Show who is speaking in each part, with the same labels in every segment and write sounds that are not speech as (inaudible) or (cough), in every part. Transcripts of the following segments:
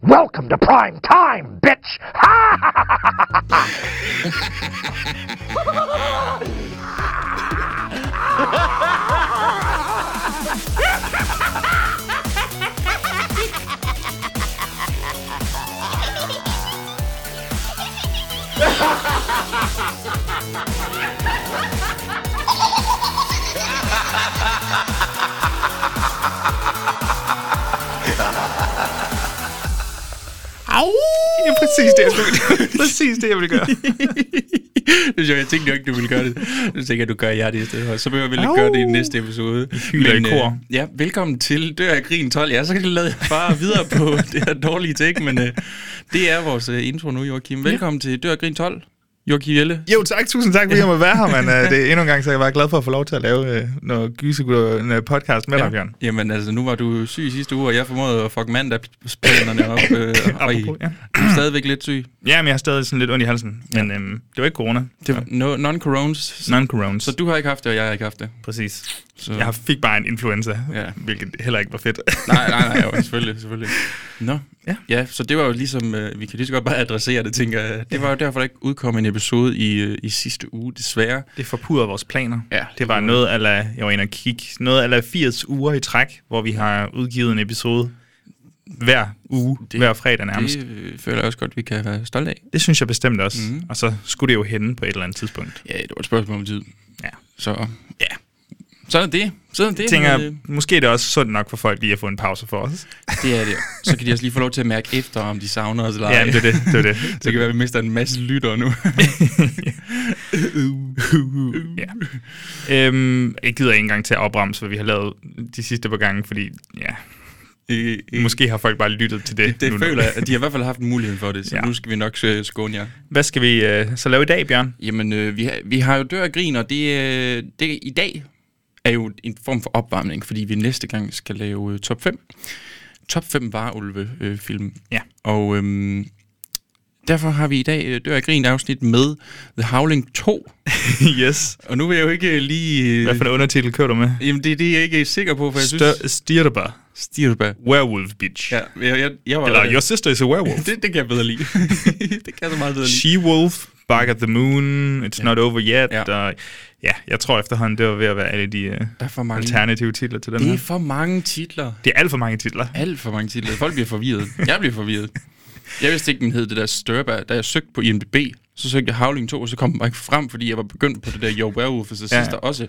Speaker 1: Welcome to prime time, bitch! Ha ha ha ha ha ha!
Speaker 2: Au!
Speaker 3: Det er præcis det, jeg skulle (laughs) præcis det, jeg ville gøre.
Speaker 2: (laughs) Det er sjovt, jeg tænkte jo ikke, du ville gøre det. Nu tænker jeg, du gør jeg det i stedet for. Så behøver vi ikke gøre det i næste episode.
Speaker 3: hyler i kor.
Speaker 2: øh, ja, velkommen til Dør af Grin 12. Ja, så kan jeg bare videre
Speaker 3: (laughs)
Speaker 2: på det her dårlige ting, men øh, det er vores øh, intro nu, Joachim. Velkommen til Dør af Grin 12. Joachim Jelle.
Speaker 3: Jo, tak. Tusind tak, fordi jeg må være her, mand. Øh, Det er endnu en gang, så jeg var glad for at få lov til at lave øh, noget gyserguderne podcast med dig, Bjørn.
Speaker 2: Jamen altså, nu var du syg i sidste uge, og jeg formåede at fuck mandagsplanerne op.
Speaker 3: (laughs)
Speaker 2: Øh, og I,
Speaker 3: Apropos, ja.
Speaker 2: du er stadigvæk lidt syg.
Speaker 3: Jamen, jeg har stadig sådan lidt ondt i halsen, men øhm, det var ikke corona.
Speaker 2: Det var no, non-corones. Så,
Speaker 3: Non-corona.
Speaker 2: så du har ikke haft det, og jeg har ikke haft det.
Speaker 3: Præcis.
Speaker 2: Så.
Speaker 3: Jeg fik bare en influenza,
Speaker 2: Ja.
Speaker 3: ja. hvilket heller ikke var fedt.
Speaker 2: Nej, nej, nej, jo, selvfølgelig, selvfølgelig. Nå, ja.
Speaker 3: Ja.
Speaker 2: ja, så det var jo ligesom, øh, vi kan lige så godt bare adressere det, tænker jeg. Det var jo derfor, der ikke udkom en episode i, øh, i sidste uge, desværre.
Speaker 3: (laughs) Det forpurrede vores planer.
Speaker 2: Ja,
Speaker 3: det var noget ala, jeg var inde og kigge, noget ala 80 uger i træk, hvor vi har udgivet en episode hver uge,
Speaker 2: Det-
Speaker 3: det, hver fredag nærmest.
Speaker 2: Det øh, føler jeg også godt, vi kan være stolte af.
Speaker 3: Det synes jeg bestemt også.
Speaker 2: Mhm.
Speaker 3: Mm. Og så skulle det jo hende på et eller andet tidspunkt.
Speaker 2: Ja, det var et spørgsmål om tid.
Speaker 3: Ja.
Speaker 2: Så, ja. Sådan er det. Sådan er det.
Speaker 3: Jeg tænker,
Speaker 2: Øh,
Speaker 3: måske er det også sundt nok for folk lige at få en pause for os.
Speaker 2: det er det. Så kan de også lige få lov til at mærke efter, om de savner os eller ej.
Speaker 3: Ja, men det er det. det, er
Speaker 2: (laughs)
Speaker 3: det.
Speaker 2: Det kan være, at vi mister en masse lyttere
Speaker 3: (laughs)
Speaker 2: nu. Øh,
Speaker 3: Ja. Øhm, jeg gider ikke engang til at opremse, hvad vi har lavet de sidste par gange, fordi ja,
Speaker 2: Øh, øh,
Speaker 3: måske har folk bare lyttet til det.
Speaker 2: det
Speaker 3: nu.
Speaker 2: føler jeg, at de har i hvert fald haft muligheden for det, så ja.
Speaker 3: Ja.
Speaker 2: nu skal vi nok øh, skåne jer.
Speaker 3: Hvad skal vi øh, så lave i dag,
Speaker 2: (laughs)
Speaker 3: Bjørn?
Speaker 2: Jamen, øh, vi, har, vi har jo dør og grin, og det, øh, det i dag er jo en form for opvarmning, fordi vi næste gang skal lave øh, top 5. Top 5 varulve-film. Øh, film.
Speaker 3: Ja.
Speaker 2: Og øhm, derfor har vi i dag øh, dør og grin afsnit med The Howling 2.
Speaker 3: yes.
Speaker 2: Og nu vil jeg jo ikke øh, lige...
Speaker 3: Hvad
Speaker 2: Øh,
Speaker 3: for en undertitel kører du med?
Speaker 2: jamen, det er det, jeg ikke er sikker på, for jeg synes...
Speaker 3: Stør- Stirba.
Speaker 2: Stirba.
Speaker 3: Werewolf Bitch.
Speaker 2: Ja, jeg, jeg, jeg var...
Speaker 3: Eller Your Sister is a Werewolf.
Speaker 2: (laughs) det, det kan jeg bedre lide. (laughs) det kan jeg så meget bedre lide.
Speaker 3: She-Wolf, Bark at the Moon, It's Not Over Yet.
Speaker 2: Ja.
Speaker 3: Ja. Og, ja, jeg tror efterhånden, det var ved at være alle de uh,
Speaker 2: Der er for mange...
Speaker 3: alternative titler til den
Speaker 2: Det er
Speaker 3: her.
Speaker 2: for mange titler.
Speaker 3: Det er alt for mange titler.
Speaker 2: Alt for mange titler. Folk bliver forvirret. Jeg bliver forvirret. Jeg vidste ikke, den hed det der Størba. Da jeg søgte på IMDb, så søgte jeg Howling 2, og så kom den bare ikke frem, fordi jeg var begyndt på det der Yo Werewolf, og så sidst
Speaker 3: Ja.
Speaker 2: der også.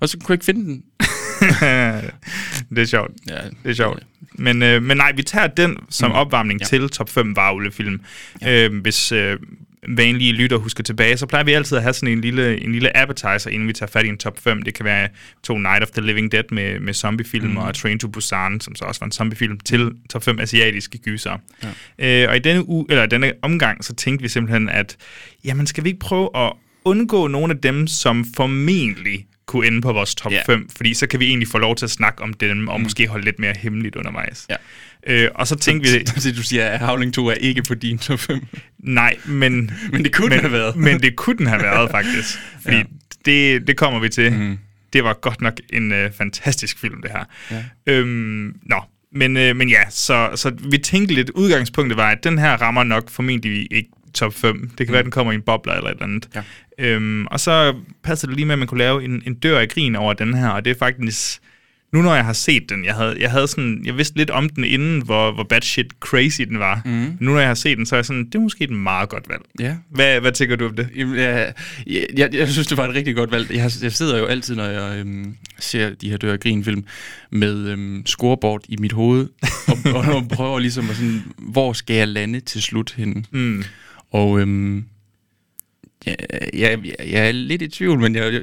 Speaker 2: Og så kunne jeg ikke finde den.
Speaker 3: (laughs) det er sjovt.
Speaker 2: Ja,
Speaker 3: Det er sjovt. Men, øh, men nej, vi tager den som opvarmning
Speaker 2: Ja.
Speaker 3: Mm. ja. til top 5 varulvefilm. Ja. Øh, hvis øh, vanlige lytter husker tilbage, så plejer vi altid at have sådan en lille, en lille appetizer, inden vi tager fat i en top 5. Det kan være to Night of the Living Dead med, med zombiefilm, mm. og Train to Busan, som så også var en zombiefilm, til top 5 asiatiske gyser. Ja. Øh, og i denne, uge, eller denne omgang, så tænkte vi simpelthen, at jamen, skal vi ikke prøve at undgå nogle af dem, som formentlig kunne ende på vores top
Speaker 2: Ja.
Speaker 3: yeah. 5, fordi så kan vi egentlig få lov til at snakke om dem, og mm. måske holde lidt mere hemmeligt undervejs.
Speaker 2: Ja.
Speaker 3: Øh, og så
Speaker 2: (laughs)
Speaker 3: tænkte vi,
Speaker 2: Så du siger, at Howling 2 er ikke på din top 5.
Speaker 3: nej, men,
Speaker 2: (laughs) Men det kunne den
Speaker 3: men,
Speaker 2: have været.
Speaker 3: men det kunne den have været, faktisk. Fordi
Speaker 2: (laughs) Ja. Mhm.
Speaker 3: ja. det, det kommer vi til. Mm. Det var godt nok en øh, fantastisk film, det her.
Speaker 2: Ja.
Speaker 3: Øhm, nå, men, øh, men ja, så, så vi tænkte lidt, udgangspunktet var, at den her rammer nok formentlig ikke top 5. Det kan mm. være, at den kommer i en bobler eller et eller andet.
Speaker 2: Mhm. Ja.
Speaker 3: Øhm, og så passer det lige med, at man kunne lave en, en dør af grin over den her, og det er faktisk... Nu når jeg har set den, jeg havde, jeg havde sådan, jeg vidste lidt om den inden, hvor, hvor bad shit crazy den var.
Speaker 2: Mhm.
Speaker 3: Mm. Nu når jeg har set den, så er jeg sådan, det er måske et meget godt valg.
Speaker 2: Ja.
Speaker 3: Hvad, hvad tænker du om det?
Speaker 2: Jamen, jeg, jeg, jeg, jeg synes, det var et rigtig godt valg. Jeg, jeg sidder jo altid, når jeg øhm, ser de her dør og grin film med øhm, scoreboard i mit hoved, og, (laughs) og, og prøver ligesom at sådan, hvor skal jeg lande til slut henne?
Speaker 3: Mm.
Speaker 2: Og øhm, jeg, jeg, jeg, jeg er lidt i tvivl, men jeg, jeg,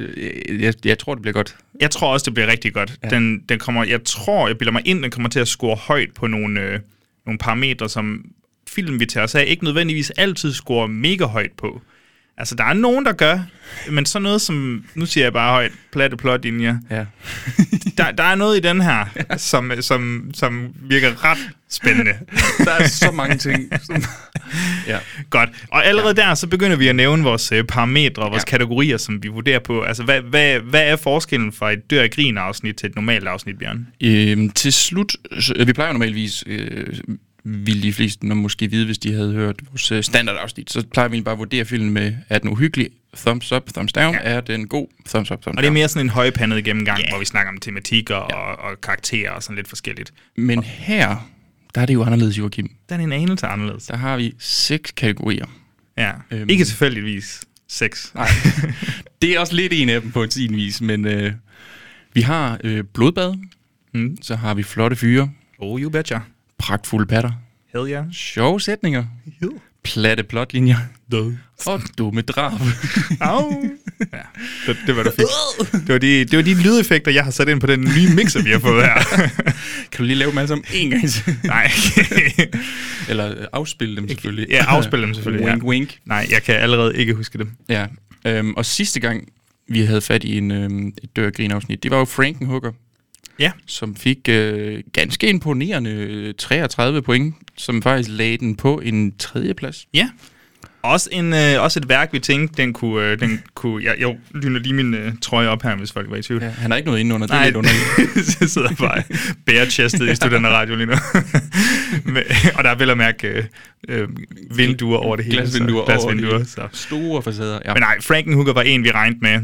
Speaker 2: jeg, jeg tror, det bliver godt.
Speaker 3: Jeg tror også, det bliver rigtig godt.
Speaker 2: Ja.
Speaker 3: Ja. Den, den kommer, jeg tror, jeg bilder mig ind, den kommer til at score højt på nogle, øh, nogle parametre, som film, vi tager os af, ikke nødvendigvis altid scorer mega højt på. Altså, der er nogen, der gør, men sådan noget som, nu siger jeg bare højt, platte plotlinjer.
Speaker 2: Ja.
Speaker 3: Der, der er noget i den her, (laughs) som, som, som virker ret spændende.
Speaker 2: Der er så mange (laughs) ting. Som... Ja.
Speaker 3: Godt. Og allerede der, så begynder vi at nævne vores øh, parametre og vores
Speaker 2: Ja.
Speaker 3: ja. kategorier, som vi vurderer på. Altså, hvad, hvad, hvad er forskellen fra et dør af grin afsnit til et normalt afsnit, Bjørn?
Speaker 2: Øhm, til slut, så- vi plejer jo normalvis øh, ville de fleste nok måske vide, hvis de havde hørt vores øh, standardafsnit. Så plejer vi egentlig bare at vurdere filmen med, er den uhyggelig? Thumbs up, thumbs down. Ja. Er den god? Thumbs up, thumbs
Speaker 3: Og det er
Speaker 2: down.
Speaker 3: mere sådan en højpandet gennemgang,
Speaker 2: Ja.
Speaker 3: yeah. hvor vi snakker om tematikker og, og karakterer og sådan lidt forskelligt.
Speaker 2: Men her, der er det jo anderledes, Joachim.
Speaker 3: Den er en anelse anderledes.
Speaker 2: Der har vi seks kategorier.
Speaker 3: Ja.
Speaker 2: Øhm.
Speaker 3: Øhm. Ikke tilfældigvis sex.
Speaker 2: Nej. (laughs) det er også lidt en af dem på sin vis, men øh, vi har øh, blodbad,
Speaker 3: Mm.
Speaker 2: så har vi flotte fyre,
Speaker 3: Oh, you betcha.
Speaker 2: pragtfulde patter,
Speaker 3: Hell yeah.
Speaker 2: sjove sætninger,
Speaker 3: Hell.
Speaker 2: platte plotlinjer
Speaker 3: Død.
Speaker 2: og dumme drab.
Speaker 3: Au. (laughs) ja, det, det var du fik. Det var, de, det var de lydeffekter, jeg har sat ind på den nye mixer, vi har fået her.
Speaker 2: kan du lige lave dem alle sammen en gang til?
Speaker 3: (laughs) Nej.
Speaker 2: (laughs) Eller øh, afspille dem selvfølgelig.
Speaker 3: ja, afspil dem selvfølgelig.
Speaker 2: Wink,
Speaker 3: Ja.
Speaker 2: wink.
Speaker 3: (laughs) Nej, jeg kan allerede ikke huske dem.
Speaker 2: Ja. Øhm, og sidste gang, vi havde fat i en, øhm, et dørgrin-afsnit, det var jo Frankenhooker,
Speaker 3: Ja.
Speaker 2: som fik øh, ganske imponerende øh, 33 point, som faktisk lagde den på en tredjeplads.
Speaker 3: Ja. Også, en, øh, også et værk, vi tænkte, den kunne... Øh, den kunne jeg, jeg lyner lige min øh, trøje op her, hvis folk var i tvivl.
Speaker 2: Ja, han har ikke noget inde under, det er
Speaker 3: Nej,
Speaker 2: lidt underligt.
Speaker 3: så sidder (laughs) jeg bare bare-chestet i studenterradio lige nu. (laughs) Men, og der er vel at mærke øh, øh, vinduer over det hele.
Speaker 2: Glasvinduer
Speaker 3: så, glasvinduer
Speaker 2: over det.
Speaker 3: så.
Speaker 2: Store facader, ja.
Speaker 3: Men nej, Frankenhooker var en, vi regnede med.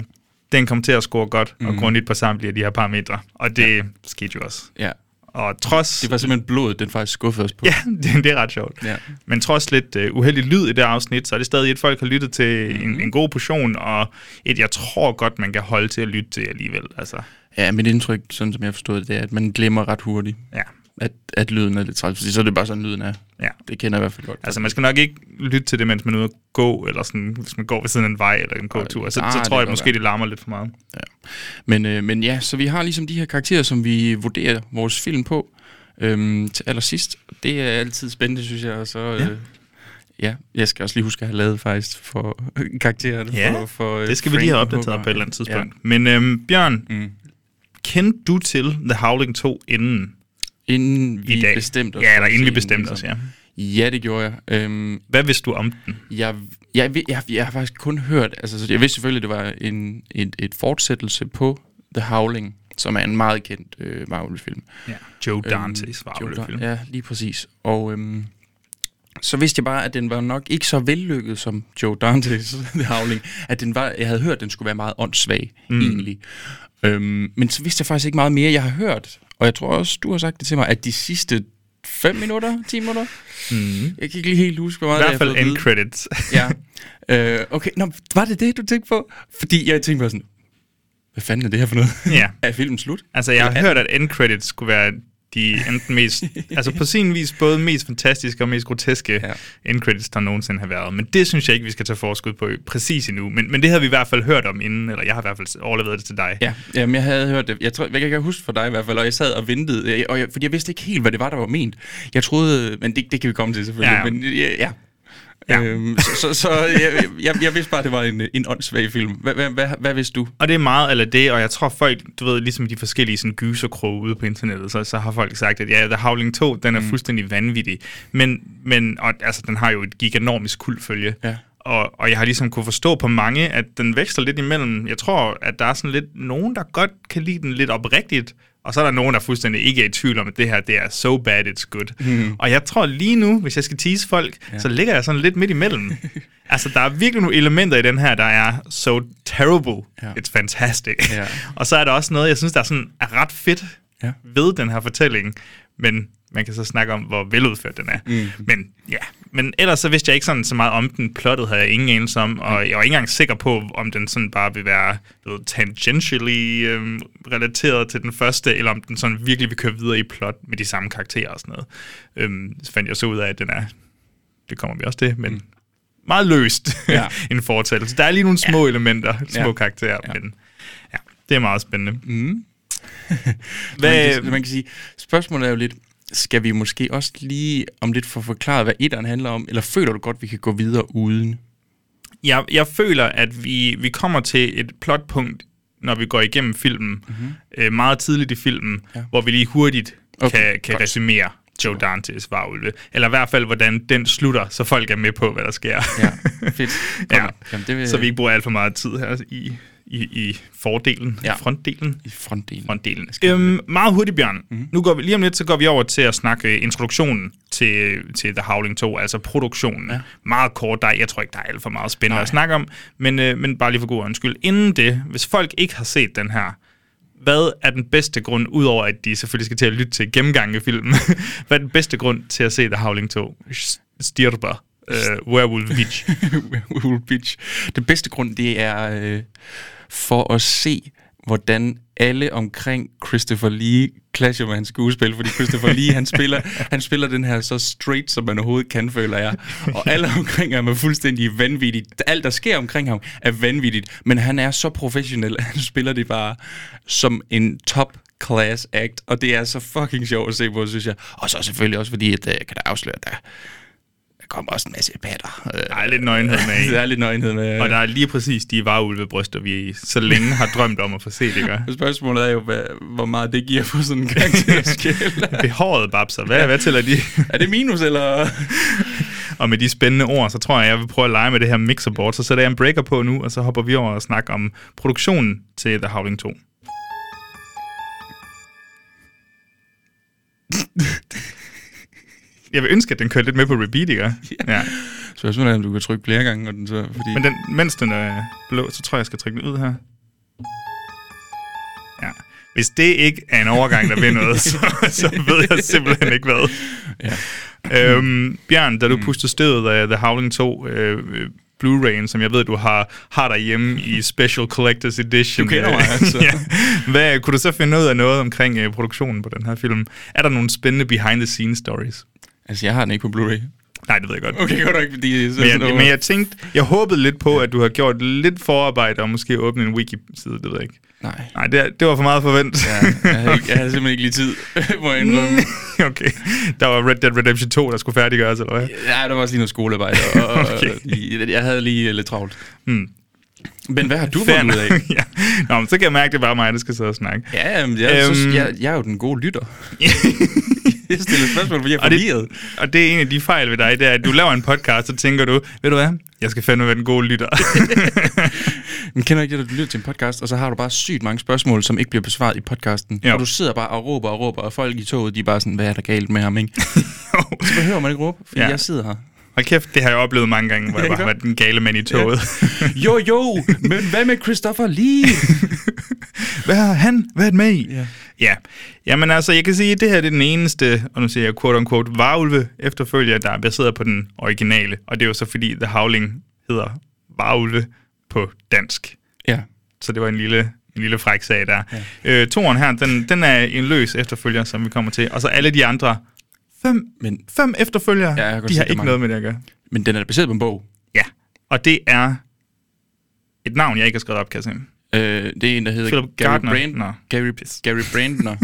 Speaker 3: Den kom til at score godt mm. og grundigt på samtlige af de her parametre. Og det ja. skete jo også.
Speaker 2: ja.
Speaker 3: Og trods...
Speaker 2: Det var simpelthen blodet, den faktisk skuffede os på.
Speaker 3: Ja, (laughs) det, det er ret sjovt.
Speaker 2: Ja.
Speaker 3: Men trods lidt uh, uheldig lyd i det afsnit, så er det stadig et, folk har lyttet til
Speaker 2: Mhm.
Speaker 3: mm. en, en god portion, og et, jeg tror godt, man kan holde til at lytte til alligevel. Altså,
Speaker 2: ja, mit indtryk, sådan som jeg forstod det, det er, at man glemmer ret hurtigt,
Speaker 3: ja.
Speaker 2: at, at lyden er lidt træls, fordi så er det bare sådan, lyden er.
Speaker 3: ja.
Speaker 2: Det kender jeg i hvert fald godt.
Speaker 3: Altså, man skal nok ikke lytte til det, mens man er ude at gå, eller sådan, hvis man går ved siden af en vej eller en gåtur. Så,
Speaker 2: nej,
Speaker 3: så
Speaker 2: det
Speaker 3: tror jeg
Speaker 2: kan
Speaker 3: måske,
Speaker 2: godt
Speaker 3: det larmer lidt for meget.
Speaker 2: Ja. Men, øh, men ja, så vi har ligesom de her karakterer, som vi vurderer vores film på øhm, til allersidst. Det er altid spændende, synes jeg. Og så, øh, ja. ja, jeg skal også lige huske at have lavet faktisk for (laughs) karaktererne.
Speaker 3: Ja,
Speaker 2: for, for, øh,
Speaker 3: Det skal vi lige have
Speaker 2: Frank
Speaker 3: opdateret
Speaker 2: Hooker.
Speaker 3: på et eller andet tidspunkt. Ja. Men øhm, Bjørn, mm. kendte du til The Howling 2 inden
Speaker 2: Ja, inden vi
Speaker 3: i dag?
Speaker 2: bestemte os.
Speaker 3: Ja, eller
Speaker 2: for at
Speaker 3: inden vi
Speaker 2: se den,
Speaker 3: bestemte
Speaker 2: ligesom.
Speaker 3: os, ja.
Speaker 2: Ja, det gjorde jeg. Øhm,
Speaker 3: Hvad vidste du om den?
Speaker 2: jeg, jeg, ved- jeg, jeg har faktisk kun hørt, altså så jeg vidste selvfølgelig, det var en, et, et fortsættelse på The Howling, som er en meget kendt øh, Marvel-film.
Speaker 3: Ja. Joe
Speaker 2: Øhm,
Speaker 3: Dantes var
Speaker 2: Joe Dan-
Speaker 3: film.
Speaker 2: Ja, lige præcis. Og øhm, så vidste jeg bare, at den var nok ikke så vellykket som Joe Dantes (laughs) The Howling. At den var, jeg havde hørt, at den skulle være meget åndssvag, mm. egentlig. Øhm, men så vidste jeg faktisk ikke meget mere. Jeg har hørt, og jeg tror også, du har sagt det til mig, at de sidste 5 minutter, 10 minutter,
Speaker 3: Mm.
Speaker 2: jeg kan ikke lige helt huske, hvor meget
Speaker 3: I hvert fald
Speaker 2: jeg har fået
Speaker 3: end
Speaker 2: at vide.
Speaker 3: credits.
Speaker 2: (laughs) Ja. Øh, okay, Nå, var det det, du tænkte på? Fordi jeg tænkte bare sådan, hvad fanden er det her for noget? (laughs)
Speaker 3: ja.
Speaker 2: er filmen slut?
Speaker 3: Altså, jeg har hørt, at end credits skulle være de enten
Speaker 2: (laughs)
Speaker 3: mest, altså på sin vis både mest fantastiske og mest groteske
Speaker 2: Ja.
Speaker 3: ja. end credits, der nogensinde har været. Men det synes jeg ikke, vi skal tage forskud på præcis endnu. Men, men det havde vi i hvert fald hørt om inden, eller jeg har i hvert fald overleveret det til dig.
Speaker 2: Ja, jamen, jeg havde hørt det. Jeg, tror, jeg kan ikke huske for dig i hvert fald, og jeg sad og ventede, jeg- og jeg, fordi jeg vidste ikke helt, hvad det var, der var ment. Jeg troede, men det, det kan vi komme til selvfølgelig, ja.
Speaker 3: Ja, ja.
Speaker 2: men øh, ja. ja.
Speaker 3: Ja.
Speaker 2: Øhm, så så, så jeg, jeg, jeg vidste bare, det var en, øh, en åndssvag film. Hvad, hvad, hvad, hvad vidste du?
Speaker 3: Og det er meget eller det, og jeg tror folk, du ved, ligesom de forskellige sådan, gyserkroge ude på internettet, så, så har folk sagt, at ja, The Howling 2, den er mm. fuldstændig vanvittig. Men, men og, altså, den har jo et giganormisk kultfølge.
Speaker 2: Ja.
Speaker 3: Og, og jeg har ligesom kunne forstå på mange, at den veksler lidt imellem. Jeg tror, at der er sådan lidt nogen, der godt kan lide den lidt oprigtigt, og så er der nogen, der fuldstændig ikke er i tvivl om, at det her, det er so bad it's good. Mm. Og jeg tror lige nu, hvis jeg skal tease folk, ja. så ligger jeg sådan lidt midt (laughs) imellem. altså, der er virkelig nogle elementer i den her, der er so terrible,
Speaker 2: Ja.
Speaker 3: ja. it's fantastic.
Speaker 2: Ja.
Speaker 3: og så er der også noget, jeg synes, der er, sådan, er ret fedt
Speaker 2: Ja.
Speaker 3: ja. ved den her fortælling, men man kan så snakke om, hvor veludført den er. Mm. Men ja, men ellers så vidste jeg ikke sådan så meget om den. Plottet havde jeg ingen anelse om, og jeg var ikke engang sikker på, om den sådan bare vil være du ved, tangentially øhm, relateret til den første, eller om den sådan virkelig vil køre videre i plot med de samme karakterer og sådan noget. Øhm, så fandt jeg så ud af, at den er, det kommer vi også til, men mm. meget løst
Speaker 2: Ja.
Speaker 3: ja. (laughs) en fortællelse. Der er lige nogle små ja. elementer, små
Speaker 2: Ja.
Speaker 3: ja. karakterer, ja. men ja, det er meget spændende. Mm. (laughs)
Speaker 2: Man
Speaker 3: Hvad,
Speaker 2: kan, man kan sige, spørgsmålet er jo lidt, skal vi måske også lige om lidt få forklaret, hvad etteren handler om, eller føler du godt, vi kan gå videre uden?
Speaker 3: jeg, jeg føler, at vi, vi kommer til et plotpunkt, når vi går igennem filmen, mm-hmm. øh, meget tidligt i filmen, ja. hvor vi lige hurtigt
Speaker 2: Okay,
Speaker 3: okay, kan, kan
Speaker 2: godt.
Speaker 3: resumere Joe Dantes varulve. Eller i hvert fald, hvordan den slutter, så (laughs) folk er med på, hvad der sker.
Speaker 2: Ja, fedt. Kom
Speaker 3: ja.
Speaker 2: med. Jamen, det vil-
Speaker 3: Så vi ikke bruger alt for meget tid her i, i, i fordelen, ja.
Speaker 2: Ja.
Speaker 3: frontdelen.
Speaker 2: I frontdelen.
Speaker 3: Frontdelen. Øhm, meget hurtigt, Bjørn. Mm-hmm. Nu går vi, lige om lidt, så går vi over til at snakke øh, introduktionen til, til The Howling 2, altså produktionen. Ja. Meget kort, der, er- jeg tror ikke, der er alt for meget spændende Nej. at snakke om, men, øh, men bare lige for god undskyld. Inden det, hvis folk ikke har set den her, hvad er den bedste grund, udover at de selvfølgelig skal til at lytte til gennemgang af filmen, (laughs) hvad er den bedste grund til at se The Howling 2? S- Stirper. Uh, Werewolf (laughs) Beach.
Speaker 2: (laughs) Will Beach. Det bedste grund, det er øh, for at se, hvordan alle omkring Christopher Lee clasher med hans skuespil, fordi Christopher Lee, han spiller, han spiller den her så straight, som man overhovedet kan, føler jeg. Og alle omkring ham er fuldstændig vanvittigt. Alt, der sker omkring ham, er vanvittigt, men han er så professionel, han spiller det bare som en top class act, og det er så fucking sjovt at se på, synes jeg. Og så selvfølgelig også fordi, at øh, jeg kan da afsløre, at der, der kommer også en masse patter. Øh,
Speaker 3: Der er lidt nøgenhed med i.
Speaker 2: der er lidt nøgenhed med.
Speaker 3: Og der er lige præcis de varulvebryster, vi så længe har drømt om at få set, ikke?
Speaker 2: øh, Spørgsmålet er jo, hvad, hvor meget det giver på sådan en (laughs) karakterskala.
Speaker 3: (laughs) Behåret babser, hvad, hvad tæller de? (laughs)
Speaker 2: er det minus, eller?
Speaker 3: Og med de spændende ord, så tror jeg, jeg vil prøve at lege med det her mixerboard. Så sætter jeg en breaker på nu, og så hopper vi over og snakker om produktionen til The Howling 2. Jeg vil ønske, at den kørte lidt med på repeat, ikke? Ja.
Speaker 2: Spørgsmålet er, om du kan trykke flere gange, og den så, fordi...
Speaker 3: Men den, mens den er blå, så tror jeg, jeg skal trykke den ud her. Ja. Hvis det ikke er en overgang, der vil noget, (laughs) så, så ved jeg simpelthen ikke hvad.
Speaker 2: Ja.
Speaker 3: Øhm, Bjørn, da du pustede støvet af The Howling 2, øh, øh, Blu-ray'en, som jeg ved, du har, har derhjemme i Special Collectors Edition.
Speaker 2: Du kender
Speaker 3: øh,
Speaker 2: mig, altså.
Speaker 3: (laughs) ja. Hvad, kunne du så finde ud af noget omkring øh, produktionen på den her film? Er der nogle spændende behind-the-scenes stories?
Speaker 2: Altså, jeg har den ikke på Blu-ray.
Speaker 3: Nej, det ved jeg godt.
Speaker 2: Okay, godt nok, fordi... Så,
Speaker 3: Men jeg, men jeg tænkte, jeg håbede lidt på, at du har gjort lidt forarbejde og måske åbnet en wiki-side, det ved jeg ikke.
Speaker 2: Nej.
Speaker 3: Nej, det, det var for meget forventet.
Speaker 2: Ja, jeg, havde ikke, jeg havde simpelthen ikke lige tid, (laughs) må
Speaker 3: (laughs)
Speaker 2: jeg indrømme.
Speaker 3: okay, der var Red Dead Redemption 2, der skulle færdiggøres, eller hvad?
Speaker 2: Ja, der var også lige noget skolearbejde, og, og
Speaker 3: Okay.
Speaker 2: lige- jeg havde lige øh, lidt travlt.
Speaker 3: Mm.
Speaker 2: Men hvad har du
Speaker 3: Fair
Speaker 2: fundet ud af?
Speaker 3: nok. (laughs) ja. Nå, men så kan jeg mærke, det er bare mig, der skal sidde og
Speaker 2: (laughs)
Speaker 3: snakke.
Speaker 2: Ja, jamen, jeg, øhm. så,
Speaker 3: Øhm.
Speaker 2: jeg, jeg er jo den gode lytter. (laughs) jeg stiller spørgsmål, fordi jeg er
Speaker 3: Og det-
Speaker 2: forvirret.
Speaker 3: Og det er en af de fejl ved dig, det er, at du laver en podcast, så tænker du, ved du hvad, jeg skal fandme være den gode lytter. (laughs)
Speaker 2: Men kender du ikke det, at du lytter til en podcast, og så har du bare sygt mange spørgsmål, som ikke bliver besvaret i podcasten.
Speaker 3: Jo.
Speaker 2: Jo. Og du sidder bare og råber og råber, og folk i toget, de er bare sådan, hvad er der galt med ham, ikke? Så behøver man ikke råbe, fordi
Speaker 3: Ja.
Speaker 2: ja. jeg sidder her.
Speaker 3: Hold kæft, det har jeg oplevet mange gange, hvor jeg bare har været den gale mand i toget.
Speaker 2: (laughs) Jo, jo, men hvad med Christopher Lee?
Speaker 3: (laughs) Hvad har han været med i?
Speaker 2: Ja.
Speaker 3: ja. Jamen altså, jeg kan sige, at det her det er den eneste, og nu siger jeg quote unquote, varulve efterfølger, der er baseret på den originale. Og det er jo så fordi The Howling hedder varulve på dansk.
Speaker 2: ja.
Speaker 3: Så det var en lille, en lille fræk sag der. Ja. Øh, toren her, den, den er en løs efterfølger, som vi kommer til. Og så alle de andre fem,
Speaker 2: Men,
Speaker 3: fem efterfølgere,
Speaker 2: jeg
Speaker 3: ja,
Speaker 2: kan godt
Speaker 3: de
Speaker 2: se,
Speaker 3: har
Speaker 2: det er
Speaker 3: ikke
Speaker 2: mange.
Speaker 3: noget med det at gøre.
Speaker 2: men den er baseret på en bog.
Speaker 3: Ja, og det er et navn, jeg ikke har skrevet op, kan jeg se.
Speaker 2: Øh, det er en, der hedder
Speaker 3: Philip
Speaker 2: Gary
Speaker 3: Gardner.
Speaker 2: Brandner.
Speaker 3: Nå.
Speaker 2: Gary, Gary (laughs) Brandner.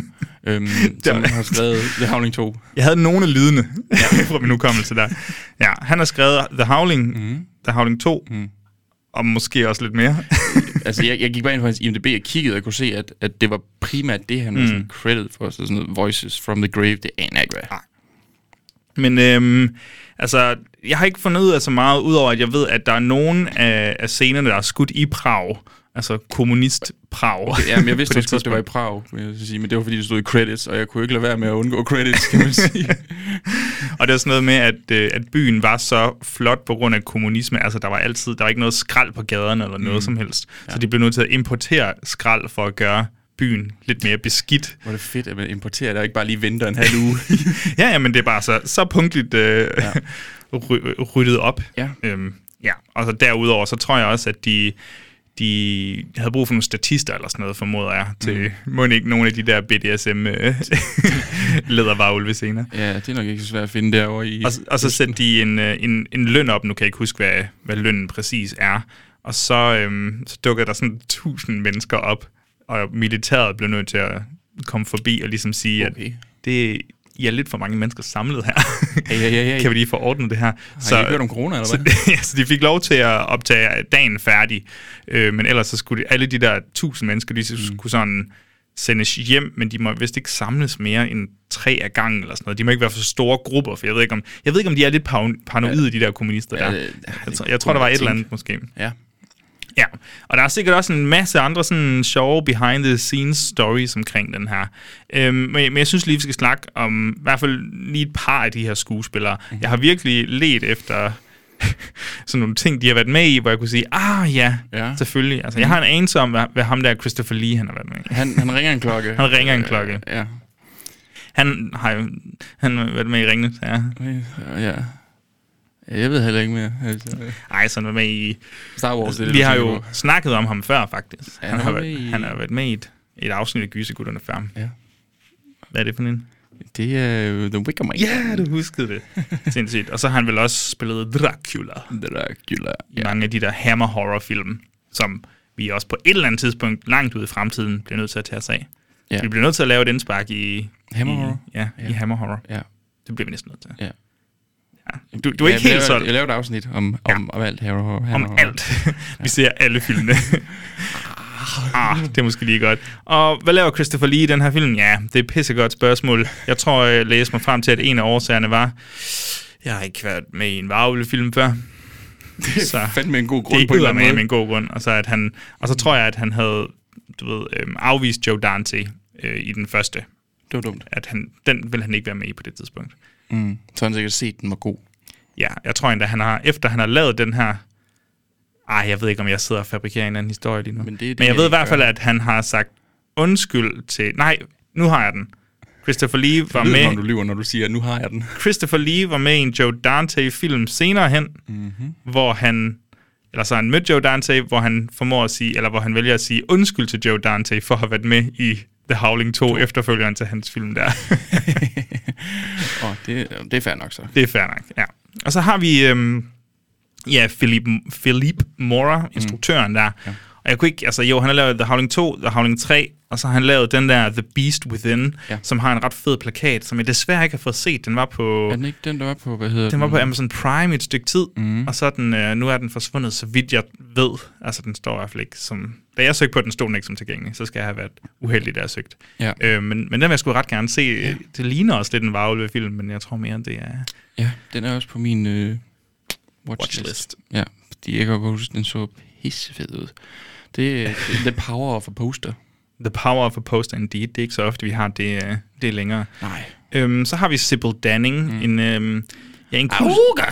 Speaker 2: Øhm, som har skrevet The Howling 2.
Speaker 3: Jeg havde nogle af lydene (laughs) fra min hukommelse der. Ja, han har skrevet The Howling,
Speaker 2: Mhm.
Speaker 3: mm. The Howling 2, mm. og måske også lidt mere. (laughs)
Speaker 2: Altså, jeg, jeg gik bare ind på hans IMDb og kiggede, og kunne se, at, at det var primært det, han var sådan credit for. Så sådan noget, Voices from the Grave, det aner jeg ikke, hvad.
Speaker 3: Men øhm, altså, jeg har ikke fundet ud af så meget, udover at jeg ved, at der er nogen af, af scenerne, der er skudt i Prag. Altså kommunist-Prag.
Speaker 2: Ja, men jeg
Speaker 3: (laughs)
Speaker 2: vidste
Speaker 3: På
Speaker 2: også godt, det var i
Speaker 3: tidspunkt.
Speaker 2: Prag, vil jeg så sige. Men det var, fordi det stod i credits, og jeg kunne ikke lade være med at undgå credits,
Speaker 3: (laughs)
Speaker 2: kan man sige.
Speaker 3: Og det er sådan noget med, at, øh, at byen var så flot på grund af kommunisme. Altså, der var altid, der var ikke noget skrald på gaderne eller
Speaker 2: Mhm.
Speaker 3: noget som helst. Så de blev nødt til at importere skrald for at gøre byen lidt mere beskidt.
Speaker 2: Hvor er det fedt, at man importerer det, og ikke bare lige venter en halv uge.
Speaker 3: Ja, ja, men det er bare så, så punktligt øh, ja. (laughs) ryddet op.
Speaker 2: Ja.
Speaker 3: Øhm, ja. Og så derudover, så tror jeg også, at de, de havde brug for nogle statister eller sådan noget, formoder jeg, til mm. må ikke nogle af de der BDSM øh, (laughs) lædervarulve senere.
Speaker 2: (laughs) ja, det er nok ikke så svært at finde derovre i...
Speaker 3: Og, og så sendte de en, øh, en, en løn op, nu kan jeg ikke huske, hvad, hvad lønnen præcis er. Og så, øhm, så dukkede der sådan tusind mennesker op, og militæret blev nødt til at komme forbi og ligesom sige, okay.
Speaker 2: Okay.
Speaker 3: at det, I er lidt for mange mennesker samlet her.
Speaker 2: Hey, hey, hey, hey.
Speaker 3: (laughs) Kan vi lige få ordnet det her?
Speaker 2: Har I ikke hørt om corona, eller hvad?
Speaker 3: så, (laughs) ja, så de fik lov til at optage dagen færdig, øh, men ellers så skulle de, alle de der tusind mennesker, de mm. skulle sådan sendes hjem, men de må vist ikke samles mere end tre af gangen eller sådan noget. De må ikke være for store grupper, for jeg ved ikke om, jeg ved ikke, om de er lidt paranoide, de der kommunister
Speaker 2: Ja,
Speaker 3: der.
Speaker 2: det- ja, det
Speaker 3: Jeg, tror-
Speaker 2: kunne
Speaker 3: jeg tror, der
Speaker 2: jeg
Speaker 3: var et
Speaker 2: tænke.
Speaker 3: eller andet måske.
Speaker 2: Ja.
Speaker 3: Ja, og der er sikkert også en masse andre sådan sjove behind-the-scenes stories omkring den her. Øhm, men, men jeg synes lige, vi skal snakke om i hvert fald lige et par af de her skuespillere.
Speaker 2: Mhm.
Speaker 3: Jeg har virkelig let efter (laughs) sådan nogle ting, de har været med i, hvor jeg kunne sige, ah ja,
Speaker 2: Ja. Mhm.
Speaker 3: ja. selvfølgelig. Altså, jeg har en anelse om, hvad, hvad ham der Christopher Lee, han har været med i.
Speaker 2: Han, han ringer en klokke.
Speaker 3: Han ringer en klokke.
Speaker 2: Øh, Ja.
Speaker 3: Han har jo han har været med i Ringnes, ja.
Speaker 2: Øh, ja. Jeg ved heller ikke mere. Altså, øh,
Speaker 3: Ej, så han var med i...
Speaker 2: Star Wars, det er det,
Speaker 3: Vi
Speaker 2: du
Speaker 3: har
Speaker 2: tænker
Speaker 3: jo
Speaker 2: på.
Speaker 3: snakket om ham før, faktisk.
Speaker 2: Ja,
Speaker 3: Han
Speaker 2: han
Speaker 3: har
Speaker 2: var
Speaker 3: været,
Speaker 2: med i-
Speaker 3: han har været med i et, et afsnit af Gysegutterne før.
Speaker 2: Ja.
Speaker 3: Hvad er det for en?
Speaker 2: Det er jo The Wicker Man.
Speaker 3: Ja, du huskede
Speaker 2: (laughs)
Speaker 3: det. Sindssygt. Og så har han vel også spillet Dracula
Speaker 2: Dracula.
Speaker 3: i mange af de der hammer horror film, som vi også på et eller andet tidspunkt langt ude i fremtiden bliver nødt til at tage os af.
Speaker 2: Ja.
Speaker 3: Så vi bliver nødt til at lave et indspark i
Speaker 2: Hammer
Speaker 3: i,
Speaker 2: horror?
Speaker 3: Ja, ja, i hammer horror.
Speaker 2: Ja.
Speaker 3: Det bliver vi næsten nødt til.
Speaker 2: Ja.
Speaker 3: ja. Du, du er ikke
Speaker 2: jeg
Speaker 3: helt
Speaker 2: laver-
Speaker 3: solgt
Speaker 2: Jeg laver et afsnit om,
Speaker 3: Ja.
Speaker 2: om, om alt her. og- her
Speaker 3: om
Speaker 2: og-
Speaker 3: alt. (laughs) vi ser alle filmene. ah, det er måske lige godt. Og hvad laver Christopher Lee i den her film? Ja, det er et pissegodt spørgsmål. Jeg tror, jeg læste mig frem til, at en af årsagerne var, jeg har ikke været med i en varulvefilm før.
Speaker 2: (laughs) Det er fandme en god grund
Speaker 3: det
Speaker 2: på en eller anden
Speaker 3: med
Speaker 2: måde.
Speaker 3: en god grund. Og så, at han, og så tror jeg, at han havde du ved, øhm, afvist Joe Dante øh, i den første.
Speaker 2: Det var dumt.
Speaker 3: At han, den ville han ikke være med i på det tidspunkt.
Speaker 2: Mm. Så har han sikkert set, den var god.
Speaker 3: Ja, jeg tror endda, han har, efter han har lavet den her... Ej, jeg ved ikke, om jeg sidder og fabrikerer en eller anden historie lige nu.
Speaker 2: Men det er det,
Speaker 3: Men jeg
Speaker 2: jeg
Speaker 3: ved i
Speaker 2: ikke
Speaker 3: hvert fald,
Speaker 2: gør.
Speaker 3: at han har sagt undskyld til... Nej, nu har jeg den. Christopher Lee var
Speaker 2: Jeg ved, når du
Speaker 3: med,
Speaker 2: lyver, når du siger, at nu har jeg den. (laughs)
Speaker 3: Christopher Lee var med i en Joe Dante-film senere hen, mm-hmm. hvor han eller så har han mødt Joe Dante, hvor han formår at sige, eller hvor han vælger at sige undskyld til Joe Dante for at have været med i The Howling 2, efterfølgeren til hans film der. (laughs)
Speaker 2: Åh, det, det er fair nok så.
Speaker 3: Det er fair nok, ja. Og så har vi øhm, ja, Philip, Philip Mora, instruktøren der. Mm. Ja. Og jeg kunne ikke, altså jo, han har lavet The Howling 2, The Howling 3, og så har han lavet den der The Beast Within,
Speaker 2: Ja.
Speaker 3: ja. som har en ret fed plakat, som jeg desværre ikke har fået set. Den var på,
Speaker 2: Er den ikke den, der var på, hvad hedder
Speaker 3: den var på Amazon Prime i et stykke tid,
Speaker 2: Mhm.
Speaker 3: mm. og så er den, øh, nu er den forsvundet, så vidt jeg ved. Altså, den står i hvert fald ikke som... Da jeg søgte på den, stod den ikke som tilgængelig, så skal jeg have været uheldig, da jeg søgte.
Speaker 2: Ja.
Speaker 3: Øh, men, men den vil jeg sgu ret gerne se. Ja. Det ligner også lidt en varulvefilm, men jeg tror mere, det er...
Speaker 2: Ja, den er også på min øh, watchlist.
Speaker 3: Watchlist.
Speaker 2: Ja, fordi jeg kan godt huske, den så pissefed ud. Det er The Power of a Poster.
Speaker 3: The Power of a Poster Indeed. Det er ikke så ofte, vi har det, øh, det længere.
Speaker 2: Nej.
Speaker 3: Øhm, så har vi Sybil Danning, mm. en, øhm, ja, en kul... (laughs)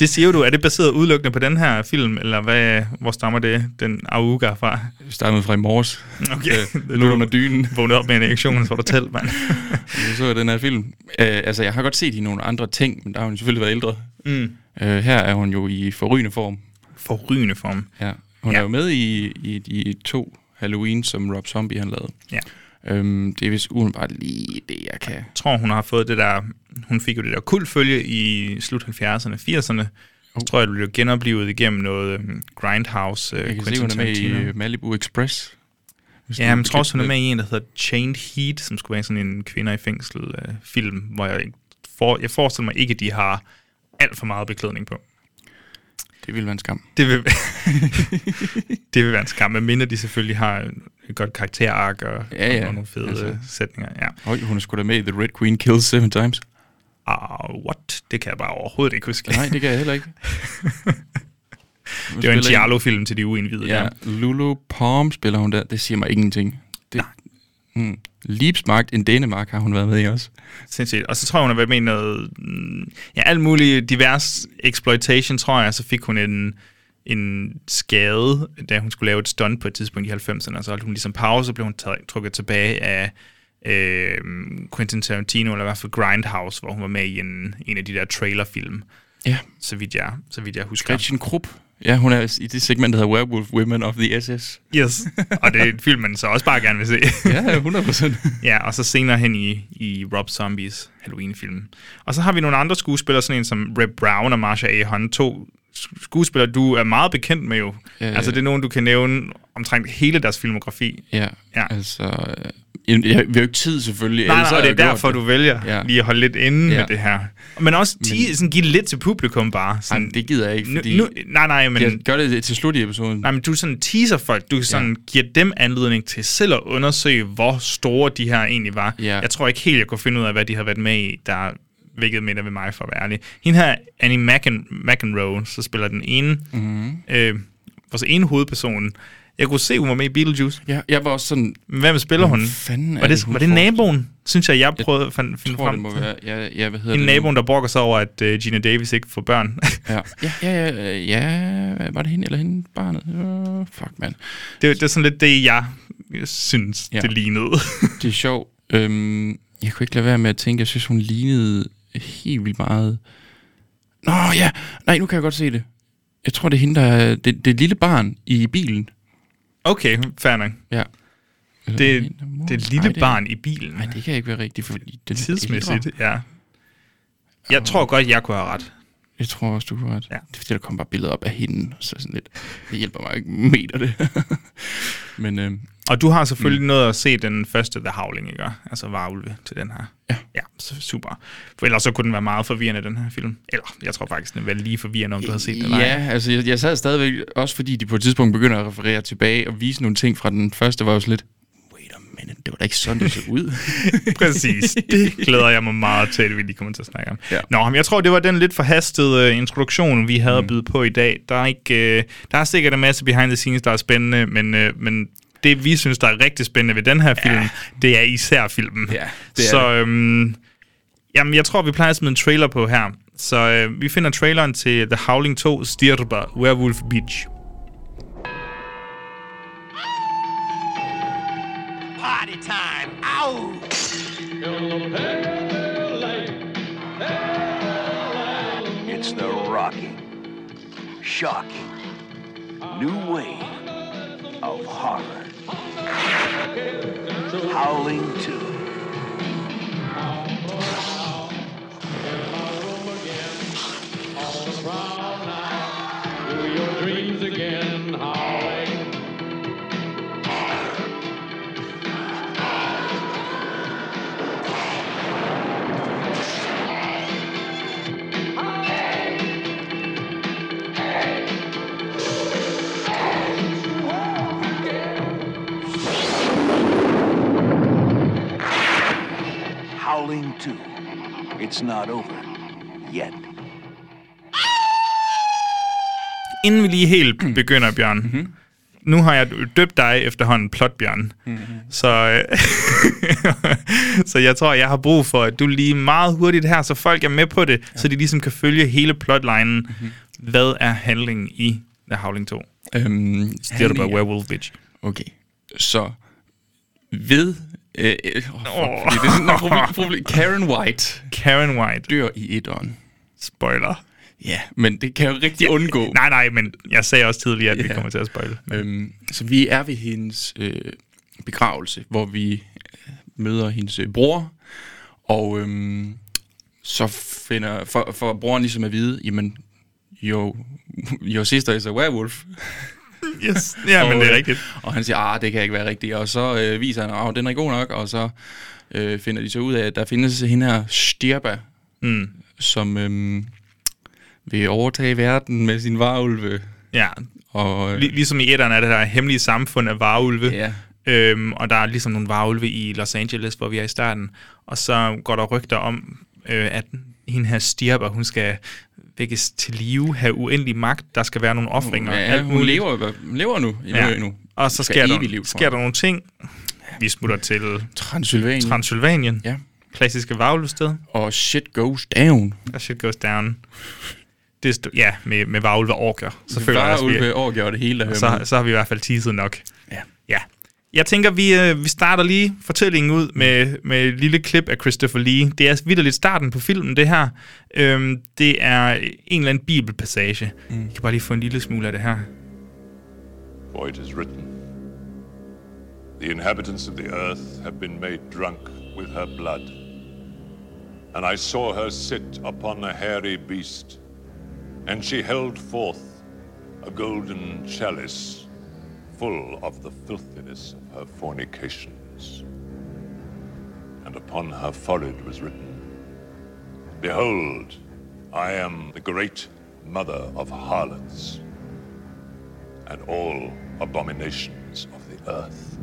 Speaker 3: Det siger du, er det baseret udelukkende på den her film, eller hvad, hvor stammer det, den Auga
Speaker 2: (laughs)
Speaker 3: fra?
Speaker 2: Vi startede fra i morges.
Speaker 3: Okay,
Speaker 2: Øh, lå under dynen. (laughs)
Speaker 3: vågnet op med en erektion, så var du tæt, mand.
Speaker 2: Jeg så den her film. Øh, altså, jeg har godt set hende i nogle andre ting, men der har hun selvfølgelig været ældre.
Speaker 3: Mm.
Speaker 2: Øh, her er hun jo i forrygende form.
Speaker 3: Forrygende form.
Speaker 2: Ja. Hun
Speaker 3: Ja.
Speaker 2: ja. er jo med i, i, i to Halloween, som Rob Zombie han lavede.
Speaker 3: Ja.
Speaker 2: Øhm, det er vist udenbart lige det, jeg kan.
Speaker 3: Jeg tror, hun har fået det der... Hun fik jo det der kulfølge i slut 70'erne, 80'erne.
Speaker 2: Uh.
Speaker 3: Så tror jeg, du blev genoplevet igennem noget øhm, Grindhouse. Øh,
Speaker 2: Jeg kan se,
Speaker 3: Quentin
Speaker 2: hun er med i
Speaker 3: Tarantino.
Speaker 2: øh, Malibu Express. Hvis
Speaker 3: Ja,
Speaker 2: du
Speaker 3: men jeg tror også, hun er
Speaker 2: bekendt
Speaker 3: med i en, der hedder Chained Heat, som skulle være sådan en kvinder i fængsel-film, hvor jeg, ikke for, jeg forestiller mig ikke, at de har alt for meget beklædning på.
Speaker 2: det. (laughs) Det ville være en skam.
Speaker 3: Det vil, (laughs) det vil være en skam, medmindre de selvfølgelig har et godt karakterark og,
Speaker 2: Ja, ja,
Speaker 3: og nogle fede
Speaker 2: altså.
Speaker 3: altså. sætninger. Ja.
Speaker 2: Høj, hun er sgu da med i The Red Queen Kills Seven
Speaker 3: (laughs)
Speaker 2: Times.
Speaker 3: Ah, what? Det kan jeg bare overhovedet ikke huske. (laughs)
Speaker 2: Nej, det kan jeg heller ikke. Hun
Speaker 3: det var en
Speaker 2: spiller
Speaker 3: Giallo-film til de uindvidede.
Speaker 2: Ja,
Speaker 3: der.
Speaker 2: Lulu Palm spiller hun der. Det siger mig ingenting. Det, mm. Liebsmarkt in Danmark har hun været med i også.
Speaker 3: Sindssygt. Og så tror jeg, hun har været med i noget... mm, Ja, alt muligt divers exploitation, tror jeg. Så fik hun en, en skade, da hun skulle lave et stunt på et tidspunkt i 90'erne. Og så holdt hun ligesom pause, så blev hun taget- trukket tilbage af øh, Quentin Tarantino, eller i hvert fald Grindhouse, hvor hun var med i en, en af de der trailerfilm,
Speaker 2: Ja,
Speaker 3: så vidt jeg, så vidt jeg husker.
Speaker 2: Gretchen Krupp. Ja, hun er i det segment, der hedder Werewolf Women of the SS.
Speaker 3: Yes. Og det er en film, man så også bare gerne vil se.
Speaker 2: Ja, 100 procent.
Speaker 3: Ja, og så senere hen i, i Rob Zombies Halloween-film. Og så har vi nogle andre skuespillere, sådan en som Reb Brown og Marsha A. Hunt, to sk- skuespillere, du er meget bekendt med jo.
Speaker 2: Ja, ja.
Speaker 3: Altså, det er nogen, du kan nævne omtrent hele deres filmografi.
Speaker 2: ja,
Speaker 3: Ja.
Speaker 2: altså... øh, jamen, Jeg, vi har jo ikke tid selvfølgelig.
Speaker 3: Nej,
Speaker 2: ellers
Speaker 3: nej,
Speaker 2: havde
Speaker 3: og det
Speaker 2: jeg
Speaker 3: er
Speaker 2: gjort
Speaker 3: derfor, du vælger
Speaker 2: Ja.
Speaker 3: ja. lige at holde lidt inde
Speaker 2: Ja.
Speaker 3: ja. med det her. Men også de, sådan, give lidt til publikum bare. Sådan,
Speaker 2: Ej, det gider jeg ikke,
Speaker 3: nu,
Speaker 2: fordi-
Speaker 3: nu, nej, nej, men...
Speaker 2: Jeg gør det til slut i episoden.
Speaker 3: Nej, men du sådan teaser folk. Du sådan ja. giver dem anledning til selv at undersøge, hvor store de her egentlig var.
Speaker 2: Ja.
Speaker 3: Jeg tror ikke helt, jeg kunne finde ud af, hvad de har været med i, der vækket minder ved mig, for at være ærlig. Hende her, Annie McEn- McEnroe, så spiller den ene, mm-hmm. øh, vores ene hovedperson. Jeg kunne se, hun var med i Beetlejuice.
Speaker 2: Ja, jeg var også sådan,
Speaker 3: Men Hvem spiller hun?
Speaker 2: fanden er
Speaker 3: Var
Speaker 2: det,
Speaker 3: det,
Speaker 2: hun
Speaker 3: var det
Speaker 2: får-
Speaker 3: naboen, synes jeg, jeg prøvede at fan-
Speaker 2: jeg
Speaker 3: finde
Speaker 2: tror, det
Speaker 3: frem
Speaker 2: må
Speaker 3: til?
Speaker 2: være, ja, ja, hvad hedder
Speaker 3: En
Speaker 2: det nu?
Speaker 3: naboen, der brokker sig over, at øh, Gina Davis ikke får børn. (laughs)
Speaker 2: Ja. Ja, ja, ja, øh, ja, var det hende eller hende barnet? Uh, fuck, mand.
Speaker 3: det, det er sådan lidt det, jeg synes,
Speaker 2: Ja.
Speaker 3: ja. det lignede. (laughs)
Speaker 2: Det er sjovt. Øhm, jeg kunne ikke lade være med at tænke, jeg synes, hun lignede helt vildt meget. Nå ja, nej, nu kan jeg godt se det. Jeg tror, det er hende, der er det, det lille barn i bilen.
Speaker 3: okay, fair nok.
Speaker 2: Ja. Eller
Speaker 3: Det,
Speaker 2: er hende, der er mor.
Speaker 3: det er et
Speaker 2: Nej,
Speaker 3: lille
Speaker 2: det er-
Speaker 3: barn i bilen.
Speaker 2: Nej, det kan ikke være rigtigt, fordi den
Speaker 3: Tidsmæssigt,
Speaker 2: ældre-
Speaker 3: ja. Jeg tror godt, jeg kunne have ret.
Speaker 2: Jeg tror også, du har ret. Ja.
Speaker 3: Ja.
Speaker 2: Det er fordi, der kom bare billeder op af hende, så sådan lidt, det hjælper mig ikke meter det. (laughs) Men øhm,
Speaker 3: Og du har selvfølgelig mm. noget at se den første The Howling, ikke? Altså varulve til den her.
Speaker 2: Ja.
Speaker 3: Ja, så super. For ellers så kunne den være meget forvirrende, den her film. Eller, jeg tror faktisk, den var lige forvirrende, om du havde set den eller ej.
Speaker 2: Ja, altså jeg, jeg sad stadigvæk, også fordi de på et tidspunkt begynder at referere tilbage og vise nogle ting fra den første, var jo sådan lidt, wait a minute, det var da ikke sådan, det så ud.
Speaker 3: (laughs) Præcis. Det glæder jeg mig meget til, at vi lige kommer til at snakke om.
Speaker 2: Ja.
Speaker 3: Ja. Nå, men jeg tror, det var den lidt forhastede øh, introduktion, vi havde mm. at byde på i dag. Der er, ikke, øh, der er sikkert en masse behind the scenes, der er spændende, men, øh, men det, vi synes, der er rigtig spændende ved den her film, ja. det er især filmen.
Speaker 2: Ja, det er
Speaker 3: Så øhm, jamen, jeg tror, vi plejer at smide en trailer på her. Så øh, vi finder traileren til The Howling 2 Stirba Werewolf Beach.
Speaker 4: Party time. Ow! It's the rocking, shocking, new wave of horror. Howling 2.
Speaker 5: to your dreams again, howling.
Speaker 4: Howling 2. It's not over yet.
Speaker 3: Inden vi lige helt begynder, Bjørn. Mm. Mm-hmm. Nu har jeg døbt dig efterhånden Plotbjørn. Mm-hmm. Så, øh, (laughs) så jeg tror, jeg har brug for, at du lige meget hurtigt her, så folk er med på det, ja. så de ligesom kan følge hele plotlinen. Mm-hmm. Hvad er handlingen i The Howling 2?
Speaker 2: (laughs) øhm,
Speaker 3: Det er
Speaker 2: han
Speaker 3: bare
Speaker 2: er-
Speaker 3: Werewolf Bitch.
Speaker 2: Okay, så ved... Øh, øh, oh, fuck,
Speaker 3: Åh.
Speaker 2: fordi det er sådan, problem, problem, Karen White
Speaker 3: Karen White.
Speaker 2: dør i etteren.
Speaker 3: Spoiler.
Speaker 2: Ja, men det kan jeg jo rigtig undgå.
Speaker 3: Nej, nej, men jeg sagde også tidligere, at vi
Speaker 2: Ja.
Speaker 3: kommer til at spoile. Men
Speaker 2: Øhm, så vi er ved hendes øh, begravelse, hvor vi øh, møder hendes øh, bror, og øhm, så finder, for, for broren ligesom at vide, jamen, jo, your sister is a werewolf.
Speaker 3: yes. Ja, men
Speaker 2: Og,
Speaker 3: det er
Speaker 2: øh,
Speaker 3: rigtigt.
Speaker 2: Og han siger, ah, det kan ikke være rigtigt. Og så øh, viser han, at den er god nok, og så øh, finder de så ud af, at der findes hende her Stirba,
Speaker 3: Mm.
Speaker 2: som øhm, vil overtage verden med sin varulve.
Speaker 3: Ja.
Speaker 2: Og, øh,
Speaker 3: Lig- ligesom i etteren er det der hemmelige samfund af varulve.
Speaker 2: ja,
Speaker 3: Øhm, og der er ligesom nogle varulve i Los Angeles, hvor vi er i starten. Og så går der rygter om, øh, at hende her stirper, hun skal vækkes til live, have uendelig magt, der skal være nogle offringer.
Speaker 2: ja, hun lever, hun lever nu. Ja. nu.
Speaker 3: Og så
Speaker 2: Skal
Speaker 3: sker, der,
Speaker 2: evigt liv, tror
Speaker 3: sker
Speaker 2: jeg.
Speaker 3: der nogle ting. Vi smutter til
Speaker 2: Transylvanien.
Speaker 3: Transylvanien,
Speaker 2: ja.
Speaker 3: klassiske varulvested.
Speaker 2: Og shit goes down.
Speaker 3: Og shit goes down. Det stod, ja, med, med varulve og orker. Så føler jeg
Speaker 2: Bare
Speaker 3: også, vi,
Speaker 2: Ulve overgjorde det hele, der hører
Speaker 3: så,
Speaker 2: med.
Speaker 3: så har vi i hvert fald teaset nok.
Speaker 2: Ja.
Speaker 3: Ja. Jeg tænker, vi, øh, vi starter lige fortællingen ud med, med et lille klip af Christopher Lee. Det er vidderligt starten på filmen, det her. Øhm, det er en eller anden bibelpassage. Mm. Jeg kan bare lige få en lille smule af det her.
Speaker 6: For it is written, The inhabitants of the earth have been made drunk with her blood. And I saw her sit upon a hairy beast, and she held forth a golden chalice full of the filthiness of her fornications. And upon her forehead was written, Behold, I am the great mother of harlots and all abominations of the earth.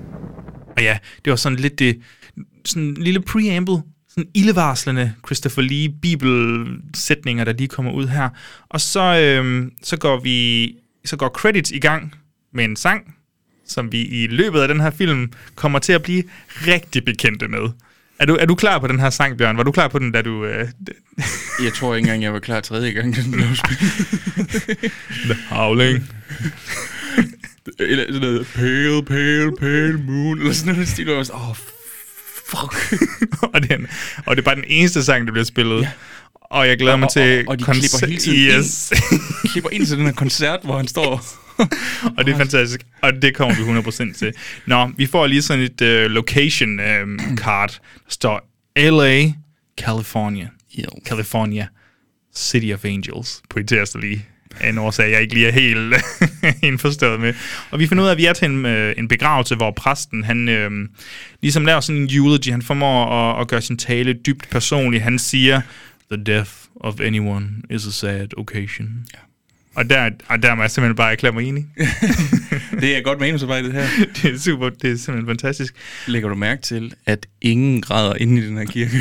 Speaker 3: Og ja, det var sådan lidt det, sådan en lille preamble, sådan ildevarslende Christopher Lee bibelsætninger, der lige kommer ud her. Og så, øhm, så, går vi, så går credits i gang med en sang, som vi i løbet af den her film kommer til at blive rigtig bekendte med. Er du, er du klar på den her sang, Bjørn? Var du klar på den, da du... Øh, (laughs)
Speaker 2: Jeg tror ikke engang, jeg var klar tredje gang, (laughs) den blev spillet.
Speaker 3: Havling.
Speaker 2: Eller sådan noget, pale, pale, pale moon, eller sådan noget stil. Og jeg var sådan, åh, oh, fuck.
Speaker 3: (laughs) og, den, og det er bare den eneste sang, der bliver spillet. Ja. Og jeg glæder mig
Speaker 2: og-
Speaker 3: til...
Speaker 2: og- og de
Speaker 3: koncer-
Speaker 2: klipper hele tiden ind.
Speaker 3: yes.
Speaker 2: (laughs) Klipper ind til den her koncert, hvor han
Speaker 3: (laughs)
Speaker 2: står.
Speaker 3: og det er fantastisk, og det kommer vi 100% til. Nå, vi får lige sådan et uh, location um, card, der står LA, California.
Speaker 2: Jo.
Speaker 3: California, City of Angels, på ITS lige af en årsag, jeg ikke lige er helt (laughs) indforstået med. Og vi finder ud af, at vi er til en, øh, en begravelse, hvor præsten, han øh, ligesom laver sådan en eulogy, han formår at, at gøre sin tale dybt personlig. Han siger, The death of anyone is a sad occasion. Ja. Og der, og der må jeg simpelthen bare erklære mig enig.
Speaker 2: Det er jeg godt manusarbejdet her.
Speaker 3: (laughs) det er super, det er simpelthen fantastisk.
Speaker 2: Lægger du mærke til, at ingen græder inde i den her
Speaker 3: (laughs)
Speaker 2: kirke?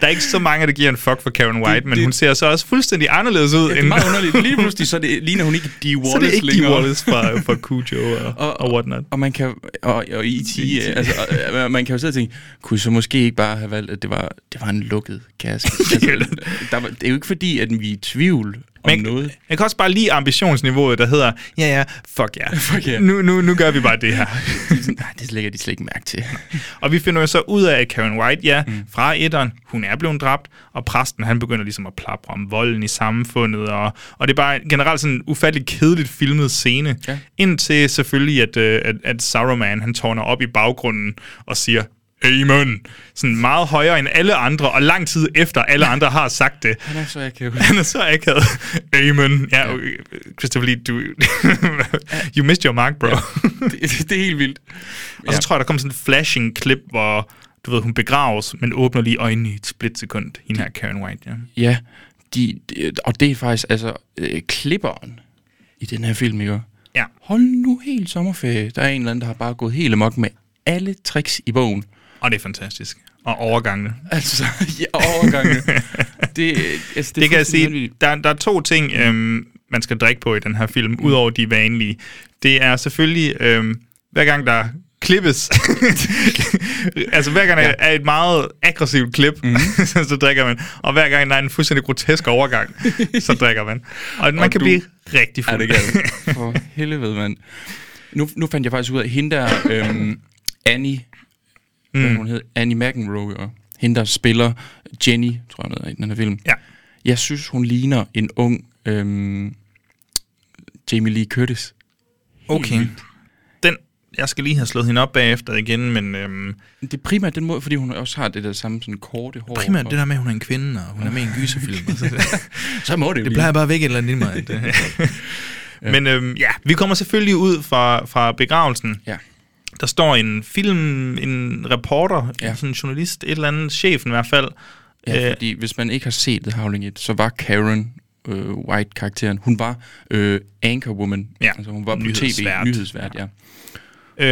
Speaker 3: Der er ikke så mange, der giver en fuck for Karen White, men
Speaker 2: det-
Speaker 3: hun ser så også fuldstændig anderledes ud.
Speaker 2: det er meget underligt. Lige pludselig, så det, ligner hun ikke Dee Wallace
Speaker 3: (laughs) så det er ikke
Speaker 2: længere.
Speaker 3: de Wallace fra, fra Cujo og, og, og whatnot.
Speaker 2: Og man kan og, og E.T., altså, og, og man kan jo sidde og tænke, kunne I så måske ikke bare have valgt, at det var, det var en lukket (laughs) kasse? altså, der var, det er jo ikke fordi, at vi er i tvivl om
Speaker 3: Men jeg,
Speaker 2: (laughs) noget.
Speaker 3: jeg kan også bare lide ambitionsniveauet, der hedder, ja ja, fuck ja.
Speaker 2: (laughs) Fuck ja.
Speaker 3: Nu, nu, nu gør vi bare det her.
Speaker 2: (laughs) Det er sådan, Nej, det lægger de slet ikke mærke til.
Speaker 3: og vi finder jo så ud af, at Karen White, ja, mm. fra etteren, hun er blevet dræbt, og præsten, han begynder ligesom at plapre om volden i samfundet, og, og det er bare generelt sådan en ufattelig kedeligt filmet scene,
Speaker 2: Ja.
Speaker 3: indtil selvfølgelig, at, øh, at, at Saruman, han tårner op i baggrunden og siger, Amen! Sådan meget højere end alle andre, og lang tid efter (laughs) alle andre har sagt det.
Speaker 2: Han er så (laughs) akavet.
Speaker 3: Han er så akavet. Amen. Ja, okay. Christopher Lee, du... (laughs) you missed your mark, bro. (laughs)
Speaker 2: Det, det er helt vildt.
Speaker 3: og så tror jeg, der kom sådan et flashing klip, hvor du ved, hun begraves, men åbner lige øjnene i et splitsekund. Hende her Karen White, ja.
Speaker 2: Ja, de, de, og det er faktisk, altså, øh, klipperen i den her film, ikke?
Speaker 3: Ja.
Speaker 2: Hold nu helt sommerferie. Der er en eller anden, der har bare gået helt amok med alle tricks i bogen.
Speaker 3: Og det er fantastisk. Og overgangene.
Speaker 2: Altså, ja, overgangene. (laughs) det, altså, det,
Speaker 3: det kan jeg sige.
Speaker 2: sige.
Speaker 3: Der, der er to ting, øhm, man skal drikke på i den her film,
Speaker 2: Mm.
Speaker 3: udover de vanlige. Det er selvfølgelig, øhm, hver gang der klippes, (laughs) altså hver gang der er et meget aggressivt klip,
Speaker 2: Mm.
Speaker 3: mm-hmm. (laughs) så drikker man. Og hver gang der er en fuldstændig grotesk
Speaker 2: (laughs)
Speaker 3: overgang, så drikker man. Og man
Speaker 2: Og
Speaker 3: kan
Speaker 2: du-
Speaker 3: blive rigtig
Speaker 2: Ja,
Speaker 3: fuld.
Speaker 2: det kan jeg. For helvede, mand. Nu, nu fandt jeg faktisk ud af, at hende der, øhm, Annie, mm. hvad hun hed, Annie McEnroe, og hende der spiller Jenny, tror jeg, hun hedder i den her film.
Speaker 3: (laughs) ja.
Speaker 2: Jeg synes, hun ligner en ung øhm, Jamie Lee Curtis.
Speaker 3: Okay. Den, jeg skal lige have slået hende op bagefter igen, men øhm,
Speaker 2: Det er primært den måde, fordi hun også har det der samme sådan korte hår.
Speaker 3: primært
Speaker 2: og-
Speaker 3: det der med, at hun er en kvinde, og hun er med i en gyserfilm. altså. og så-
Speaker 2: Så må det
Speaker 3: (laughs)
Speaker 2: jo
Speaker 3: Det
Speaker 2: lige.
Speaker 3: plejer bare at vække et eller andet i mig. (laughs) Men øhm, ja, vi kommer selvfølgelig ud fra, fra begravelsen.
Speaker 2: Ja.
Speaker 3: Der står en film, en reporter, ja.
Speaker 2: Ja.
Speaker 3: sådan en journalist, et eller andet, chefen i hvert fald.
Speaker 2: Ja,
Speaker 3: øh,
Speaker 2: fordi hvis man ikke har set The Howling 1, så var Karen øh, White-karakteren, hun var øh, anchorwoman.
Speaker 3: Ja,
Speaker 2: Altså hun var på
Speaker 3: nyhedsvært.
Speaker 2: tv, nyhedsvært, ja.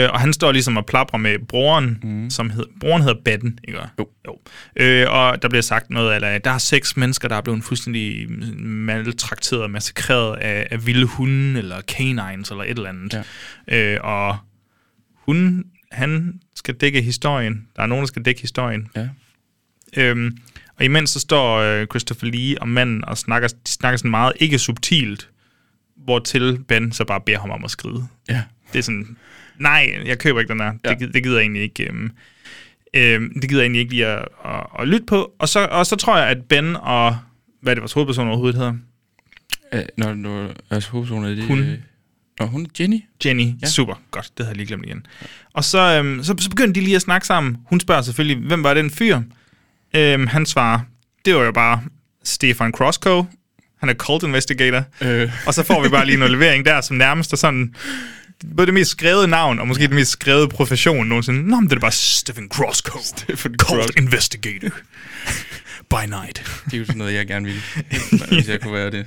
Speaker 3: øh, og han står ligesom og plapper med broren, mm. som hed, broren hedder Batten, ikke?
Speaker 2: Jo.
Speaker 3: jo. Øh, og der bliver sagt noget, eller der er seks mennesker, der er blevet fuldstændig maltrakteret og massakreret af, af vilde hunde, eller canines, eller et eller andet. Ja. Øh, og hun, han skal dække historien. Der er nogen, der skal dække historien.
Speaker 2: ja.
Speaker 3: Øhm, og imens så står øh, Christopher Lee og manden og snakker, de snakker sådan meget ikke subtilt, hvortil Ben så bare beder ham om at skride.
Speaker 2: Ja.
Speaker 3: Det er sådan, nej, jeg køber ikke den der. Ja. Det, gid- det gider jeg egentlig ikke. Øhm, øhm, det gider jeg egentlig ikke lige at, at, at lytte på. Og så, og så tror jeg, at Ben og, hvad er det vores hovedperson overhovedet hedder?
Speaker 2: Øh, når, når altså, hovedpersonen er det...
Speaker 3: Hun.
Speaker 2: Øh, når hun Jenny?
Speaker 3: Jenny. Ja.
Speaker 2: Ja.
Speaker 3: Super. Godt. Det havde jeg lige glemt igen. Og så, øhm, så, så begyndte de lige at snakke sammen. Hun spørger selvfølgelig, hvem var den fyr? Øhm, han svarer, det var jo bare Stefan Crossco. Han er cold investigator.
Speaker 2: Øh.
Speaker 3: Og så får vi bare lige en levering der, som nærmest er sådan... Både det mest skrevet navn, og måske ja. det mest skrevet profession nogensinde. Nå, men det er da bare Stephen Crossco. Stephen cold investigator.
Speaker 2: (laughs)
Speaker 3: By night.
Speaker 2: Det er jo sådan noget, jeg gerne ville, (laughs) hvis jeg kunne være det.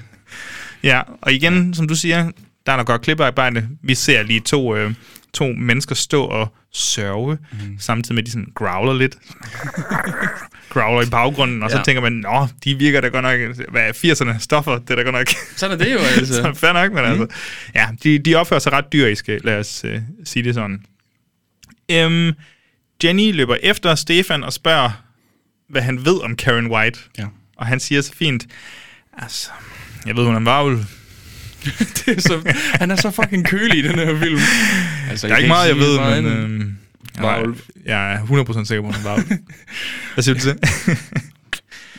Speaker 3: Ja, og igen, som du siger, der er nok godt klippearbejde. Vi ser lige to, øh, to mennesker stå og sørge, mm. samtidig med, at de sådan growler lidt. growler i baggrunden, og ja.
Speaker 2: Ja.
Speaker 3: så tænker man, nå, de virker da godt nok, hvad er 80'erne stoffer, det er da godt nok.
Speaker 2: Sådan er det jo, altså.
Speaker 3: (laughs) så fair nok, men mm. altså. Ja, de, de opfører sig ret dyriske, lad os øh, sige det sådan. Øhm, Jenny løber efter Stefan og spørger, hvad han ved om Karen White.
Speaker 2: Ja.
Speaker 3: Og han siger så fint, altså, jeg ved, hun er en varvel.
Speaker 2: det er (laughs) så, han er så fucking kølig i den her film. Altså,
Speaker 3: Der er ikke meget, jeg ved, men...
Speaker 2: Øh...
Speaker 3: øhm, jeg er-
Speaker 2: varulv.
Speaker 3: Jeg er 100% sikker på, at hun er en varvel. (laughs) Hvad siger du til det?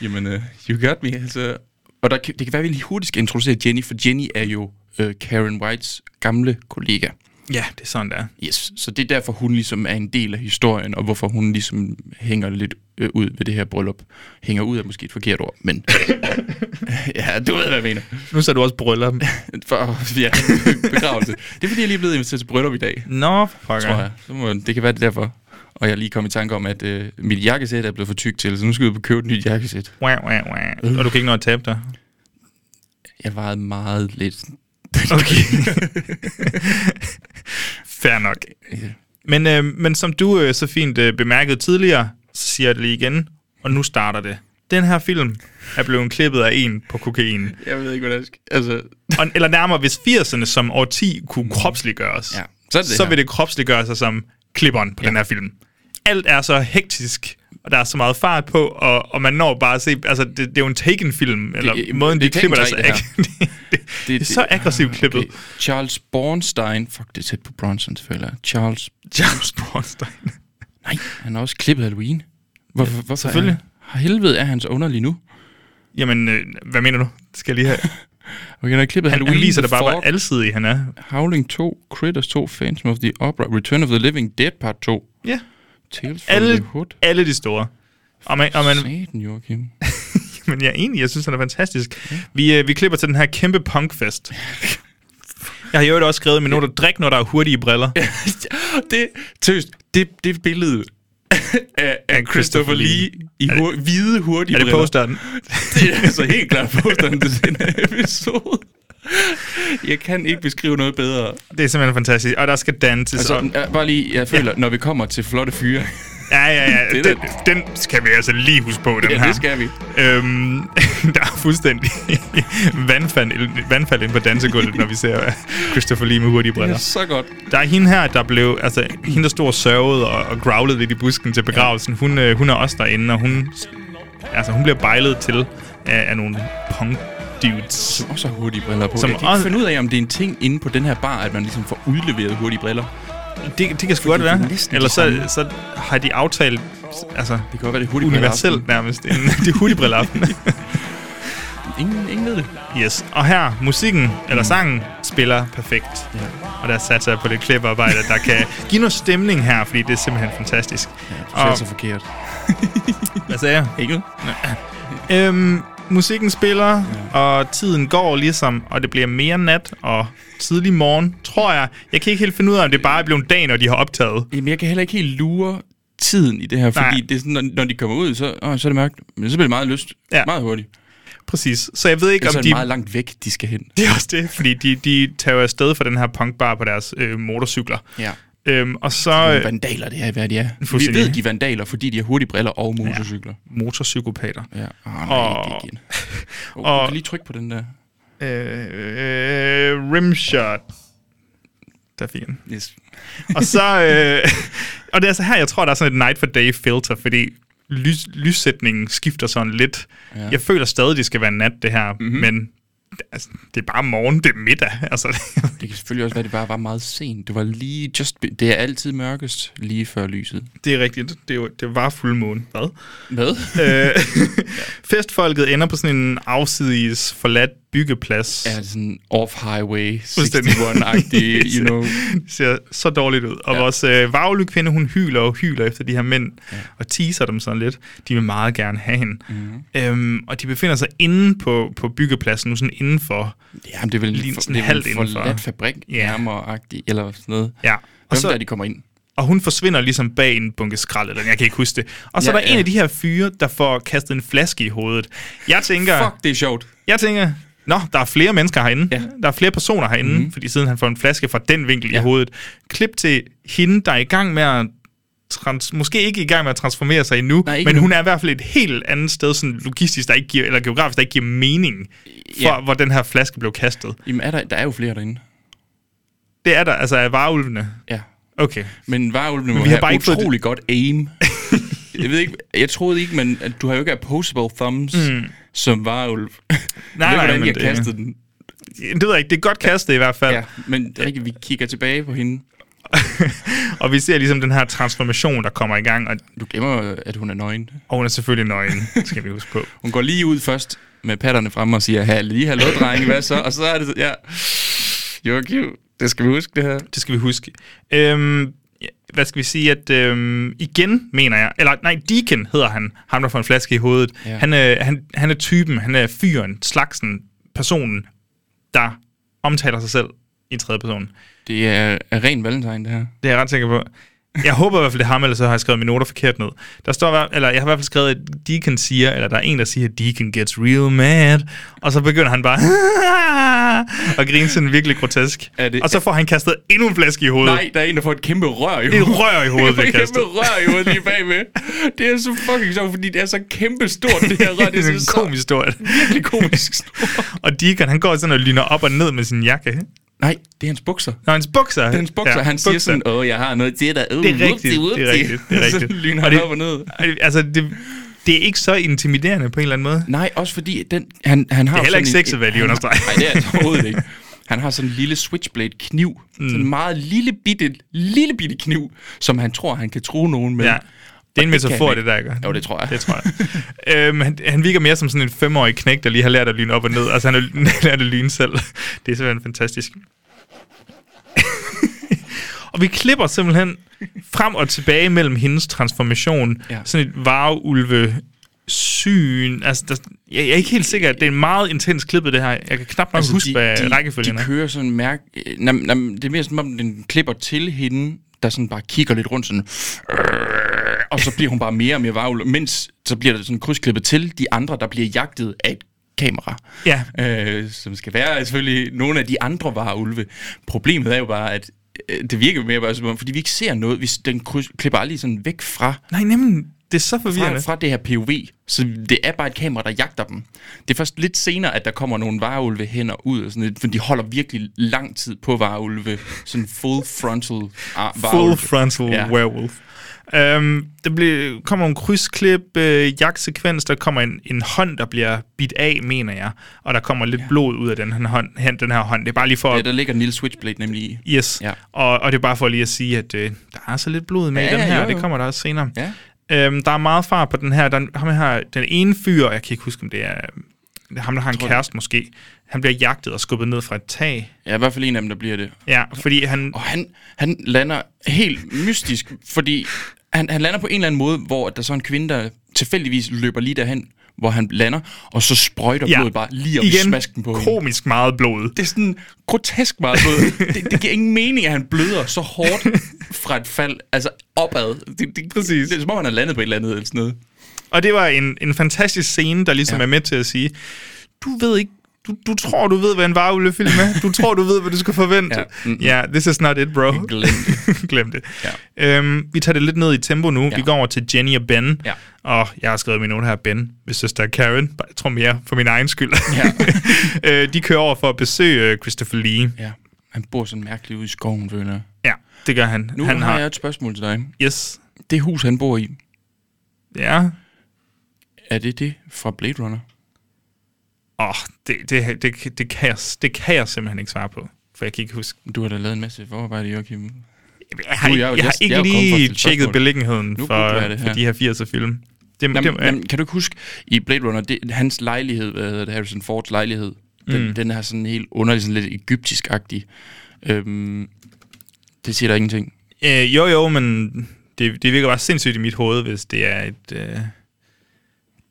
Speaker 2: Jamen, uh, you got me. Altså, og der, kan- det kan være, at vi lige hurtigt skal introducere Jenny, for Jenny er jo uh, Karen Whites gamle kollega.
Speaker 3: ja, det er sådan, der.
Speaker 2: Yes, så det er derfor, hun ligesom er en del af historien, og hvorfor hun ligesom hænger lidt øh, ud ved det her bryllup. Hænger ud er måske et forkert ord, (laughs) men... ja, du ved, hvad jeg mener.
Speaker 3: Nu så du også bryllup.
Speaker 2: For, (laughs) ja, begravelse. Det er, fordi jeg lige er blevet inviteret til bryllup i dag,
Speaker 3: Nå, fucker.
Speaker 2: tror jeg. Så må, det kan være, det er derfor. Og jeg lige kom i tanke om, at øh, mit jakkesæt er blevet for tykt til, så nu skal jeg ud og købe et nyt jakkesæt.
Speaker 3: Wah, wah, wah. Og du kan ikke nå at tabe dig.
Speaker 2: Jeg vejede meget lidt.
Speaker 3: Okay. (laughs) Fair nok. Men, øh, men som du øh, så fint øh, bemærkede tidligere, så siger jeg det lige igen, og nu starter det. Den her film er blevet klippet af en på kokain.
Speaker 2: Jeg ved ikke, hvordan jeg skal... Altså,
Speaker 3: Og, eller nærmere, hvis 80'erne som årti kunne kropsliggøres,
Speaker 2: Mm. Ja, så er det det
Speaker 3: så
Speaker 2: her.
Speaker 3: vil det kropsliggøre sig som klipperen på ja. den her film. Alt er så hektisk, og der er så meget fart på, og, og man når bare at se... Altså, det, det er jo en Taken-film, eller
Speaker 2: det er
Speaker 3: måden, de klipper det,
Speaker 2: Taken
Speaker 3: så
Speaker 2: tre, det
Speaker 3: ag- (laughs) det, det, det, det er så aggressivt klippet.
Speaker 2: Ah, Okay. Charles Bornstein. Fuck, det er tæt på Bronson, føler jeg. Charles...
Speaker 3: James Bornstein.
Speaker 2: Nej, han har også klippet Halloween. Hvor, ja, hvorfor
Speaker 3: selvfølgelig.
Speaker 2: Er han, helvede er han så underlig nu?
Speaker 3: (laughs) Jamen, øh, hvad mener du? Det skal jeg lige have.
Speaker 2: Okay, han har klippet
Speaker 3: Han
Speaker 2: Halloween,
Speaker 3: udviser
Speaker 2: The
Speaker 3: det bare, hvor
Speaker 2: Fog,
Speaker 3: alsidig han er.
Speaker 2: Howling 2, Critters 2, Phantom of the Opera, Return of the Living Dead Part 2,
Speaker 3: Ja.
Speaker 2: Tales from
Speaker 3: Alle,
Speaker 2: the Hood.
Speaker 3: alle de store. Og man, og man,
Speaker 2: Satan, (laughs) Joachim.
Speaker 3: men jeg er enig, jeg synes, han er fantastisk. Vi, øh, vi klipper til den her kæmpe punkfest. Jeg har i øvrigt også skrevet med noter, drik, når der er hurtige briller.
Speaker 2: det, tøst, det, det billede af, af Christopher Lee i hur, hvide hurtige
Speaker 3: Er det
Speaker 2: briller.
Speaker 3: posteren?
Speaker 2: Det er altså helt klart posteren til den her episode. Jeg kan ikke beskrive noget bedre.
Speaker 3: Det er simpelthen fantastisk. Og der skal danses.
Speaker 2: Altså,
Speaker 3: og,
Speaker 2: jeg, bare lige, jeg føler, ja. når vi kommer til flotte fyre,
Speaker 3: ja, ja, ja.
Speaker 2: det
Speaker 3: Den,
Speaker 2: er
Speaker 3: den skal vi altså lige huske på, den
Speaker 2: ja,
Speaker 3: her.
Speaker 2: det skal vi.
Speaker 3: Øhm, (laughs) der er fuldstændig vandfald, vandfald ind på dansegulvet, når vi ser Christopher Lee med hurtige
Speaker 2: Det er
Speaker 3: briller.
Speaker 2: (laughs) så godt.
Speaker 3: Der er hende her, der blev, altså hende, der stod og sørgede og, og growlede lidt i busken til begravelsen. Hun, øh, hun er også derinde, og hun, altså, hun bliver bejlet til af, af nogle punk dudes.
Speaker 2: Og så hurtige briller på.
Speaker 3: Som
Speaker 2: Som jeg kan ikke
Speaker 3: også-
Speaker 2: finde ud af, om det er en ting inde på den her bar, at man ligesom får udleveret hurtige briller.
Speaker 3: Det, det kan sgu godt
Speaker 2: det er
Speaker 3: være.
Speaker 2: næsten
Speaker 3: Eller
Speaker 2: det
Speaker 3: så,
Speaker 2: samme.
Speaker 3: så har de aftalt, altså
Speaker 2: Det kan godt være, det er hurtige
Speaker 3: universelt
Speaker 2: briller.
Speaker 3: nærmest, en, (laughs) de hurtigbriller aften.
Speaker 2: Ingen, ingen ved det.
Speaker 3: Yes. Og her, musikken, eller sangen, spiller perfekt. Ja. Og der satser jeg på lidt kliparbejde, der kan give noget stemning her, fordi det er simpelthen fantastisk.
Speaker 2: Det er
Speaker 3: og,
Speaker 2: så forkert.
Speaker 3: hvad sagde jeg?
Speaker 2: Ikke?
Speaker 3: (laughs) Øhm, musikken spiller, og tiden går ligesom, og det bliver mere nat og tidlig morgen, tror jeg. Jeg kan ikke helt finde ud af, om det bare er blevet dag, når de har optaget.
Speaker 2: Jamen, jeg kan heller ikke helt lure tiden i det her, fordi
Speaker 3: Nej.
Speaker 2: det er sådan, når, når de kommer ud, så, åh, så er det mørkt. Men så bliver det meget lyst.
Speaker 3: Ja.
Speaker 2: Ja. Meget hurtigt.
Speaker 3: Præcis. Så jeg ved ikke,
Speaker 2: Ellers er
Speaker 3: om
Speaker 2: det
Speaker 3: de...
Speaker 2: meget langt væk, de skal hen.
Speaker 3: (laughs) Det er også det, fordi de, de tager jo afsted fra den her punkbar på deres øh, motorcykler.
Speaker 2: Ja.
Speaker 3: Øhm, og så...
Speaker 2: Øh,
Speaker 3: Øh,
Speaker 2: vandaler, det er, hvad de er. Vi
Speaker 3: Fuldstændig.
Speaker 2: ved, de er vandaler, fordi de har hurtige briller og motorcykler.
Speaker 3: motorpsykopater.
Speaker 2: Ja. ja. Oh, nej,
Speaker 3: Og-
Speaker 2: og, ikke igen. Oh,
Speaker 3: og-
Speaker 2: og, du kan lige trykke på den der.
Speaker 3: Øh, øh, rimshot. Der fik jeg den.
Speaker 2: Yes.
Speaker 3: Og så... Øh, (laughs) og det er altså her, jeg tror, der er sådan et night for day filter, fordi lys, lyssætningen skifter sådan lidt. Ja. Jeg føler stadig, det skal være nat, det her, mm-hmm. men altså, det er bare morgen, det er middag. (laughs) Altså,
Speaker 2: Det kan selvfølgelig også være, at det bare var meget sent. Det var lige just... be- Det er altid mørkest lige før lyset.
Speaker 3: det er rigtigt. Det, er jo, det var fuldmåne. Hvad?
Speaker 2: Hvad?
Speaker 3: (laughs) Øh, festfolket ender på sådan en afsides forladt byggeplads.
Speaker 2: er det sådan off-highway
Speaker 3: Fuldstændig. (laughs)
Speaker 2: 61-agtig, you know?
Speaker 3: Det ser så dårligt ud. Og ja. vores øh, vagle kvinde, hun hyler og hyler efter de her mænd, ja. og teaser dem sådan lidt. De vil meget gerne have hende. Mm. Øhm, og de befinder sig inde på, på byggepladsen, nu sådan indenfor.
Speaker 2: Jamen, det er vel
Speaker 3: Lige
Speaker 2: en for,
Speaker 3: sådan
Speaker 2: det er
Speaker 3: halvt
Speaker 2: vel en
Speaker 3: indenfor.
Speaker 2: forladt fabrik,
Speaker 3: Ja.
Speaker 2: nærmere eller sådan noget.
Speaker 3: Ja.
Speaker 2: Og
Speaker 3: Og,
Speaker 2: så, der,
Speaker 3: så,
Speaker 2: de kommer ind.
Speaker 3: og hun forsvinder ligesom bag en bunke skrald, eller jeg kan ikke huske det. Og så
Speaker 2: Ja,
Speaker 3: er der en
Speaker 2: ja.
Speaker 3: af de her fyre, der får kastet en flaske i hovedet. Jeg tænker,
Speaker 2: Fuck, det er sjovt.
Speaker 3: jeg tænker Nå, der er flere mennesker herinde.
Speaker 2: Ja. Mhm.
Speaker 3: Ja. Der er flere personer herinde, mm-hmm. fordi siden han får en flaske fra den vinkel ja. i hovedet. Klip til hende, der er i gang med at trans- måske ikke i gang med at transformere sig endnu,
Speaker 2: Nej,
Speaker 3: Nej,
Speaker 2: ikke
Speaker 3: men
Speaker 2: endnu.
Speaker 3: hun er i hvert fald et helt andet sted, sådan logistisk, der ikke giver, eller geografisk, der ikke giver mening for,
Speaker 2: Ja.
Speaker 3: ja. hvor den her flaske blev kastet.
Speaker 2: Jamen, er der, der er jo flere derinde.
Speaker 3: Det er der, altså af vareulvene.
Speaker 2: Ja.
Speaker 3: Okay.
Speaker 2: Men varulvene må
Speaker 3: vi har
Speaker 2: have
Speaker 3: bare ikke fået
Speaker 2: utrolig godt aim. (laughs) jeg ved ikke, jeg troede ikke, men at du har jo ikke opposable thumbs mm. som varulv. (laughs) Nej,
Speaker 3: nej,
Speaker 2: jeg ved, hvordan
Speaker 3: men
Speaker 2: jeg
Speaker 3: det-
Speaker 2: kastede den.
Speaker 3: Det ved jeg ikke, det er godt kastet i hvert fald.
Speaker 2: Ja, men Rikke, vi kigger tilbage på hende.
Speaker 3: og vi ser ligesom den her transformation, der kommer i gang, og,
Speaker 2: Du glemmer, jo, at hun er nøgen.
Speaker 3: og hun er selvfølgelig
Speaker 2: (laughs)
Speaker 3: nøgen, skal vi huske på.
Speaker 2: Hun går lige ud først med patterne frem og siger, "Ha, lige hallo, drenge, hvad så? Og så er det, ja, you're cute. Det skal vi huske, det her.
Speaker 3: Det skal vi huske. Øhm, ja, hvad skal vi sige, at øhm, igen, mener jeg, eller nej, Deacon hedder han, ham der får en flaske i hovedet.
Speaker 2: Ja.
Speaker 3: Ja. Han, er, han, han er typen, han er fyren, slagsen, personen, der omtaler sig selv i tredje person.
Speaker 2: Det er, er ren valentine, det her.
Speaker 3: Det er jeg ret sikker på. Jeg (laughs) håber i hvert fald, det er ham, eller så har jeg skrevet mine noter forkert ned. Der står, i hver- eller jeg har i hvert fald skrevet, at Deacon siger, eller der er en, der siger, at Deacon gets real mad. Og så begynder han bare (laughs) at grine sådan virkelig grotesk.
Speaker 2: Er det-
Speaker 3: og så får han kastet endnu en flaske i hovedet.
Speaker 2: Nej, der er en, der får et kæmpe rør i
Speaker 3: Det er et rør i
Speaker 2: (laughs)
Speaker 3: hovedet,
Speaker 2: Et
Speaker 3: bliver kastet.
Speaker 2: kæmpe rør i hovedet lige bagved. Det er så fucking sjovt, fordi det er så kæmpe stort, (laughs)
Speaker 3: (laughs)
Speaker 2: det her rør. Det
Speaker 3: det er
Speaker 2: er
Speaker 3: en
Speaker 2: så
Speaker 3: komisk historie.
Speaker 2: virkelig
Speaker 3: (laughs)
Speaker 2: komisk stort.
Speaker 3: og Deacon, han går sådan og lyner op og ned med sin jakke.
Speaker 2: Nej, det er hans bukser.
Speaker 3: Nå, hans bukser.
Speaker 2: Det er hans bukser. Ja, han siger sådan, åh, jeg har noget til dig. Uh,
Speaker 3: det er rigtigt, det er rigtigt, det er rigtigt.
Speaker 2: (laughs) så lyner
Speaker 3: Og
Speaker 2: han
Speaker 3: det-
Speaker 2: op og ned.
Speaker 3: Altså, det, det er ikke så intimiderende på en eller anden måde.
Speaker 2: Nej, også fordi den, han, han har...
Speaker 3: Det er heller
Speaker 2: sådan
Speaker 3: ikke sexet,
Speaker 2: en-
Speaker 3: hvad de
Speaker 2: han-
Speaker 3: understreger.
Speaker 2: (laughs) Nej, det er det overhovedet ikke. Han har sådan en lille switchblade-kniv. Mm. Sådan en meget lille bitte, lille bitte kniv, som han tror, han kan true nogen med.
Speaker 3: Ja. Det er en
Speaker 2: Og det kan
Speaker 3: metafor,
Speaker 2: han
Speaker 3: det der, ikke?
Speaker 2: Jo, det tror jeg.
Speaker 3: Det tror jeg. (laughs) øhm, han, han virker mere som sådan en femårig knæk, der lige har lært at lyne op og ned. Altså, han har (laughs) han har lært at lyne selv. (laughs) Det er simpelthen fantastisk. (laughs) og vi klipper simpelthen frem og tilbage mellem hendes transformation.
Speaker 2: Ja.
Speaker 3: Ja. Sådan et vareulve syn. Altså, der, jeg, jeg er ikke helt sikker. Det er en meget intens klippet, det her. Jeg kan knap nok altså, huske, de, hvad de, rækkefølgen
Speaker 2: de
Speaker 3: er.
Speaker 2: kører sådan mærke... øh, Nam, nam, det er mere som om, den klipper til hende, der sådan bare kigger lidt rundt sådan... "Øh", Og så bliver hun bare mere og mere varvel, mens så bliver der sådan krydsklippet til de andre, der bliver jagtet af et kamera.
Speaker 3: Ja.
Speaker 2: Øh, som skal være selvfølgelig nogle af de andre varulve. Problemet er jo bare, at øh, det virker jo mere bare som om, fordi vi ikke ser noget. Vi, s- den kryds, klipper aldrig sådan væk fra,
Speaker 3: Nej, nemlig. Det er så
Speaker 2: fra,
Speaker 3: forvirrende.
Speaker 2: fra det her POV. Så det er bare et kamera, der jagter dem. Det er først lidt senere, at der kommer nogle varulve hen og ud, og sådan lidt, for de holder virkelig lang tid på varulve. Sådan full frontal ar- varulve.
Speaker 3: Full frontal
Speaker 2: Ja.
Speaker 3: ja. werewolf. Um, der bliver, kommer en krydsklip, øh, jagtsekvens, der kommer en, en hånd, der bliver bidt af, mener jeg. Og der kommer lidt ja. blod ud af den her, hånd, hen, den her hånd. Det er bare lige for...
Speaker 2: Ja,
Speaker 3: at,
Speaker 2: der ligger en lille switchblade nemlig i.
Speaker 3: yes.
Speaker 2: Ja.
Speaker 3: Ja. Og, og det er bare for lige at sige, at øh, der er så lidt blod med
Speaker 2: Ja,
Speaker 3: ja, i den
Speaker 2: ja,
Speaker 3: her,
Speaker 2: jo,
Speaker 3: og det
Speaker 2: jo.
Speaker 3: kommer der også senere.
Speaker 2: Ja.
Speaker 3: Øhm, der er meget far på den her. Der er, ham her, den ene fyr, jeg kan ikke huske, om det er det er ham, der har en kæreste måske. Han bliver jagtet og skubbet ned fra et tag.
Speaker 2: Ja, i hvert fald en af dem, der bliver det.
Speaker 3: Ja, fordi han...
Speaker 2: Og han, han lander helt mystisk, fordi han, han lander på en eller anden måde, hvor der så er en kvinde, der tilfældigvis løber lige derhen, hvor han lander, og så sprøjter
Speaker 3: Ja,
Speaker 2: blodet bare lige op i
Speaker 3: igen,
Speaker 2: smasken på hende.
Speaker 3: komisk meget blod.
Speaker 2: det er sådan grotesk meget blød. det, det giver ingen mening, at han bløder så hårdt fra et fald, altså opad. Det, det, Præcis. Det er som om, han er landet på et eller andet eller sådan noget.
Speaker 3: Og det var en, en fantastisk scene, der ligesom
Speaker 2: Ja.
Speaker 3: ja. er med til at sige, du ved ikke, du, du tror, du ved, hvad en varulvefilm er. Du tror, du ved, hvad du skal forvente.
Speaker 2: Ja.
Speaker 3: Ja,
Speaker 2: Mm-mm.
Speaker 3: mm-hmm. yeah, this is not it, bro.
Speaker 2: Glem
Speaker 3: det. (laughs) Glem det. Ja. Øhm, vi tager det lidt ned i tempo nu. Ja.
Speaker 2: Ja.
Speaker 3: Vi går over til Jenny og Ben.
Speaker 2: Ja.
Speaker 3: Og jeg har skrevet min note her, Ben, hvis søster er Karen. Bare- Jeg tror mere for min egen skyld.
Speaker 2: Ja.
Speaker 3: (laughs) øh, de kører over for at besøge øh, Christopher Lee.
Speaker 2: Ja. Han bor sådan mærkeligt ude i skoven, føler jeg.
Speaker 3: Ja, det gør han.
Speaker 2: Nu
Speaker 3: han
Speaker 2: har, har jeg et spørgsmål til dig.
Speaker 3: Yes.
Speaker 2: Det hus, han bor i,
Speaker 3: Ja.
Speaker 2: er det det fra Blade Runner?
Speaker 3: Åh, oh, det, det, det, det, kan jeg, det kan jeg simpelthen ikke svare på, for jeg kan ikke huske.
Speaker 2: Du har da lavet en masse forarbejde, Joachim.
Speaker 3: Jeg har,
Speaker 2: Nu er
Speaker 3: jeg,
Speaker 2: jeg jo-
Speaker 3: jeg, jeg har
Speaker 2: jeg-
Speaker 3: ikke
Speaker 2: jeg er jo kommet for at
Speaker 3: lige
Speaker 2: stille spørgsmål.
Speaker 3: tjekket beliggenheden
Speaker 2: Nu
Speaker 3: nu
Speaker 2: googler
Speaker 3: for,
Speaker 2: jeg det
Speaker 3: for
Speaker 2: her.
Speaker 3: de her 80'er film. Det,
Speaker 2: Jamen,
Speaker 3: det,
Speaker 2: jamen, kan du ikke huske, i Blade Runner, det, hans lejlighed, hvad hedder det, Harrison Fords lejlighed, den, mm. den er sådan helt underlig, sådan lidt egyptisk-agtig. Øhm, det siger der ingenting.
Speaker 3: øh, jo, jo, men det, det virker bare sindssygt i mit hoved, hvis det er et, øh,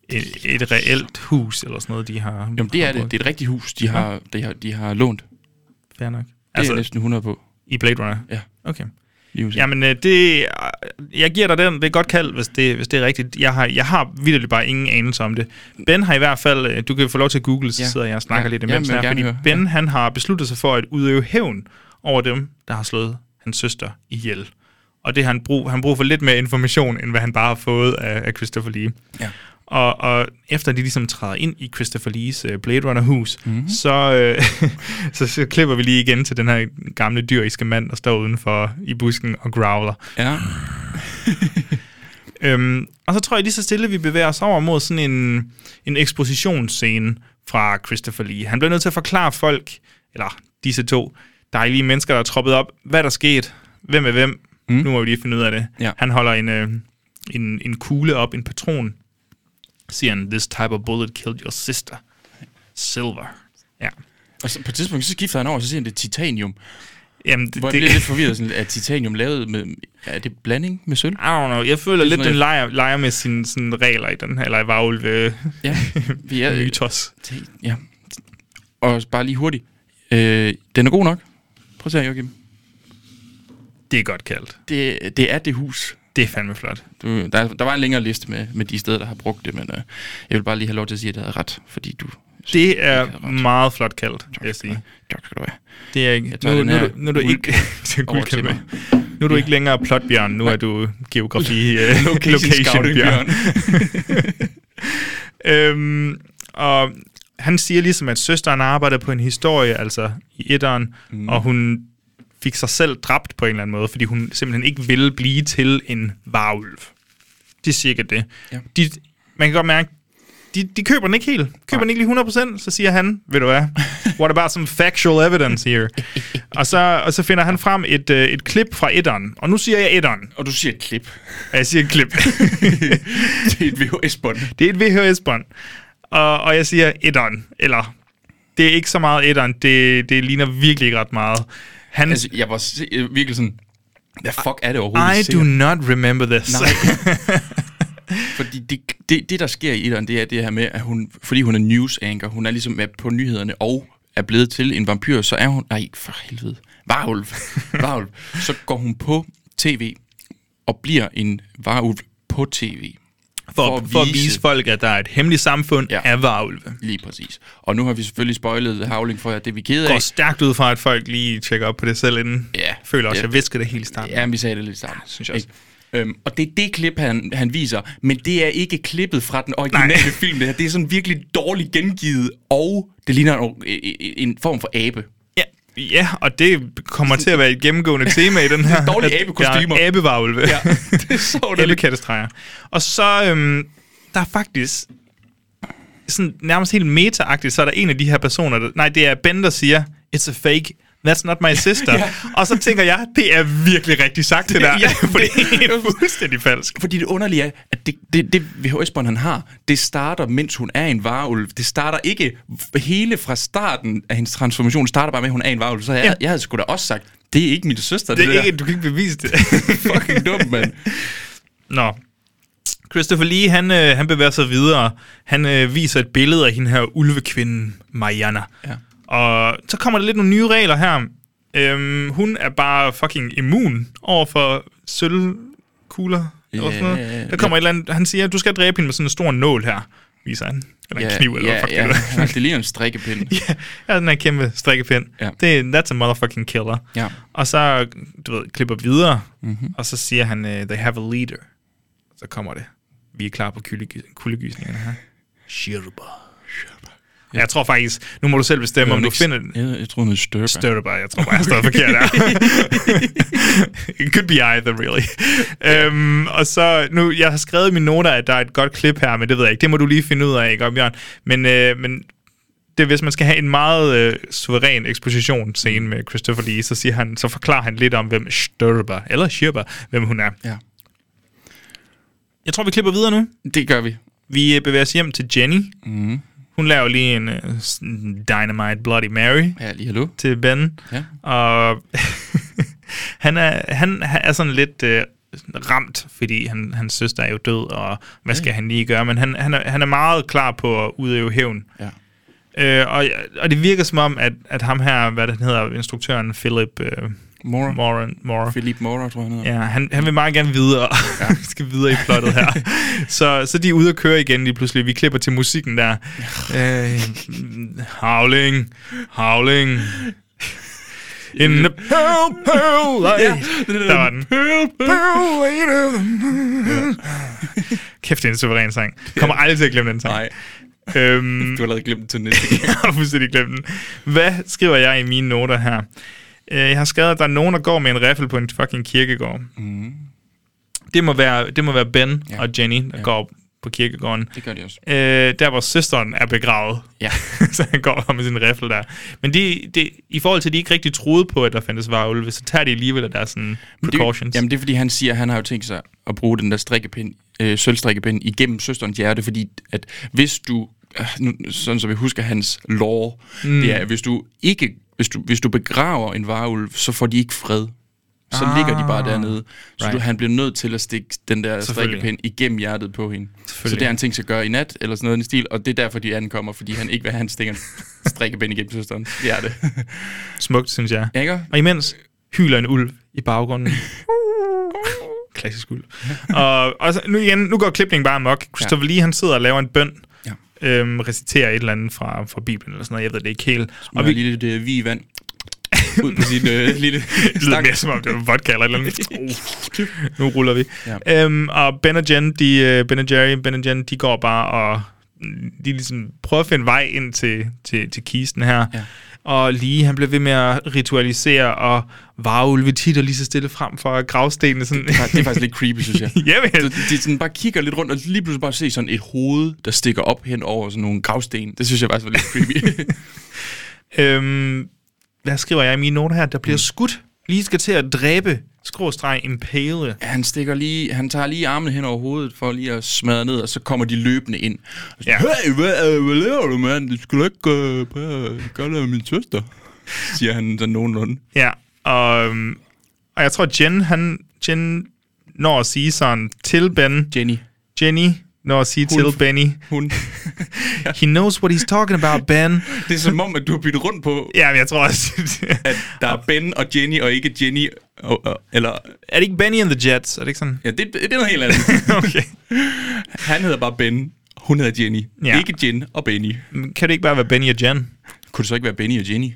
Speaker 3: et, et reelt hus eller sådan noget, de har.
Speaker 2: Jamen det er
Speaker 3: har
Speaker 2: det.
Speaker 3: brugt.
Speaker 2: Det er et rigtigt hus, de har, de har, de har lånt. Det
Speaker 3: Fair nok.
Speaker 2: altså, er jeg
Speaker 3: Altså,
Speaker 2: næsten 100 på.
Speaker 3: i Blade Runner?
Speaker 2: Ja.
Speaker 3: Okay.
Speaker 2: Lige præcis.
Speaker 3: Jamen, øh, det, øh, jeg giver dig den. Det er godt kaldt, hvis det, hvis det er rigtigt. Jeg har, jeg har vidderligt bare ingen anelse om det. Ben har i hvert fald... øh, Du kan få lov til at google, så
Speaker 2: Ja.
Speaker 3: ja. sidder jeg og snakker
Speaker 2: Ja.
Speaker 3: ja. lidt
Speaker 2: Jamen,
Speaker 3: imens
Speaker 2: jeg vil
Speaker 3: her. Fordi
Speaker 2: gerne
Speaker 3: høre. Ben, han har besluttet sig for at udøve hævn over dem, der har slået hans søster ihjel. Og det har han brug, han brug for lidt mere information, end hvad han bare har fået af, af Christopher Lee.
Speaker 2: Ja.
Speaker 3: Og, og efter de ligesom træder ind i Christopher Lees øh, Blade Runner-hus,
Speaker 2: Mhm.
Speaker 3: mm-hmm. så, øh, (laughs) så, så klipper vi lige igen til den her gamle dyriske mand, der står udenfor i busken og growler.
Speaker 2: Ja.
Speaker 3: Øhm, og så tror jeg lige så stille, vi bevæger os over mod sådan en, en ekspositionsscene fra Christopher Lee. Han bliver nødt til at forklare folk, eller disse to dejlige mennesker, der er troppet op, hvad der skete, hvem er hvem. Mm. Nu må vi lige finde ud af det.
Speaker 2: Ja.
Speaker 3: Han holder en, øh, en, en kugle op, en patron. Siger han, this type of bullet killed your sister. Silver. Ja.
Speaker 2: Og så, på et tidspunkt, så skifter han over, og så siger han, det er titanium.
Speaker 3: Jamen, det,
Speaker 2: Hvor jeg
Speaker 3: det,
Speaker 2: bliver lidt forvirret, sådan, er titanium lavet med... Er det blanding med sølv?
Speaker 3: (laughs) I don't know. Jeg føler lidt,
Speaker 2: sådan,
Speaker 3: den leger, leger med sine sådan regler i den her, eller i varulve-mytos.
Speaker 2: Ja, (laughs) vi er... Ti- Ja. Og bare lige hurtigt. Øh, den er god nok. Prøv at se her, Joachim.
Speaker 3: Det er godt kaldt.
Speaker 2: Det, det er det hus.
Speaker 3: Det er fandme flot.
Speaker 2: Du, der, der var en længere liste med, med de steder, der har brugt det, men øh, jeg vil bare lige have lov til at sige, at jeg havde ret, fordi du...
Speaker 3: Det
Speaker 2: Det er
Speaker 3: er
Speaker 2: ret.
Speaker 3: meget flot kaldt, vil jeg
Speaker 2: Tak skal
Speaker 3: sige.
Speaker 2: du have. Tak skal du have.
Speaker 3: Det er ikke...
Speaker 2: Jeg tager
Speaker 3: Nu,
Speaker 2: den
Speaker 3: nu, er
Speaker 2: her
Speaker 3: du- nu er du
Speaker 2: guld-
Speaker 3: ikke... (laughs) Det er
Speaker 2: over
Speaker 3: guldkæmpe.
Speaker 2: til mig. (laughs)
Speaker 3: nu er du ikke længere plotbjørn, nu (laughs) er du geografi øh,
Speaker 2: scouting,
Speaker 3: location-bjørn. øhm, og han siger ligesom, at søsteren arbejder på en historie, altså i etteren, mm. og hun fik sig selv dræbt på en eller anden måde, fordi hun simpelthen ikke ville blive til en varulv. Det er cirka det.
Speaker 2: Ja.
Speaker 3: De, man kan godt mærke, de, de køber den ikke helt. Køber den ikke lige 100%, så siger han, ved du hvad, what about some factual evidence here? og, så, og så finder han frem et, øh, et klip fra etteren. Og nu siger jeg etteren.
Speaker 2: Og du siger et klip.
Speaker 3: Og jeg siger et klip.
Speaker 2: det er et VHS-bånd.
Speaker 3: Det er et VHS-bånd. Og, og jeg siger etteren, eller det er ikke så meget etteren, det, det ligner virkelig ikke ret meget. Han,
Speaker 2: Altså, jeg var se- øh, virkelig sådan... Hvad fuck er det overhovedet?
Speaker 3: I
Speaker 2: vi ser?
Speaker 3: do not remember this.
Speaker 2: Nej. fordi det, det, det, der sker i etteren, det er det her med, at hun, fordi hun er news anchor, hun er ligesom er på nyhederne og er blevet til en vampyr, så er hun, nej for helvede, varulv, varulv. Så går hun på tv og bliver en varulv på tv.
Speaker 3: for, for, at vise folk, at der er et hemmeligt samfund
Speaker 2: Ja.
Speaker 3: ja. af varulve.
Speaker 2: Lige præcis. Og nu har vi selvfølgelig spoilet Havling for jer, det er vi ked
Speaker 3: går
Speaker 2: af.
Speaker 3: stærkt ud fra, at folk lige tjekker op på det selv inden.
Speaker 2: Ja.
Speaker 3: Føler også,
Speaker 2: Ja.
Speaker 3: jeg visker det helt starten.
Speaker 2: Ja, men vi sagde det lidt sammen. Ja,
Speaker 3: synes jeg også.
Speaker 2: Øhm, og det er det klip, han, han viser, men det er ikke klippet fra den originale Nej.
Speaker 3: Nej.
Speaker 2: film, det her. Det er sådan virkelig dårligt gengivet, og det ligner en, en, en form for abe.
Speaker 3: Ja. ja, og det kommer til at være et gennemgående tema i den her.
Speaker 2: (laughs) Dårlige
Speaker 3: at
Speaker 2: abekostymer.
Speaker 3: Der er abevarulve. Ja.
Speaker 2: (laughs) det er så underligt.
Speaker 3: Ellekattestreger. Og så, øhm, der er faktisk sådan nærmest helt meta så er der en af de her personer, der, nej, det er Ben, der siger, it's a fake, that's not my sister. (laughs) ja. Og så tænker jeg, det er virkelig rigtigt sagt, det,
Speaker 2: Det-
Speaker 3: der.
Speaker 2: ja,
Speaker 3: (laughs) Ja, for det er fuldstændig falsk.
Speaker 2: Fordi det underlige er, at det, det, det VHS-bånd, han har, det starter, mens hun er en varulv. Det starter ikke hele fra starten af hendes transformation. Det starter bare med, at hun er en varulv. Så jeg, ja.
Speaker 3: Ja.
Speaker 2: jeg havde sgu da også sagt, det er ikke min søster, det,
Speaker 3: Det er ikke, du kan ikke bevise (laughs) det.
Speaker 2: der. Fucking
Speaker 3: (laughs)
Speaker 2: dumt, mand.
Speaker 3: Nå. Christopher Lee, han, øh, han bevæger sig videre. Han øh, viser et billede af hende her ulvekvinde, Mariana.
Speaker 2: Ja.
Speaker 3: Og så kommer der lidt nogle nye regler her. Øhm, hun er bare fucking immun over for sølvkugler. Eller sådan
Speaker 2: Ja, ja, ja.
Speaker 3: noget. Der kommer et eller andet, han siger, du skal dræbe hende med sådan en stor nål her, viser han. Eller en kniv, eller
Speaker 2: ja,
Speaker 3: hvad fuck
Speaker 2: ja,
Speaker 3: det
Speaker 2: (laughs)
Speaker 3: (laughs) er.
Speaker 2: ja. Det ligner en strikkepind.
Speaker 3: Ja, ja, den her kæmpe strikkepind.
Speaker 2: Ja.
Speaker 3: Ja. Det, that's a motherfucking killer.
Speaker 2: Ja.
Speaker 3: Og så, du ved, klipper videre, mm-hmm. og så siger han, øh, they have a leader. Så kommer det. Vi er klar på kuldegys- kuldegysningerne her. Shirba. Ja. Jeg tror faktisk, nu må du selv bestemme, om du finder den.
Speaker 2: Jeg, jeg tror, hun hedder Størberg. Stør.
Speaker 3: Støtter bare, jeg tror bare, jeg står forkert der. It could be either, really. Øhm, og så, nu, jeg har skrevet i mine noter, at der er et godt klip her, men det ved jeg ikke. Det må du lige finde ud af, ikke om, Bjørn? Men, øh, men det, er, hvis man skal have en meget øh, suveræn ekspositionsscene med Christopher Lee, så, siger han, så forklarer han lidt om, hvem Størber, eller Schirber, hvem hun er.
Speaker 2: Ja.
Speaker 3: Jeg tror, vi klipper videre nu.
Speaker 2: Det gør vi.
Speaker 3: Vi øh, bevæger os hjem til Jenny. Mm. Hun laver lige en øh, sådan Dynamite Bloody Mary
Speaker 2: Ja, lige hallo.
Speaker 3: til Ben.
Speaker 2: Ja.
Speaker 3: Og (laughs) han, er, han er sådan lidt øh, ramt, fordi han, hans søster er jo død, og hvad skal han lige gøre? Men han, han, er, han er meget klar på at udøve hævn.
Speaker 2: Ja.
Speaker 3: Øh, og, og det virker som om, at, at ham her, hvad den hedder, instruktøren Philip øh,
Speaker 2: Mora.
Speaker 3: Moran, Mora.
Speaker 2: Philippe Mora, tror jeg, han hedder.
Speaker 3: Ja, han, han vil meget gerne videre. Ja. Vi (laughs) skal videre i plottet her. så, så de er ude at køre igen lige pludselig. Vi klipper til musikken der. øh, howling, howling. In the pale, pale
Speaker 2: (laughs)
Speaker 3: light. Der var den. Pale, pale light. Ja. Kæft, det er en suveræn sang. Kommer aldrig til at glemme den sang.
Speaker 2: Nej,
Speaker 3: Øhm,
Speaker 2: du har allerede glemt den til (laughs) næste gang.
Speaker 3: jeg har fuldstændig glemt den. Hvad skriver jeg i mine noter her? Øh, Jeg har skrevet, at der er nogen, der går med en riffel på en fucking kirkegård. Mm. Det, må være, det må være Ben ja. og Jenny, der ja. går på kirkegården.
Speaker 2: Det gør de også.
Speaker 3: Øh, der, hvor søsteren er begravet.
Speaker 2: Ja.
Speaker 3: (laughs) så han går bare med sin riffel der. Men de, de, i forhold til, at de ikke rigtig troede på, at der fandtes varulve, så tager de alligevel at der er sådan precautions.
Speaker 2: Det, jamen, det er, fordi han siger, at han har jo tænkt sig at bruge den der strikkepind, øh, sølvstrikkepind igennem søsterens hjerte, fordi at hvis du, øh, nu, sådan som jeg husker hans lore, mm. det er, at hvis du ikke, hvis du, hvis du begraver en varulv, så får de ikke fred. Så ah, ligger de bare dernede. Så right. du,
Speaker 3: right.
Speaker 2: han bliver nødt til at stikke den der
Speaker 3: Selvfølgelig.
Speaker 2: strikkepind igennem hjertet på hende. Så det
Speaker 3: Selvfølgelig.
Speaker 2: har han tænkt sig at gøre i nat, eller sådan noget i den stil, og det er derfor, de ankommer, fordi han ikke vil have, at han stikker en strikkepind igennem søsterens hjerte.
Speaker 3: Smukt, synes jeg.
Speaker 2: Ja, ikke?
Speaker 3: Og imens hyler en ulv i
Speaker 2: (laughs)
Speaker 3: baggrunden. Klassisk ulv. og, og så, nu, igen, nu går klipningen bare amok. Christopher ja. Lee, han sidder og laver en bøn.
Speaker 2: Ja.
Speaker 3: Øhm, reciterer et eller andet fra, fra Bibelen eller sådan noget. Jeg ved det ikke helt.
Speaker 2: Og vi... lidt øh, vi i vand. Ud på sin (laughs) øh, lille
Speaker 3: Det lyder
Speaker 2: stang.
Speaker 3: mere som om, det var vodka eller et eller
Speaker 2: (laughs)
Speaker 3: andet. Uh, nu ruller vi.
Speaker 2: Ja.
Speaker 3: Ja. Øhm, og Ben og Jen, de, øh, ben og Jerry, Ben og Jen, de går bare og mm, de ligesom prøver at finde vej ind til, til, til kisten her.
Speaker 2: Ja.
Speaker 3: Ja. Og lige han bliver ved med at ritualisere og varulve titter lige så stille frem for gravstenene. Sådan.
Speaker 2: Nej, Det er
Speaker 3: (laughs)
Speaker 2: faktisk lidt creepy, synes (laughs) jeg.
Speaker 3: Jamen.
Speaker 2: Så de sådan bare kigger lidt rundt, og lige pludselig bare se sådan et hoved, der stikker op hen over sådan nogle gravsten. Det synes jeg faktisk var lidt creepy. (laughs)
Speaker 3: Øhm, hvad skriver jeg i mine noter her? Der bliver mm. skudt. Lige skal til at dræbe. Skråstreg impale.
Speaker 2: han, stikker lige, han tager lige armen hen over hovedet for lige at smadre ned, og så kommer de løbende ind. Og så,
Speaker 3: Ja.
Speaker 2: hey, hvad, øh, hvad laver du, mand? Du skulle ikke øh, prøve at gøre det med min søster, siger han sådan nogenlunde.
Speaker 3: Ja, og, øhm, og jeg tror, Jen, han, Jen når at sige sådan til Ben.
Speaker 2: Jenny,
Speaker 3: Jenny når at sige
Speaker 2: Hun-
Speaker 3: til Benny.
Speaker 2: (laughs) hun.
Speaker 3: He knows what he's talking about, Ben.
Speaker 2: det er som om, at du har byttet rundt på,
Speaker 3: (laughs) ja, men jeg tror også... (laughs)
Speaker 2: at der er Ben og Jenny, og ikke Jenny, og, og, eller...
Speaker 3: er det ikke Benny and the Jets? Er det ikke sådan?
Speaker 2: Ja, det, det er noget helt andet.
Speaker 3: (laughs) Okay.
Speaker 2: Han hedder bare Ben. Hun hedder Jenny. Ja.
Speaker 3: Ja.
Speaker 2: Ikke Jen og Benny.
Speaker 3: Men Kan det ikke bare være Benny og Jen?
Speaker 2: Kunne det så ikke være Benny og Jenny?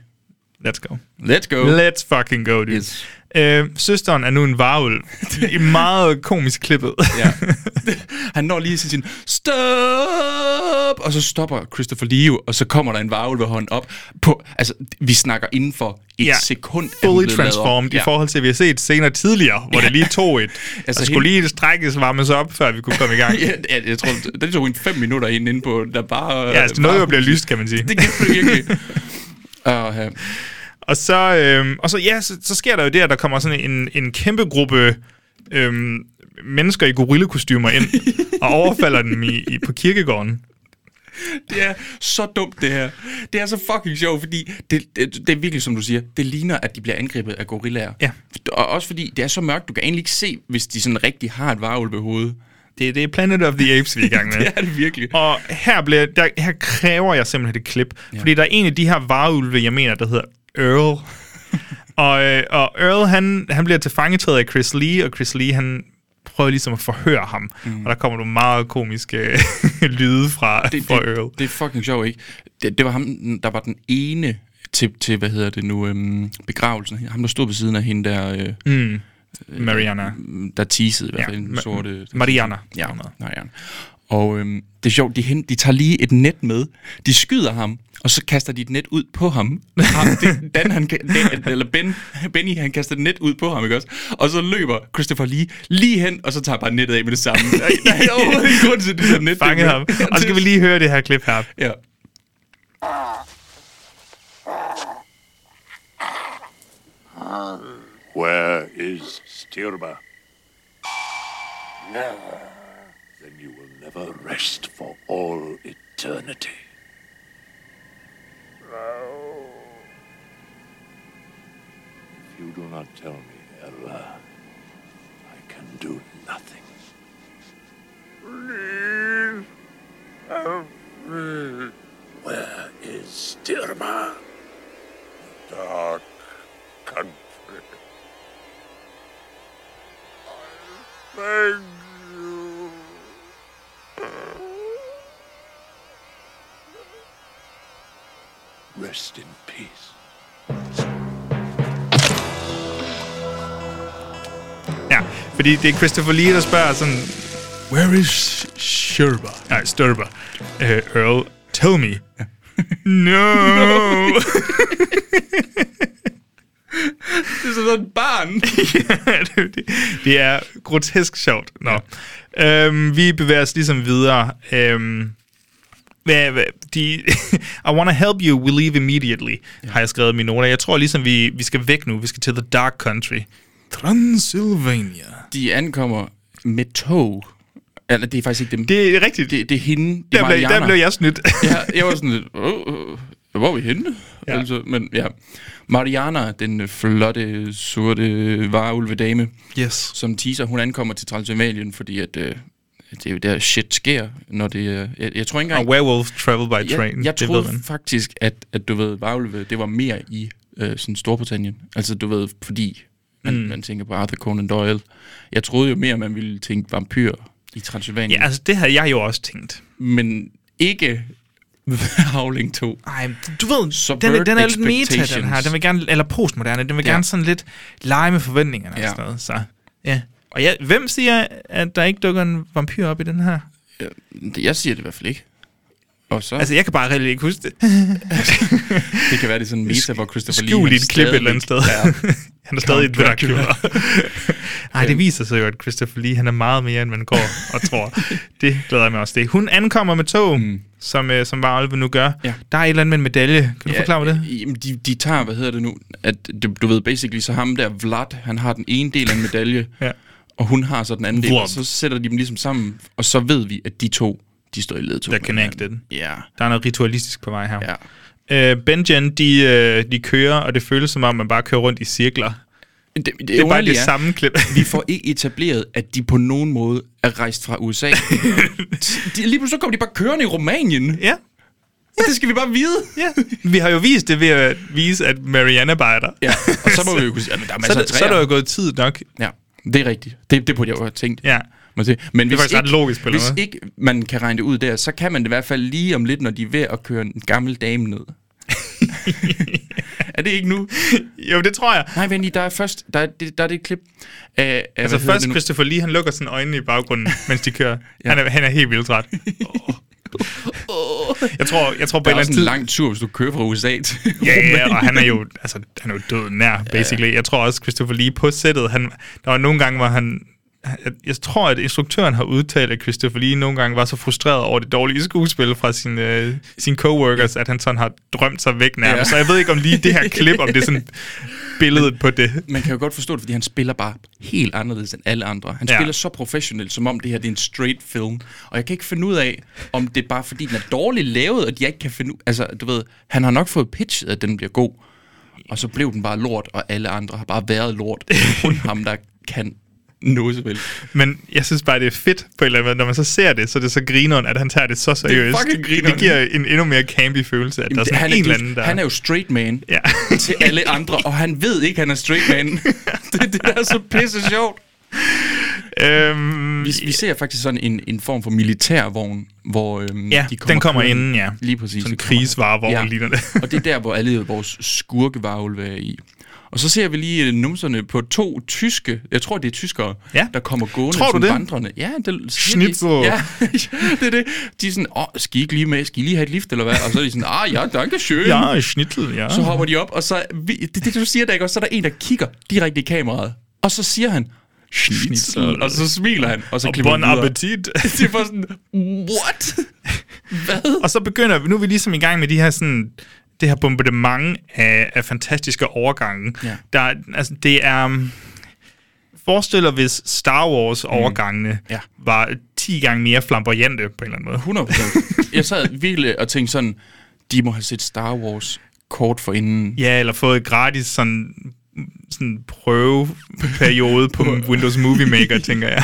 Speaker 3: Let's go.
Speaker 2: Let's go.
Speaker 3: Let's fucking go, dude.
Speaker 2: Yes.
Speaker 3: Øh, søsteren er nu en (laughs) varulv. det er meget komisk klippet. (laughs)
Speaker 2: ja. (laughs) Han når lige til sin stop, og så stopper Christopher Leo, og så kommer der en varulvehånd op på, altså vi snakker inden for et
Speaker 3: Ja.
Speaker 2: sekund. er hun
Speaker 3: fully
Speaker 2: blevet lavet op.
Speaker 3: transformed ja.
Speaker 2: Ja.
Speaker 3: i forhold til, at vi har set senere tidligere, hvor det lige tog et. (laughs) altså,
Speaker 2: Altså,
Speaker 3: der skulle
Speaker 2: hende-
Speaker 3: lige strækkes varmes op, før vi kunne komme i gang. (laughs) ja,
Speaker 2: (laughs) Ja, ja, jeg tror, det- det tog en fem minutter ind inde på, der bare...
Speaker 3: altså, det nåede jo at blive lyst, kan man sige.
Speaker 2: (laughs) Det gjorde det virkelig. Og, ja.
Speaker 3: Og så, øhm, og så, ja, så, så sker der jo det, at der kommer sådan en, en kæmpe gruppe øhm, mennesker i gorillekostymer
Speaker 2: (laughs)
Speaker 3: ind og overfalder dem i, i, på kirkegården.
Speaker 2: Det er så dumt, det her. Det er så fucking sjovt, fordi det, det, det er virkelig, som du siger, det ligner, at de bliver angrebet af gorillaer.
Speaker 3: Ja.
Speaker 2: Og også fordi det er så mørkt, du kan egentlig ikke se, hvis de sådan rigtig har et varulvehoved.
Speaker 3: Det, det er Planet of the Apes, vi er
Speaker 2: (laughs)
Speaker 3: i gang med.
Speaker 2: Det er det virkelig.
Speaker 3: Og her, bliver, der, her kræver jeg simpelthen et klip. Ja. Fordi der er en af de her varulve, jeg mener, der hedder
Speaker 2: (laughs)
Speaker 3: Earl. og, øh, og Earl, han, han bliver tilfangetaget af Chris Lee, og Chris Lee, han prøver ligesom at forhøre ham. Mm. Og der kommer nogle meget komiske (laughs) lyde fra,
Speaker 2: det,
Speaker 3: fra
Speaker 2: det,
Speaker 3: Earl.
Speaker 2: det er fucking sjovt, ikke? Det, det var ham, der var den ene til, til hvad hedder det nu, øhm, begravelsen. Ham, der stod ved siden af hende der, øh,
Speaker 3: Mm. Mariana.
Speaker 2: der teasede i hvert
Speaker 3: Mm. Ja,
Speaker 2: fald, ja, den
Speaker 3: Ma-
Speaker 2: sorte...
Speaker 3: Mariana.
Speaker 2: Ja, nej, ja. Og øhm, det er sjovt, de, hen, de tager lige et net med, de skyder ham, og så kaster de et net ud på ham. ham det, Dan, han, kan- Dan, eller ben, Benny, han kaster et net ud på ham, ikke også? Og så løber Christopher lige lige hen, og så tager bare nettet af med det
Speaker 3: (laughs)
Speaker 2: samme. Der, der er overhovedet ingen grund til, at de tager net.
Speaker 3: Fanget ham. Og så skal vi lige høre det her klip her.
Speaker 2: Ja.
Speaker 6: Where is Stirba? Then you will never rest for all eternity. If you do not tell me, Erla, I can do nothing. Where is Stirba? Dark country. Thank you.
Speaker 4: Rest in peace.
Speaker 3: Ja, fordi det er Christopher Lee, der spørger sådan... Where is Sherba? Nej, Sturba. Uh, Earl, tell me. (laughs) no. (laughs)
Speaker 2: Det er sådan et
Speaker 3: (laughs)
Speaker 2: barn.
Speaker 3: det, det, det er grotesk sjovt. Nå. Ja. Øhm, vi bevæger os ligesom videre. Øhm, hvad, hvad, de, (laughs) I wanna help you, we leave immediately, ja. har jeg skrevet i mine noter. Jeg tror ligesom, vi, vi skal væk nu. Vi skal til the dark country. Transylvania.
Speaker 2: De ankommer med tog. Eller det er faktisk ikke dem. Det,
Speaker 3: Det er rigtigt. Det,
Speaker 2: det, det er hende. Det er
Speaker 3: der, blev, der
Speaker 2: Mariana.
Speaker 3: blev jeg snydt. (laughs)
Speaker 2: ja, jeg var sådan lidt, oh, hvor er vi henne? Ja. Altså, men ja. Mariana, den øh, flotte, sorte øh, varulvedame,
Speaker 3: yes.
Speaker 2: som teaser, hun ankommer til Transylvanien, fordi at, øh, det er jo der shit sker, når det er... Jeg, jeg tror ikke
Speaker 3: Og
Speaker 2: engang...
Speaker 3: werewolf travel by train.
Speaker 2: jeg, jeg
Speaker 3: det ved
Speaker 2: troede
Speaker 3: man.
Speaker 2: faktisk, at, at du ved, varulve, det var mere i øh, sådan Storbritannien. Altså, du ved, fordi man, mm. man tænker på Arthur Conan Doyle. Jeg troede jo mere, man ville tænke vampyr i Transylvanien,
Speaker 3: Ja, altså det havde jeg jo også tænkt.
Speaker 2: men ikke (laughs) Howling 2.
Speaker 3: Ej, du ved,
Speaker 2: Subvert
Speaker 3: den, er- den er lidt meta, den her. Den
Speaker 2: expectations.
Speaker 3: vil gerne, eller postmoderne, den vil
Speaker 2: Ja.
Speaker 3: gerne sådan lidt lege med forventningerne ja.
Speaker 2: Ja.
Speaker 3: og sådan noget. Så, ja. Og jeg, hvem siger, at der ikke dukker en vampyr op i den her?
Speaker 2: Jeg siger det i hvert fald ikke. Og så, altså,
Speaker 3: Altså, jeg kan bare rigtig ikke huske det.
Speaker 2: det kan være, det er sådan en meta, hvor Christopher Lee...
Speaker 3: Skjul i
Speaker 2: han
Speaker 3: et klip et eller andet sted.
Speaker 2: stadigvæk er-
Speaker 3: (laughs) han er stadig et
Speaker 2: Count
Speaker 3: Dracula. (laughs) Nej, det viser sig jo, at Christopher Lee, han er meget mere, end man går og
Speaker 2: (laughs)
Speaker 3: tror. Det glæder jeg mig også til. Hun ankommer med tog, mm. som, øh, som Varulve nu gør.
Speaker 2: Ja.
Speaker 3: Der er et eller andet med en medalje. Kan du forklare mig det?
Speaker 2: øh, Jamen, de, de tager, hvad hedder det nu, at du, du ved, basically, så ham der, Vlad, han har den ene del af en medalje,
Speaker 3: Ja.
Speaker 2: og hun har så den anden del,
Speaker 3: Vlad.
Speaker 2: og så sætter de dem ligesom sammen, og så ved vi, at de to, de står i ledtog.
Speaker 3: They're connected.
Speaker 2: Ja,
Speaker 3: Der er noget ritualistisk på vej her.
Speaker 2: ja.
Speaker 3: Øh, Benjen, de, øh, de kører, og det føles som om, man bare kører rundt i cirkler.
Speaker 2: Det, det,
Speaker 3: Det er bare
Speaker 2: underlige
Speaker 3: det samme klip.
Speaker 2: (laughs) Vi får ikke etableret, at de på nogen måde er rejst fra
Speaker 3: (laughs)
Speaker 2: USA. de, lige pludselig så kommer de bare kørende i Rumænien.
Speaker 3: ja,
Speaker 2: Ja. Det skal vi bare vide.
Speaker 3: ja. Vi har jo vist det ved at vise, at Marianne bare er der.
Speaker 2: Ja, og så må vi jo kunne sige, at der er
Speaker 3: Så, er
Speaker 2: masser af
Speaker 3: der- så
Speaker 2: træer.
Speaker 3: er der jo gået tid nok.
Speaker 2: Ja, det er rigtigt. Det, det burde jeg jo have tænkt.
Speaker 3: Ja.
Speaker 2: Må jeg sige. Men det
Speaker 3: faktisk ret logisk på en
Speaker 2: Hvis
Speaker 3: eller anden måde.
Speaker 2: ikke man kan regne det ud der, så kan man det i hvert fald lige om lidt, når de er ved at køre en gammel dame ned. er det ikke nu?
Speaker 3: Jo, det tror jeg.
Speaker 2: Nej, vent lige, der er først, der er, det- der er det klip af... af
Speaker 3: Altså
Speaker 2: hvad hedder
Speaker 3: først
Speaker 2: det nu?
Speaker 3: Christopher Lee, han lukker sine øjnene i
Speaker 2: (laughs)
Speaker 3: baggrunden, mens de kører. ja. han, er, han er helt vildt træt. jeg tror, jeg tror på en eller
Speaker 2: Der er også
Speaker 3: anden
Speaker 2: en
Speaker 3: tid...
Speaker 2: lang tur, hvis du kører fra USA til
Speaker 3: Ja, ja, og han er jo, altså, han er jo død nær, basically. Jeg tror også, Christopher Lee på sættet, han, der var nogle gange, hvor han... Jeg tror, at instruktøren har udtalt, at Christopher Lee nogle gange var så frustreret over det dårlige skuespil fra sine, øh, sine coworkers, at han sådan har drømt sig væk nærmest.
Speaker 2: Ja.
Speaker 3: Ja. Så jeg ved ikke, om lige det her klip, om det er
Speaker 2: (laughs)
Speaker 3: sådan billedet på det.
Speaker 2: man kan jo godt forstå det, fordi han spiller bare helt anderledes end alle andre. Han
Speaker 3: Ja.
Speaker 2: ja. spiller så professionelt, som om det her det er en straight film. Og jeg kan ikke finde ud af, om det er bare fordi, den er dårligt lavet, og de ikke kan finde ud... Altså, du ved, han har nok fået pitchet, at den bliver god. Og så blev den bare lort, og alle andre har bare været lort.
Speaker 3: (laughs)
Speaker 2: Kun ham, der kan noget så vel.
Speaker 3: Men jeg synes bare, det er fedt på en eller anden måde. Når man så ser det, så er det så grineren, at han tager det så seriøst.
Speaker 2: fucking
Speaker 3: det
Speaker 2: grineren.
Speaker 3: giver en endnu mere campy følelse, at der er sådan en
Speaker 2: han, er,
Speaker 3: eller anden, der...
Speaker 2: han er jo straight man
Speaker 3: Ja.
Speaker 2: til alle andre, og han ved ikke, han er
Speaker 3: (laughs)
Speaker 2: straight man. det er det, der er så pisse sjovt.
Speaker 3: øhm,
Speaker 2: Vi, vi ser faktisk sådan en, en form for militærvogn, hvor øhm,
Speaker 3: Ja,
Speaker 2: de kommer
Speaker 3: den kommer
Speaker 2: kørende.
Speaker 3: inden, ja.
Speaker 2: Lige præcis.
Speaker 3: Sådan en
Speaker 2: den kommer
Speaker 3: krigsvarevogn
Speaker 2: Ja.
Speaker 3: ligner det.
Speaker 2: og det er der, hvor alle vores skurkevarulve er i. Og så ser vi lige øh, numserne på to tyske, jeg tror det er tyskere,
Speaker 3: Ja.
Speaker 2: der kommer gående
Speaker 3: Tror du
Speaker 2: sådan
Speaker 3: det?
Speaker 2: vandrende. Ja, det siger
Speaker 3: Schnitzel.
Speaker 2: De. Ja, (laughs) det er det. De er sådan, åh, skal I ikke lige med, skal I lige have et lift eller hvad? Og så er de sådan, ah ja, danke schön.
Speaker 3: Ja, schnittel, ja.
Speaker 2: Så hopper de op, og så, vi, det, det du siger der, ikke? Og så er der en, der kigger direkte i kameraet. Og så siger han, Schnitzel. Og så smiler han, og så
Speaker 3: og
Speaker 2: klipper
Speaker 3: bon
Speaker 2: han videre.
Speaker 3: appetit.
Speaker 2: (laughs) Det er bare sådan, what? Hvad?
Speaker 3: og så begynder vi, nu er vi ligesom i gang med de her sådan, det her bombardement af, af fantastiske overgange.
Speaker 2: Ja.
Speaker 3: Der, er- altså, det er... um, Forestil dig, hvis Star Wars-overgangene mm.
Speaker 2: Ja.
Speaker 3: var 10 gange mere flamboyante på en eller anden måde.
Speaker 2: 100%. Jeg sad virkelig og tænkte sådan, de må have set Star Wars kort for inden.
Speaker 3: Ja, eller fået gratis sådan, sådan prøveperiode
Speaker 2: (laughs)
Speaker 3: på Windows Movie Maker, tænker jeg.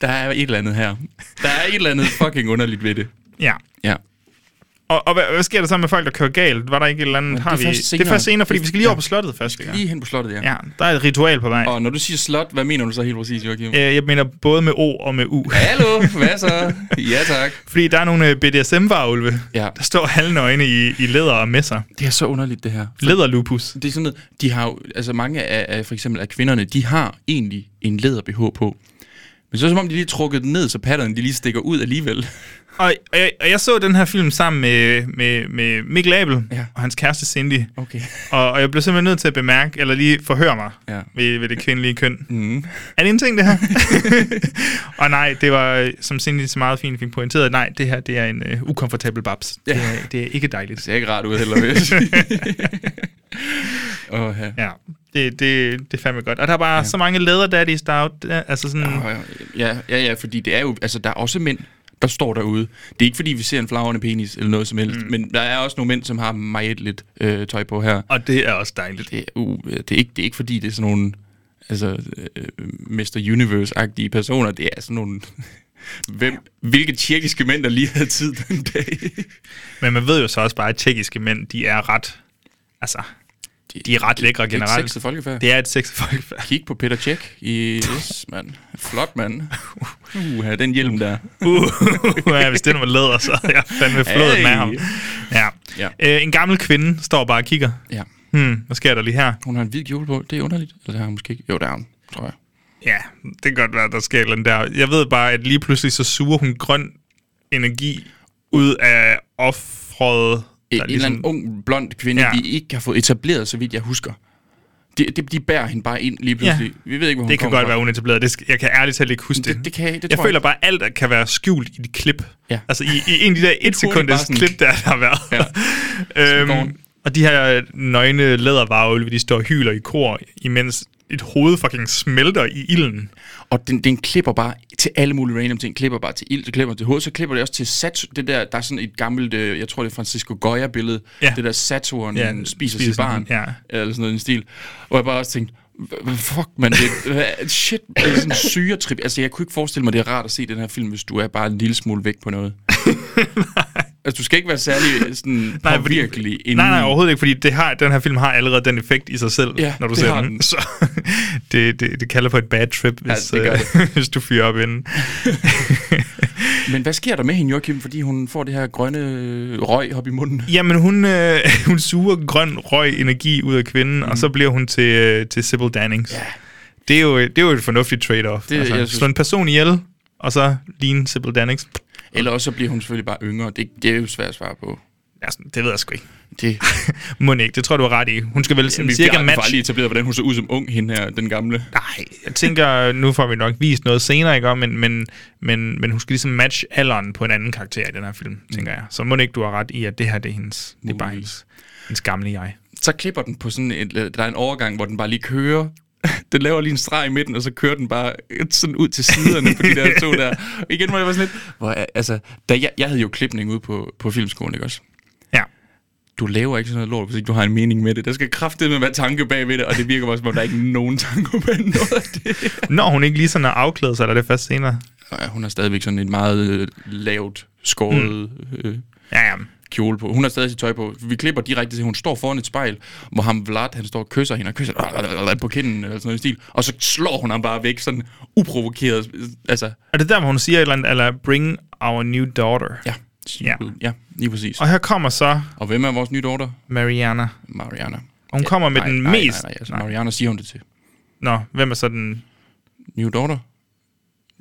Speaker 2: Der er et eller andet her. Der er et eller andet fucking underligt ved det.
Speaker 3: ja.
Speaker 2: Ja.
Speaker 3: Og, og hvad, hvad sker der så med folk, der kører galt? Var der ikke et eller andet?
Speaker 2: det er
Speaker 3: Har vi...
Speaker 2: først
Speaker 3: Det er
Speaker 2: senere.
Speaker 3: først senere, fordi vi skal lige over på slottet først.
Speaker 2: Lige hen på slottet, ja.
Speaker 3: Ja, der er et ritual på vej.
Speaker 2: Og når du siger slot, hvad mener du så helt præcis, Joachim?
Speaker 3: Øh, Jeg mener både med O og med U.
Speaker 2: Hallo, hvad så? Ja, tak.
Speaker 3: Fordi der er nogle øh, BDSM-varulve,
Speaker 2: Ja.
Speaker 3: der står halvnøgne i, i læder og messer.
Speaker 2: Det er så underligt, det her.
Speaker 3: Læderlupus.
Speaker 2: Det er sådan noget, de har jo, altså mange af, af for eksempel af kvinderne, de har egentlig en læder-BH på. Men så er det som om, de lige har trukket den ned, så patterne de lige stikker ud alligevel.
Speaker 3: Og, og, jeg, og jeg så den her film sammen med, med, med Mikkel Abel
Speaker 2: Ja.
Speaker 3: ja. og hans kæreste Cindy.
Speaker 2: Okay.
Speaker 3: Og, og jeg blev simpelthen nødt til at bemærke, eller lige forhøre mig
Speaker 2: Ja. Mm-hmm.
Speaker 3: ja. ved, ved det kvindelige køn. Mm. Er det en ting, det
Speaker 2: (laughs)
Speaker 3: her? og nej, det var, øh, som Cindy så meget fint fik pointeret, nej, det her det er en uh, ukomfortabel babs. Ja. Det, er, det er ikke
Speaker 2: Det
Speaker 3: dejligt.
Speaker 2: ser ikke rart ud heller, vil jeg (laughs) sige. Åh, ja.
Speaker 3: Ja, det, det, det er fandme godt. Og der er bare ja. så mange læderdaddies, der er out- altså sådan...
Speaker 2: Åh, Ja, ja, ja, fordi det er jo, altså der er også mænd, der står derude. Det er ikke fordi, vi ser en flagrende penis eller noget som helst, mm. men der er også nogle mænd, som har meget lidt øh, tøj på her.
Speaker 3: Og det er også dejligt.
Speaker 2: det, er- uh, det, er ikke, det er ikke fordi, det er sådan nogle altså, øh, Mr. Universe-agtige personer. Det er sådan nogle... (laughs) Hvem, hvilke tjekkiske mænd, der lige havde tid den dag.
Speaker 3: Men man ved jo så også bare, at tjekkiske mænd, de er ret... Altså, de er ret lækre
Speaker 2: Det er et
Speaker 3: generelt.
Speaker 2: sexet folkefærd. Det
Speaker 3: det er et sexet folkefærd.
Speaker 2: Kig på Peter Tjek i... Yes, mand.
Speaker 3: (laughs)
Speaker 2: Flot, mand. Uh, den hjelm der.
Speaker 3: Uh, ja, hvis den var læder, så er jeg fandme flået
Speaker 2: Hey.
Speaker 3: med ham. Ja.
Speaker 2: Ja.
Speaker 3: Øh, en gammel kvinde står bare og kigger.
Speaker 2: Ja.
Speaker 3: Hmm, hvad sker der lige her?
Speaker 2: Hun har en hvid kjole på. Det er underligt. Eller det har hun måske ikke. Jo, det har hun, tror jeg.
Speaker 3: Ja, det kan godt være, der sker et eller andet der. Jeg ved bare, at lige pludselig så suger hun grøn energi ud af offret.
Speaker 2: En,
Speaker 3: der
Speaker 2: en eller anden ung, blond kvinde, ja.
Speaker 3: ligesom- Ja.
Speaker 2: vi ikke har fået etableret, så vidt jeg husker. De, de, de bærer hende bare ind lige pludselig. Ja. Vi ved ikke, hvor hun
Speaker 3: det kan
Speaker 2: kommer
Speaker 3: godt
Speaker 2: fra.
Speaker 3: være unetableret. Det skal, jeg kan ærligt talt ikke huske det.
Speaker 2: Det- det kan jeg- det
Speaker 3: jeg
Speaker 2: tror jeg
Speaker 3: føler
Speaker 2: ikke.
Speaker 3: bare, at alt der kan være skjult i et klip.
Speaker 2: Ja.
Speaker 3: Altså i, i en af de der et
Speaker 2: bare
Speaker 3: sekundes
Speaker 2: sådan-
Speaker 3: klip, der, der har (laughs) været. Ja.
Speaker 2: Så går den.
Speaker 3: øhm, og de her nøgne lædervarulve, de står og hyler i kor, imens et hoved fucking smelter i ilden.
Speaker 2: Og den, den klipper bare til alle mulige random ting. Klipper bare til ild, så klipper til hoved, så klipper det også til sat det der, der er sådan et gammelt, øh, jeg tror det er Francisco Goya-billede, ja.
Speaker 3: Ja.
Speaker 2: det der Saturn ja,
Speaker 3: Ja,
Speaker 2: spiser, spiser
Speaker 3: spiser
Speaker 2: sit barn,
Speaker 3: den, ja.
Speaker 2: eller sådan noget i den stil. Og jeg bare også tænkte, "Hva- fuck man, det er, shit, det er sådan en syretrip. Altså jeg kunne ikke forestille mig, det er rart at se den her film, hvis du er bare en lille smule væk
Speaker 3: (laughs)
Speaker 2: på noget. altså du skal ikke være særlig sådan nej,
Speaker 3: fordi-
Speaker 2: virkelig
Speaker 3: Nej, nej, overhovedet ikke, fordi det har, den her film har allerede den effekt i sig selv,
Speaker 2: Ja,
Speaker 3: når du
Speaker 2: det
Speaker 3: ser
Speaker 2: har
Speaker 3: den. (laughs)
Speaker 2: den.
Speaker 3: Så det, det, det kalder på et bad trip, hvis,
Speaker 2: Ja,
Speaker 3: ja,
Speaker 2: det gør
Speaker 3: det (laughs) hvis du fyrer op
Speaker 2: (laughs)
Speaker 3: inden.
Speaker 2: Men hvad sker der med hende, Joachim, fordi hun får det her grønne øh, røg op i munden?
Speaker 3: Jamen, hun, øh, (laughs) hun suger grøn røg energi ud af kvinden, mm. og så bliver hun til, øh, til Sybil Dannings. Yeah. Det, er jo, øh, det er jo et fornuftigt trade-off.
Speaker 2: Det-
Speaker 3: altså,
Speaker 2: jeg
Speaker 3: synes...
Speaker 2: synes-
Speaker 3: Slå en person ihjel, og så ligne Sybil Dannings.
Speaker 2: Eller også så bliver hun selvfølgelig bare yngre. Det, det er jo svært at svare på.
Speaker 3: Altså, det ved jeg sgu ikke. (laughs)
Speaker 2: Det,
Speaker 3: Må ikke, det tror du er ret i. Hun skal vel sådan
Speaker 2: vi
Speaker 3: cirka
Speaker 2: cirka match. bare
Speaker 3: match.
Speaker 2: lige etableret, hvordan hun så ud som ung, hende her, den gamle.
Speaker 3: Nej, jeg tænker, nu får vi nok vist noget senere, ikke? om, Men, men, men, men hun skal ligesom matche alderen på en anden karakter i den her film, tænker jeg. Så må ikke, du har ret i, at det her det er, hendes, det er bare hendes, hendes gamle jeg.
Speaker 2: Så klipper den på sådan en, der er en overgang, hvor den bare lige kører. (laughs) Den laver lige en streg i midten, og så kører den bare sådan ud til siderne på de der to der. Og igen var jeg bare sådan lidt, hvor, er- altså, da jeg, jeg havde jo klipning ude på, på filmskolen, ikke også?
Speaker 3: Ja.
Speaker 2: Du laver ikke sådan noget lort, hvis ikke du har en mening med det. Der skal kraftedeme være tanke bag ved det, og det virker bare som om, der er ikke nogen tanke bag noget af det.
Speaker 3: (laughs) Når hun ikke lige sådan er afklædet sig, eller er det først senere?
Speaker 2: Og ja, hun har stadigvæk sådan et meget øh, lavt skåret øh,
Speaker 3: Ja, ja.
Speaker 2: kjole på. Hun har stadig sit tøj på. Vi klipper direkte til, hun står foran et spejl, hvor ham Vlad, han står og kysser hende og kysser på kinden eller sådan noget i stil. Og så slår hun ham bare væk, sådan uprovokeret. Altså,
Speaker 3: Er det der, hvor hun siger et eller andet, eller bring our new daughter?
Speaker 2: ja.
Speaker 3: Ja.
Speaker 2: Ja, lige præcis.
Speaker 3: Og her kommer så
Speaker 2: Og hvem er vores nye daughter?
Speaker 3: Mariana.
Speaker 2: Mariana.
Speaker 3: Og hun kommer med
Speaker 2: nej,
Speaker 3: den
Speaker 2: nej,
Speaker 3: mest...
Speaker 2: Nej, nej, altså, Mariana siger hun det til.
Speaker 3: Nå, hvem er så den...
Speaker 2: New daughter?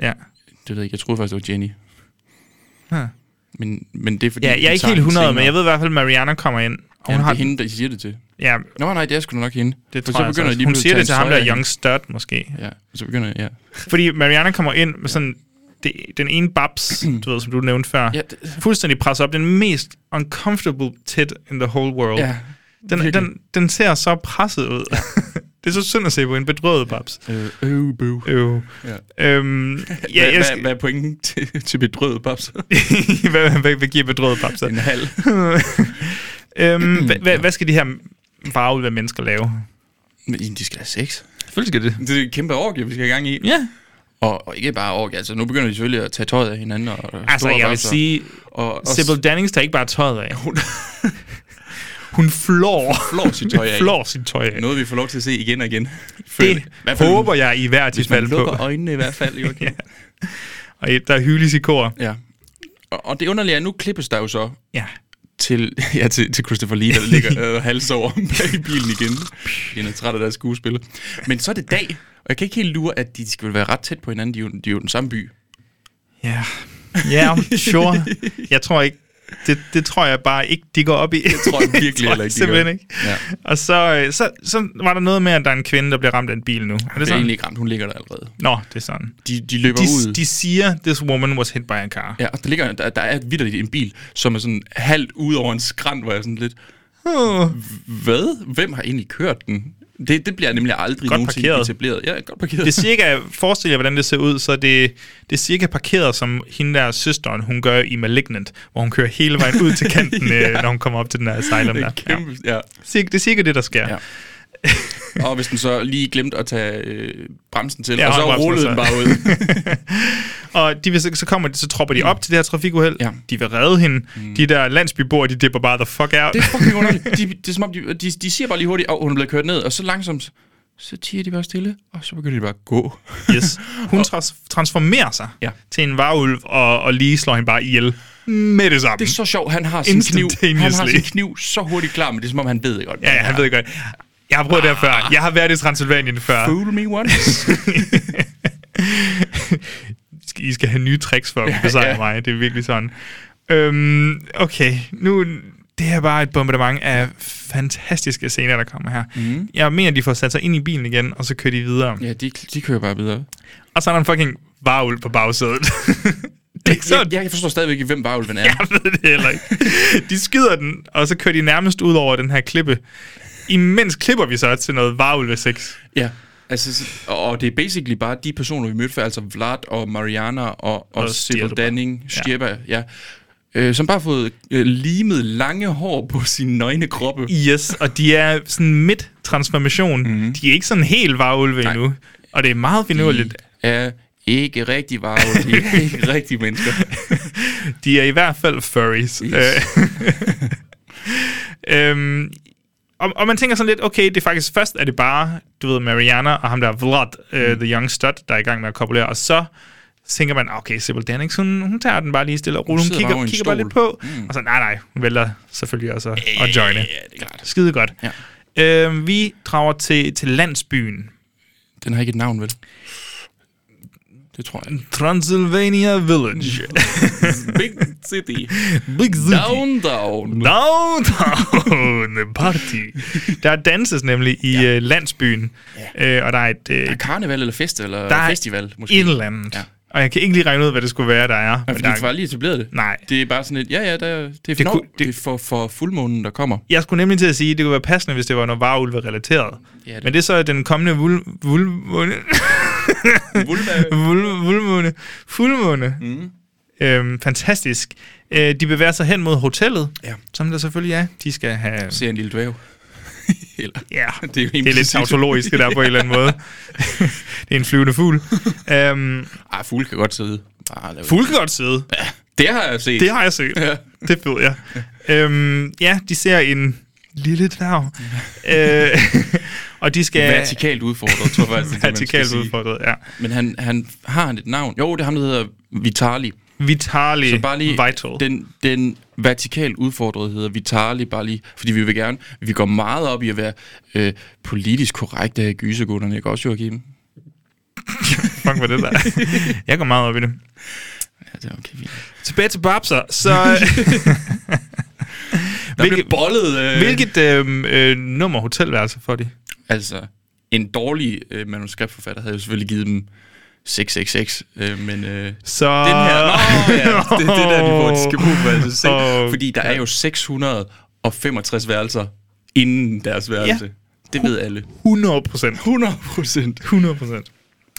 Speaker 3: Ja.
Speaker 2: Det ved jeg ikke. Jeg troede faktisk, det var Jenny.
Speaker 3: Huh.
Speaker 2: Men, men det er fordi...
Speaker 3: Ja,
Speaker 2: vi
Speaker 3: jeg er ikke
Speaker 2: tager
Speaker 3: helt
Speaker 2: den
Speaker 3: 100, men
Speaker 2: senere.
Speaker 3: jeg ved i hvert fald, at Mariana kommer ind. Og hun
Speaker 2: Jamen,
Speaker 3: har
Speaker 2: det er hende, der siger det til.
Speaker 3: Ja,
Speaker 2: Nå nej, det er sgu da nok hende.
Speaker 3: det
Speaker 2: For
Speaker 3: tror
Speaker 2: så
Speaker 3: jeg altså
Speaker 2: begynder
Speaker 3: også.
Speaker 2: lige
Speaker 3: Hun
Speaker 2: pludselig
Speaker 3: siger
Speaker 2: at
Speaker 3: det til
Speaker 2: tage
Speaker 3: ham
Speaker 2: en
Speaker 3: der,
Speaker 2: trøje af.
Speaker 3: Young Stud, måske.
Speaker 2: Ja, så begynder ja.
Speaker 3: Fordi Mariana kommer ind med sådan... Det, den ene babs, du ved, som du nævnte før,
Speaker 2: Ja, det-
Speaker 3: fuldstændig presset op. Den mest uncomfortable tit in the whole world.
Speaker 2: Ja,
Speaker 3: den,
Speaker 2: virkelig.
Speaker 3: den, den ser så presset ud. (laughs) det er så synd at se på en bedrøvet babs.
Speaker 2: Øh, øh, bøv.
Speaker 3: Øv.
Speaker 2: Ja.
Speaker 3: Øhm, ja,
Speaker 2: Hvad,
Speaker 3: jeg
Speaker 2: hvad,
Speaker 3: skal,
Speaker 2: hvad er pointen til, til
Speaker 3: (laughs)
Speaker 2: bedrøvet paps?
Speaker 3: hvad, hvad, hvad, hvad giver bedrøvet papsa?
Speaker 2: en
Speaker 3: (laughs)
Speaker 2: halv.
Speaker 3: (clears throat) øhm, hvad, hvad, hvad skal de her farve af mennesker lave?
Speaker 2: Men de skal have sex.
Speaker 3: Selvfølgelig skal
Speaker 2: Det er et kæmpe orgie, vi skal i gang i.
Speaker 3: Ja.
Speaker 2: Og, og ikke bare orgie, altså nu begynder de selvfølgelig at tage tøjet af hinanden. Og, og
Speaker 3: Altså,
Speaker 2: store
Speaker 3: jeg vil
Speaker 2: bamser.
Speaker 3: sige,
Speaker 2: Og, og
Speaker 3: Sybil Dannings tager ikke bare tøjet af. Hun, (laughs) hun flår,
Speaker 2: flår sit tøj af.
Speaker 3: (laughs) flår sit tøj af.
Speaker 2: Noget, vi får lov til at se igen og igen.
Speaker 3: Det
Speaker 2: Hvad
Speaker 3: håber jeg i hvert
Speaker 2: hvis
Speaker 3: fald
Speaker 2: man lukker
Speaker 3: på.
Speaker 2: på. øjnene i hvert fald, jo.
Speaker 3: (laughs)
Speaker 2: ja.
Speaker 3: Og der hyldes i kor.
Speaker 2: ja. Og, og det underlige er, nu klippes der jo så
Speaker 3: Ja.
Speaker 2: til, (laughs) ja, til, til Christopher Lee, der ligger øh, hals over (laughs) bag i bilen igen. Han er træt af deres skuespil. Men så er det dag, og jeg kan ikke helt lure, at de skal vel være ret tæt på hinanden. De er jo, de er jo den samme by.
Speaker 3: Ja. Ja, sure. Jeg tror ikke, det, det tror jeg bare ikke, de går op i. Det
Speaker 2: tror jeg
Speaker 3: (laughs)
Speaker 2: virkelig heller ikke, de
Speaker 3: simpelthen
Speaker 2: gør.
Speaker 3: ikke.
Speaker 2: Ja.
Speaker 3: Og så, øh, så, så var der noget med, at der er en kvinde, der bliver ramt af en bil nu. Er
Speaker 2: Det
Speaker 3: det
Speaker 2: er
Speaker 3: sådan?
Speaker 2: egentlig ikke ramt, hun ligger der allerede.
Speaker 3: Nå, det er sådan.
Speaker 2: De, de løber
Speaker 3: De,
Speaker 2: ud.
Speaker 3: de siger, this woman was hit by a car.
Speaker 2: Ja, og der, ligger, der, der er vidderligt en bil, som er sådan halvt ud over en skrant, hvor jeg er sådan lidt, hvad? Hvem har egentlig kørt den? Det, det bliver nemlig aldrig
Speaker 3: Godt
Speaker 2: nogensinde
Speaker 3: parkeret.
Speaker 2: etableret. Ja, godt parkeret.
Speaker 3: Det er cirka, forestil jer, hvordan det ser ud, så det, det er cirka parkeret, som hende der søsteren, hun gør i Malignant, hvor hun kører hele vejen ud
Speaker 2: (laughs)
Speaker 3: til kanten, ja. når hun kommer op til den der asylum der. Ja.
Speaker 2: (laughs) kæmpe, ja.
Speaker 3: Cirka, det er cirka det, der sker.
Speaker 2: Ja.
Speaker 3: Ja.
Speaker 2: Og hvis den så lige glemte at tage øh, bremsen til,
Speaker 3: Ja,
Speaker 2: ja, og så
Speaker 3: håndbremsen,
Speaker 2: rullede
Speaker 3: så-
Speaker 2: den bare ud.
Speaker 3: Og de vil, så, så kommer de, så tropper de op til det her trafikuheld.
Speaker 2: Ja.
Speaker 3: De vil redde hende. Mm. De der landsbyboer, de dipper bare the fuck out.
Speaker 2: Det er fucking underligt. De, det er som om, de, de, de siger bare lige hurtigt, at oh, hun er blevet kørt ned, og så langsomt, så tiger de bare stille, og så begynder de bare at gå.
Speaker 3: Yes. Hun trans- transformerer sig
Speaker 2: Ja.
Speaker 3: til en varulv, og, og lige slår hende bare ihjel. Med det samme.
Speaker 2: Det er så sjovt, han har sin kniv, han har
Speaker 3: Instantaneously.
Speaker 2: sin kniv så hurtigt klar, men det er som om, han ved det godt.
Speaker 3: ja, ja, han ved godt. Jeg har prøvet det her før. Jeg har været i Transylvanien før.
Speaker 2: Fool me once.
Speaker 3: (laughs) skal- I skal have nye tricks for at kunne besejre
Speaker 2: ja.
Speaker 3: mig. Det er virkelig sådan. Øhm, okay, nu... Det her er bare et bombardement af fantastiske scener, der kommer her. Mm. Jeg mener, de får sat sig ind i bilen igen, og så kører de videre.
Speaker 2: Mhm. ja, de, de kører bare videre.
Speaker 3: Og så er der en fucking varulv på
Speaker 2: (laughs)
Speaker 3: bagsædet. det er ikke
Speaker 2: Så,
Speaker 3: så...
Speaker 2: jeg, jeg forstår stadigvæk ikke, hvem varulven er. Ja.
Speaker 3: Jeg ved det heller ikke. De skyder den, og så kører de nærmest ud over den her klippe. Imens klipper vi så til noget varulve-sex.
Speaker 2: ja. Altså, så- og det er basically bare de personer, vi mødte før, altså Vlad og Mariana og, og,
Speaker 3: Og
Speaker 2: og Sybil
Speaker 3: Stjerba.
Speaker 2: Danning, Stjerba, ja. ja. Øh, som bare har fået øh, limet lange hår på sine nøgne kroppe.
Speaker 3: Yes, og de er sådan midt transformation. Mm. De er ikke sådan helt varulve
Speaker 2: Mhm. Nej.
Speaker 3: endnu. Og det er meget finurligt.
Speaker 2: er ikke rigtig varulve, de (laughs) er ikke rigtige mennesker.
Speaker 3: De er i hvert fald furries. Øh, øhm, og, og man tænker sådan lidt, okay, det er faktisk først, er det bare, du ved, Mariana og ham der Vlad,
Speaker 2: Mm.
Speaker 3: øh, The Young Stud, der er i gang med at kopulere, og så tænker man, okay, Sybil Dannings, hun, hun tager den bare lige stille og roligt, hun
Speaker 2: sidder bare
Speaker 3: kigger,
Speaker 2: over i en
Speaker 3: kigger bare
Speaker 2: stol.
Speaker 3: lidt på, mm. og så nej, nej, hun vælger selvfølgelig også at, at joine.
Speaker 2: Ja, det er klart.
Speaker 3: Skide godt.
Speaker 2: Ja.
Speaker 3: Øhm, vi drager til, til landsbyen,
Speaker 2: Den har ikke et navn, vel? Det tror jeg.
Speaker 3: Transylvania
Speaker 2: Mm.
Speaker 3: Village.
Speaker 2: Big
Speaker 3: (laughs)
Speaker 2: City.
Speaker 3: Big City.
Speaker 2: Down, down.
Speaker 3: Downtown Party. Der danses nemlig i ja. øh, landsbyen, ja. øh, og der er et, øh,
Speaker 2: Er karneval eller fest, eller
Speaker 3: der er
Speaker 2: festival, måske?
Speaker 3: et eller andet. Ja.
Speaker 2: Ja.
Speaker 3: Og jeg kan ikke lige regne ud, hvad det skulle være, der er.
Speaker 2: Nej,
Speaker 3: men
Speaker 2: fordi
Speaker 3: der
Speaker 2: de
Speaker 3: er
Speaker 2: var lige etableret det.
Speaker 3: Nej.
Speaker 2: Det er bare sådan et, ja, ja, der, det er for,
Speaker 3: Det
Speaker 2: det,
Speaker 3: kunne-
Speaker 2: det, er for, for fuldmånen, der kommer.
Speaker 3: jeg skulle nemlig til at sige, at det kunne være passende, hvis det var noget varulve-relateret.
Speaker 2: Ja,
Speaker 3: det.
Speaker 2: det-
Speaker 3: Men det er så den kommende vul, vulmåne, vul, vulmåne, fuldmåne. Mm. Øhm, fantastisk. Øh, de bevæger sig hen mod hotellet,
Speaker 2: Ja.
Speaker 3: som der selvfølgelig er. De skal have...
Speaker 2: Ser en lille dvæv. (laughs) eller,
Speaker 3: Ja, (laughs)
Speaker 2: Det
Speaker 3: det
Speaker 2: er
Speaker 3: er, det
Speaker 2: jo
Speaker 3: er lidt
Speaker 2: implicit.
Speaker 3: tautologisk, det der på en eller anden måde. (laughs) det er en flyvende fugl. Um,
Speaker 2: ah, fugle kan godt sidde. Bare lave-
Speaker 3: fugle kan godt sidde.
Speaker 2: Ja, det har jeg set.
Speaker 3: Det har jeg set.
Speaker 2: Ja.
Speaker 3: Det ved jeg. Um, ja, de ser en lille dværg. Øh, og de skal...
Speaker 2: Vertikalt udfordret, tror jeg faktisk. det er det, man skal
Speaker 3: Vertikalt
Speaker 2: sige.
Speaker 3: udfordret, ja.
Speaker 2: Men han, han har han et navn. Jo, det er ham, der hedder Vitali.
Speaker 3: Vitali
Speaker 2: Så bare lige,
Speaker 3: Vital.
Speaker 2: Den, den vertikalt udfordrede hedder Vitali, bare lige, fordi vi vil gerne, vi går meget op i at være øh, politisk korrekte her i gysergunderne, ikke også, Joachim?
Speaker 3: Fuck, hvad det der (laughs) er. Jeg går meget op i det.
Speaker 2: Ja, det er okay. fint.
Speaker 3: Tilbage til Babser. Så...
Speaker 2: Der
Speaker 3: Hvilke-
Speaker 2: blev bollet. Øh,
Speaker 3: Hvilket øh, øh, nummer hotelværelse får de?
Speaker 2: Altså, en dårlig øh, manuskriptforfatter havde jo selvfølgelig givet dem 666, øh, men... Øh,
Speaker 3: Så...
Speaker 2: den
Speaker 3: (laughs)
Speaker 2: her, nå, ja, det, det er der niveau, de skal bruge på altså, se,
Speaker 3: Åh,
Speaker 2: fordi der er jo 665 værelser inden deres værelse.
Speaker 3: Ja.
Speaker 2: Det ved alle.
Speaker 3: 100 procent.
Speaker 2: 100 procent.
Speaker 3: 100 procent.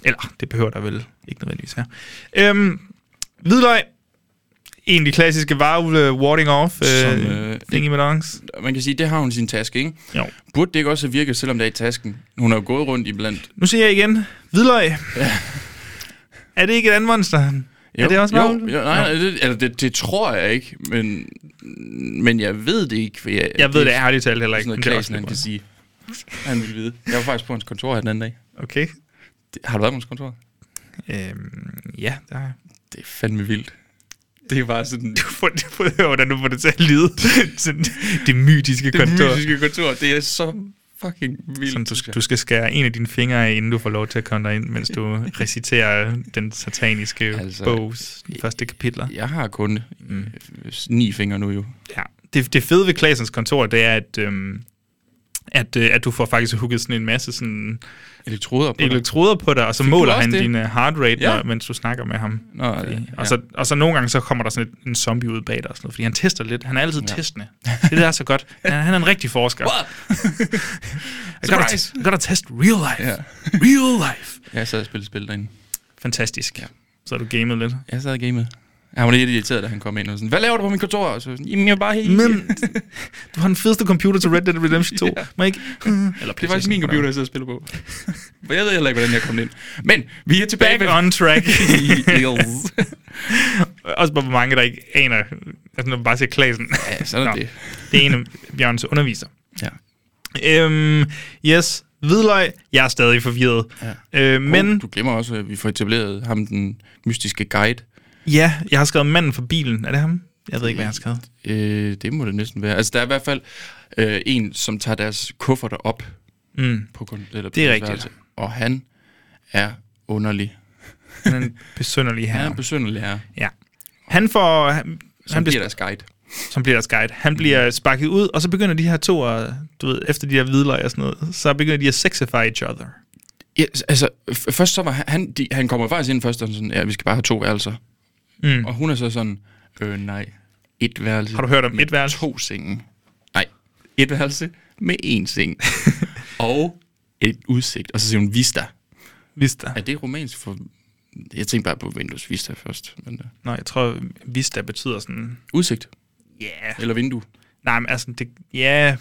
Speaker 3: Eller, det behøver der vel ikke nødvendigvis her. Øhm, hvidløg. En af de klassiske varulve warding off.
Speaker 2: Som,
Speaker 3: øh,
Speaker 2: øh,
Speaker 3: thingy madongs.
Speaker 2: Man kan sige, det har hun i sin taske, ikke?
Speaker 3: Jo.
Speaker 2: Burde det ikke også have virket, selvom det er i tasken? Hun har jo gået rundt i blandt. (laughs)
Speaker 3: Nu siger jeg igen. Hvidløg. Er det ikke et andet monster? Jo. Er det også
Speaker 2: jo,
Speaker 3: Marvel?
Speaker 2: jo, nej, nej, det, altså, det, det tror jeg ikke, men, men jeg ved det ikke. For jeg,
Speaker 3: Jeg ved det ærligt talt heller
Speaker 2: Sådan
Speaker 3: ikke.
Speaker 2: noget,
Speaker 3: men det er
Speaker 2: Klasen, han kan
Speaker 3: også
Speaker 2: sige. Han vil vide. Jeg var faktisk på hans kontor her den anden dag.
Speaker 3: lidt godt. Okay.
Speaker 2: Det, har du været på hans kontor?
Speaker 3: Øhm, ja, der er...
Speaker 2: Det er fandme vildt. Det er bare sådan...
Speaker 3: (laughs) Du får, du får, hvordan du får det til at
Speaker 2: (laughs)
Speaker 3: lide. Sådan, det mytiske det
Speaker 2: Det
Speaker 3: kontor.
Speaker 2: mytiske kontor, det er så fucking vildt.
Speaker 3: Som du, skal- du skal skære en af dine fingre af, inden du får lov til at komme derind, mens du
Speaker 2: (laughs)
Speaker 3: reciterer den sataniske
Speaker 2: Altså-
Speaker 3: altså, bogs første kapitler.
Speaker 2: Jeg har kun mm. ni fingre nu jo.
Speaker 3: Ja. Det, det fede ved Klasens kontor, det er, at, øhm, at, øh, at du får faktisk hugget sådan en masse sådan
Speaker 2: Elektroder på dig.
Speaker 3: elektroder på dig, og så
Speaker 2: Fik du
Speaker 3: måler
Speaker 2: også
Speaker 3: han
Speaker 2: det?
Speaker 3: din øh, heart rate,
Speaker 2: Ja.
Speaker 3: ja. mens du snakker med ham.
Speaker 2: Nå, ja.
Speaker 3: Og, så, og så nogle gange, så kommer der sådan et, en zombie ud bag dig og sådan noget, fordi han tester lidt. Han er altid ja. testende. Det der er så
Speaker 2: (laughs)
Speaker 3: godt. Han, han er en rigtig forsker.
Speaker 2: What?
Speaker 3: I gotta,
Speaker 2: Surprise!
Speaker 3: I gotta test real life.
Speaker 2: Ja.
Speaker 3: real life.
Speaker 2: Jeg sad og spillede spil derinde.
Speaker 3: Fantastisk. Ja. Så har du gamet lidt.
Speaker 2: Jeg sad og gamede. Han var lidt irriteret, da han kom ind og sådan, hvad laver du på min kontor? Og så var jeg sådan, Jamen, jeg er bare helt...
Speaker 3: Men du har den fedeste computer til Red Dead Redemption 2.
Speaker 2: Ja.
Speaker 3: Yeah. Må jeg ikke? Eller
Speaker 2: det er faktisk min computer, jeg sidder og spiller på. For (laughs) jeg ved heller ikke, hvordan jeg kom ind. Men vi er tilbage
Speaker 3: Back
Speaker 2: (laughs)
Speaker 3: on track.
Speaker 2: Yes.
Speaker 3: Også bare, hvor mange, der ikke aner. Altså, når man bare siger Klasen.
Speaker 2: Ja, sådan er
Speaker 3: Nå,
Speaker 2: det.
Speaker 3: Det er en af Bjørns underviser.
Speaker 2: Ja.
Speaker 3: Øhm, yes, hvidløg. Jeg er stadig forvirret. Ja. Øh, men
Speaker 2: Men... Du glemmer også, at vi får etableret ham, den mystiske guide.
Speaker 3: ja, jeg har skrevet manden for bilen. Er det ham? Jeg ved ikke, hvad jeg har skrevet.
Speaker 2: Øh, det må det næsten være. Altså, der er i hvert fald øh, en, som tager deres kufferter op
Speaker 3: Mm.
Speaker 2: på kun, eller på
Speaker 3: Det er
Speaker 2: deres
Speaker 3: rigtigt.
Speaker 2: værelse. Og han er underlig.
Speaker 3: Han er en besynderlig
Speaker 2: Han er
Speaker 3: herre.
Speaker 2: en besøgende lærer,
Speaker 3: Ja. Han får... Han,
Speaker 2: som
Speaker 3: han
Speaker 2: bliver Mm.
Speaker 3: bliver,
Speaker 2: deres guide.
Speaker 3: som bliver deres guide. Han bliver sparket ud, og så begynder de her to at, du ved, efter de her hvidløg og sådan noget, så begynder de at sexify each other.
Speaker 2: Ja, altså, f- først så var han, han, de, han kommer faktisk ind først og sådan, ja, vi skal bare have to værelser.
Speaker 3: Mm.
Speaker 2: Og hun er så sådan, øh, nej, et værelse.
Speaker 3: Har du hørt om
Speaker 2: med
Speaker 3: et værelse?
Speaker 2: To senge. Nej, et værelse med én
Speaker 3: (laughs)
Speaker 2: seng. og et udsigt. Og så siger hun, Vista.
Speaker 3: Vista.
Speaker 2: Er det romansk for... Jeg tænkte bare på Windows Vista først. Men, uh,
Speaker 3: Nå, jeg tror, Vista betyder sådan...
Speaker 2: udsigt.
Speaker 3: Ja. Yeah.
Speaker 2: Eller vindue.
Speaker 3: Nej, men altså, det, ja... Jeg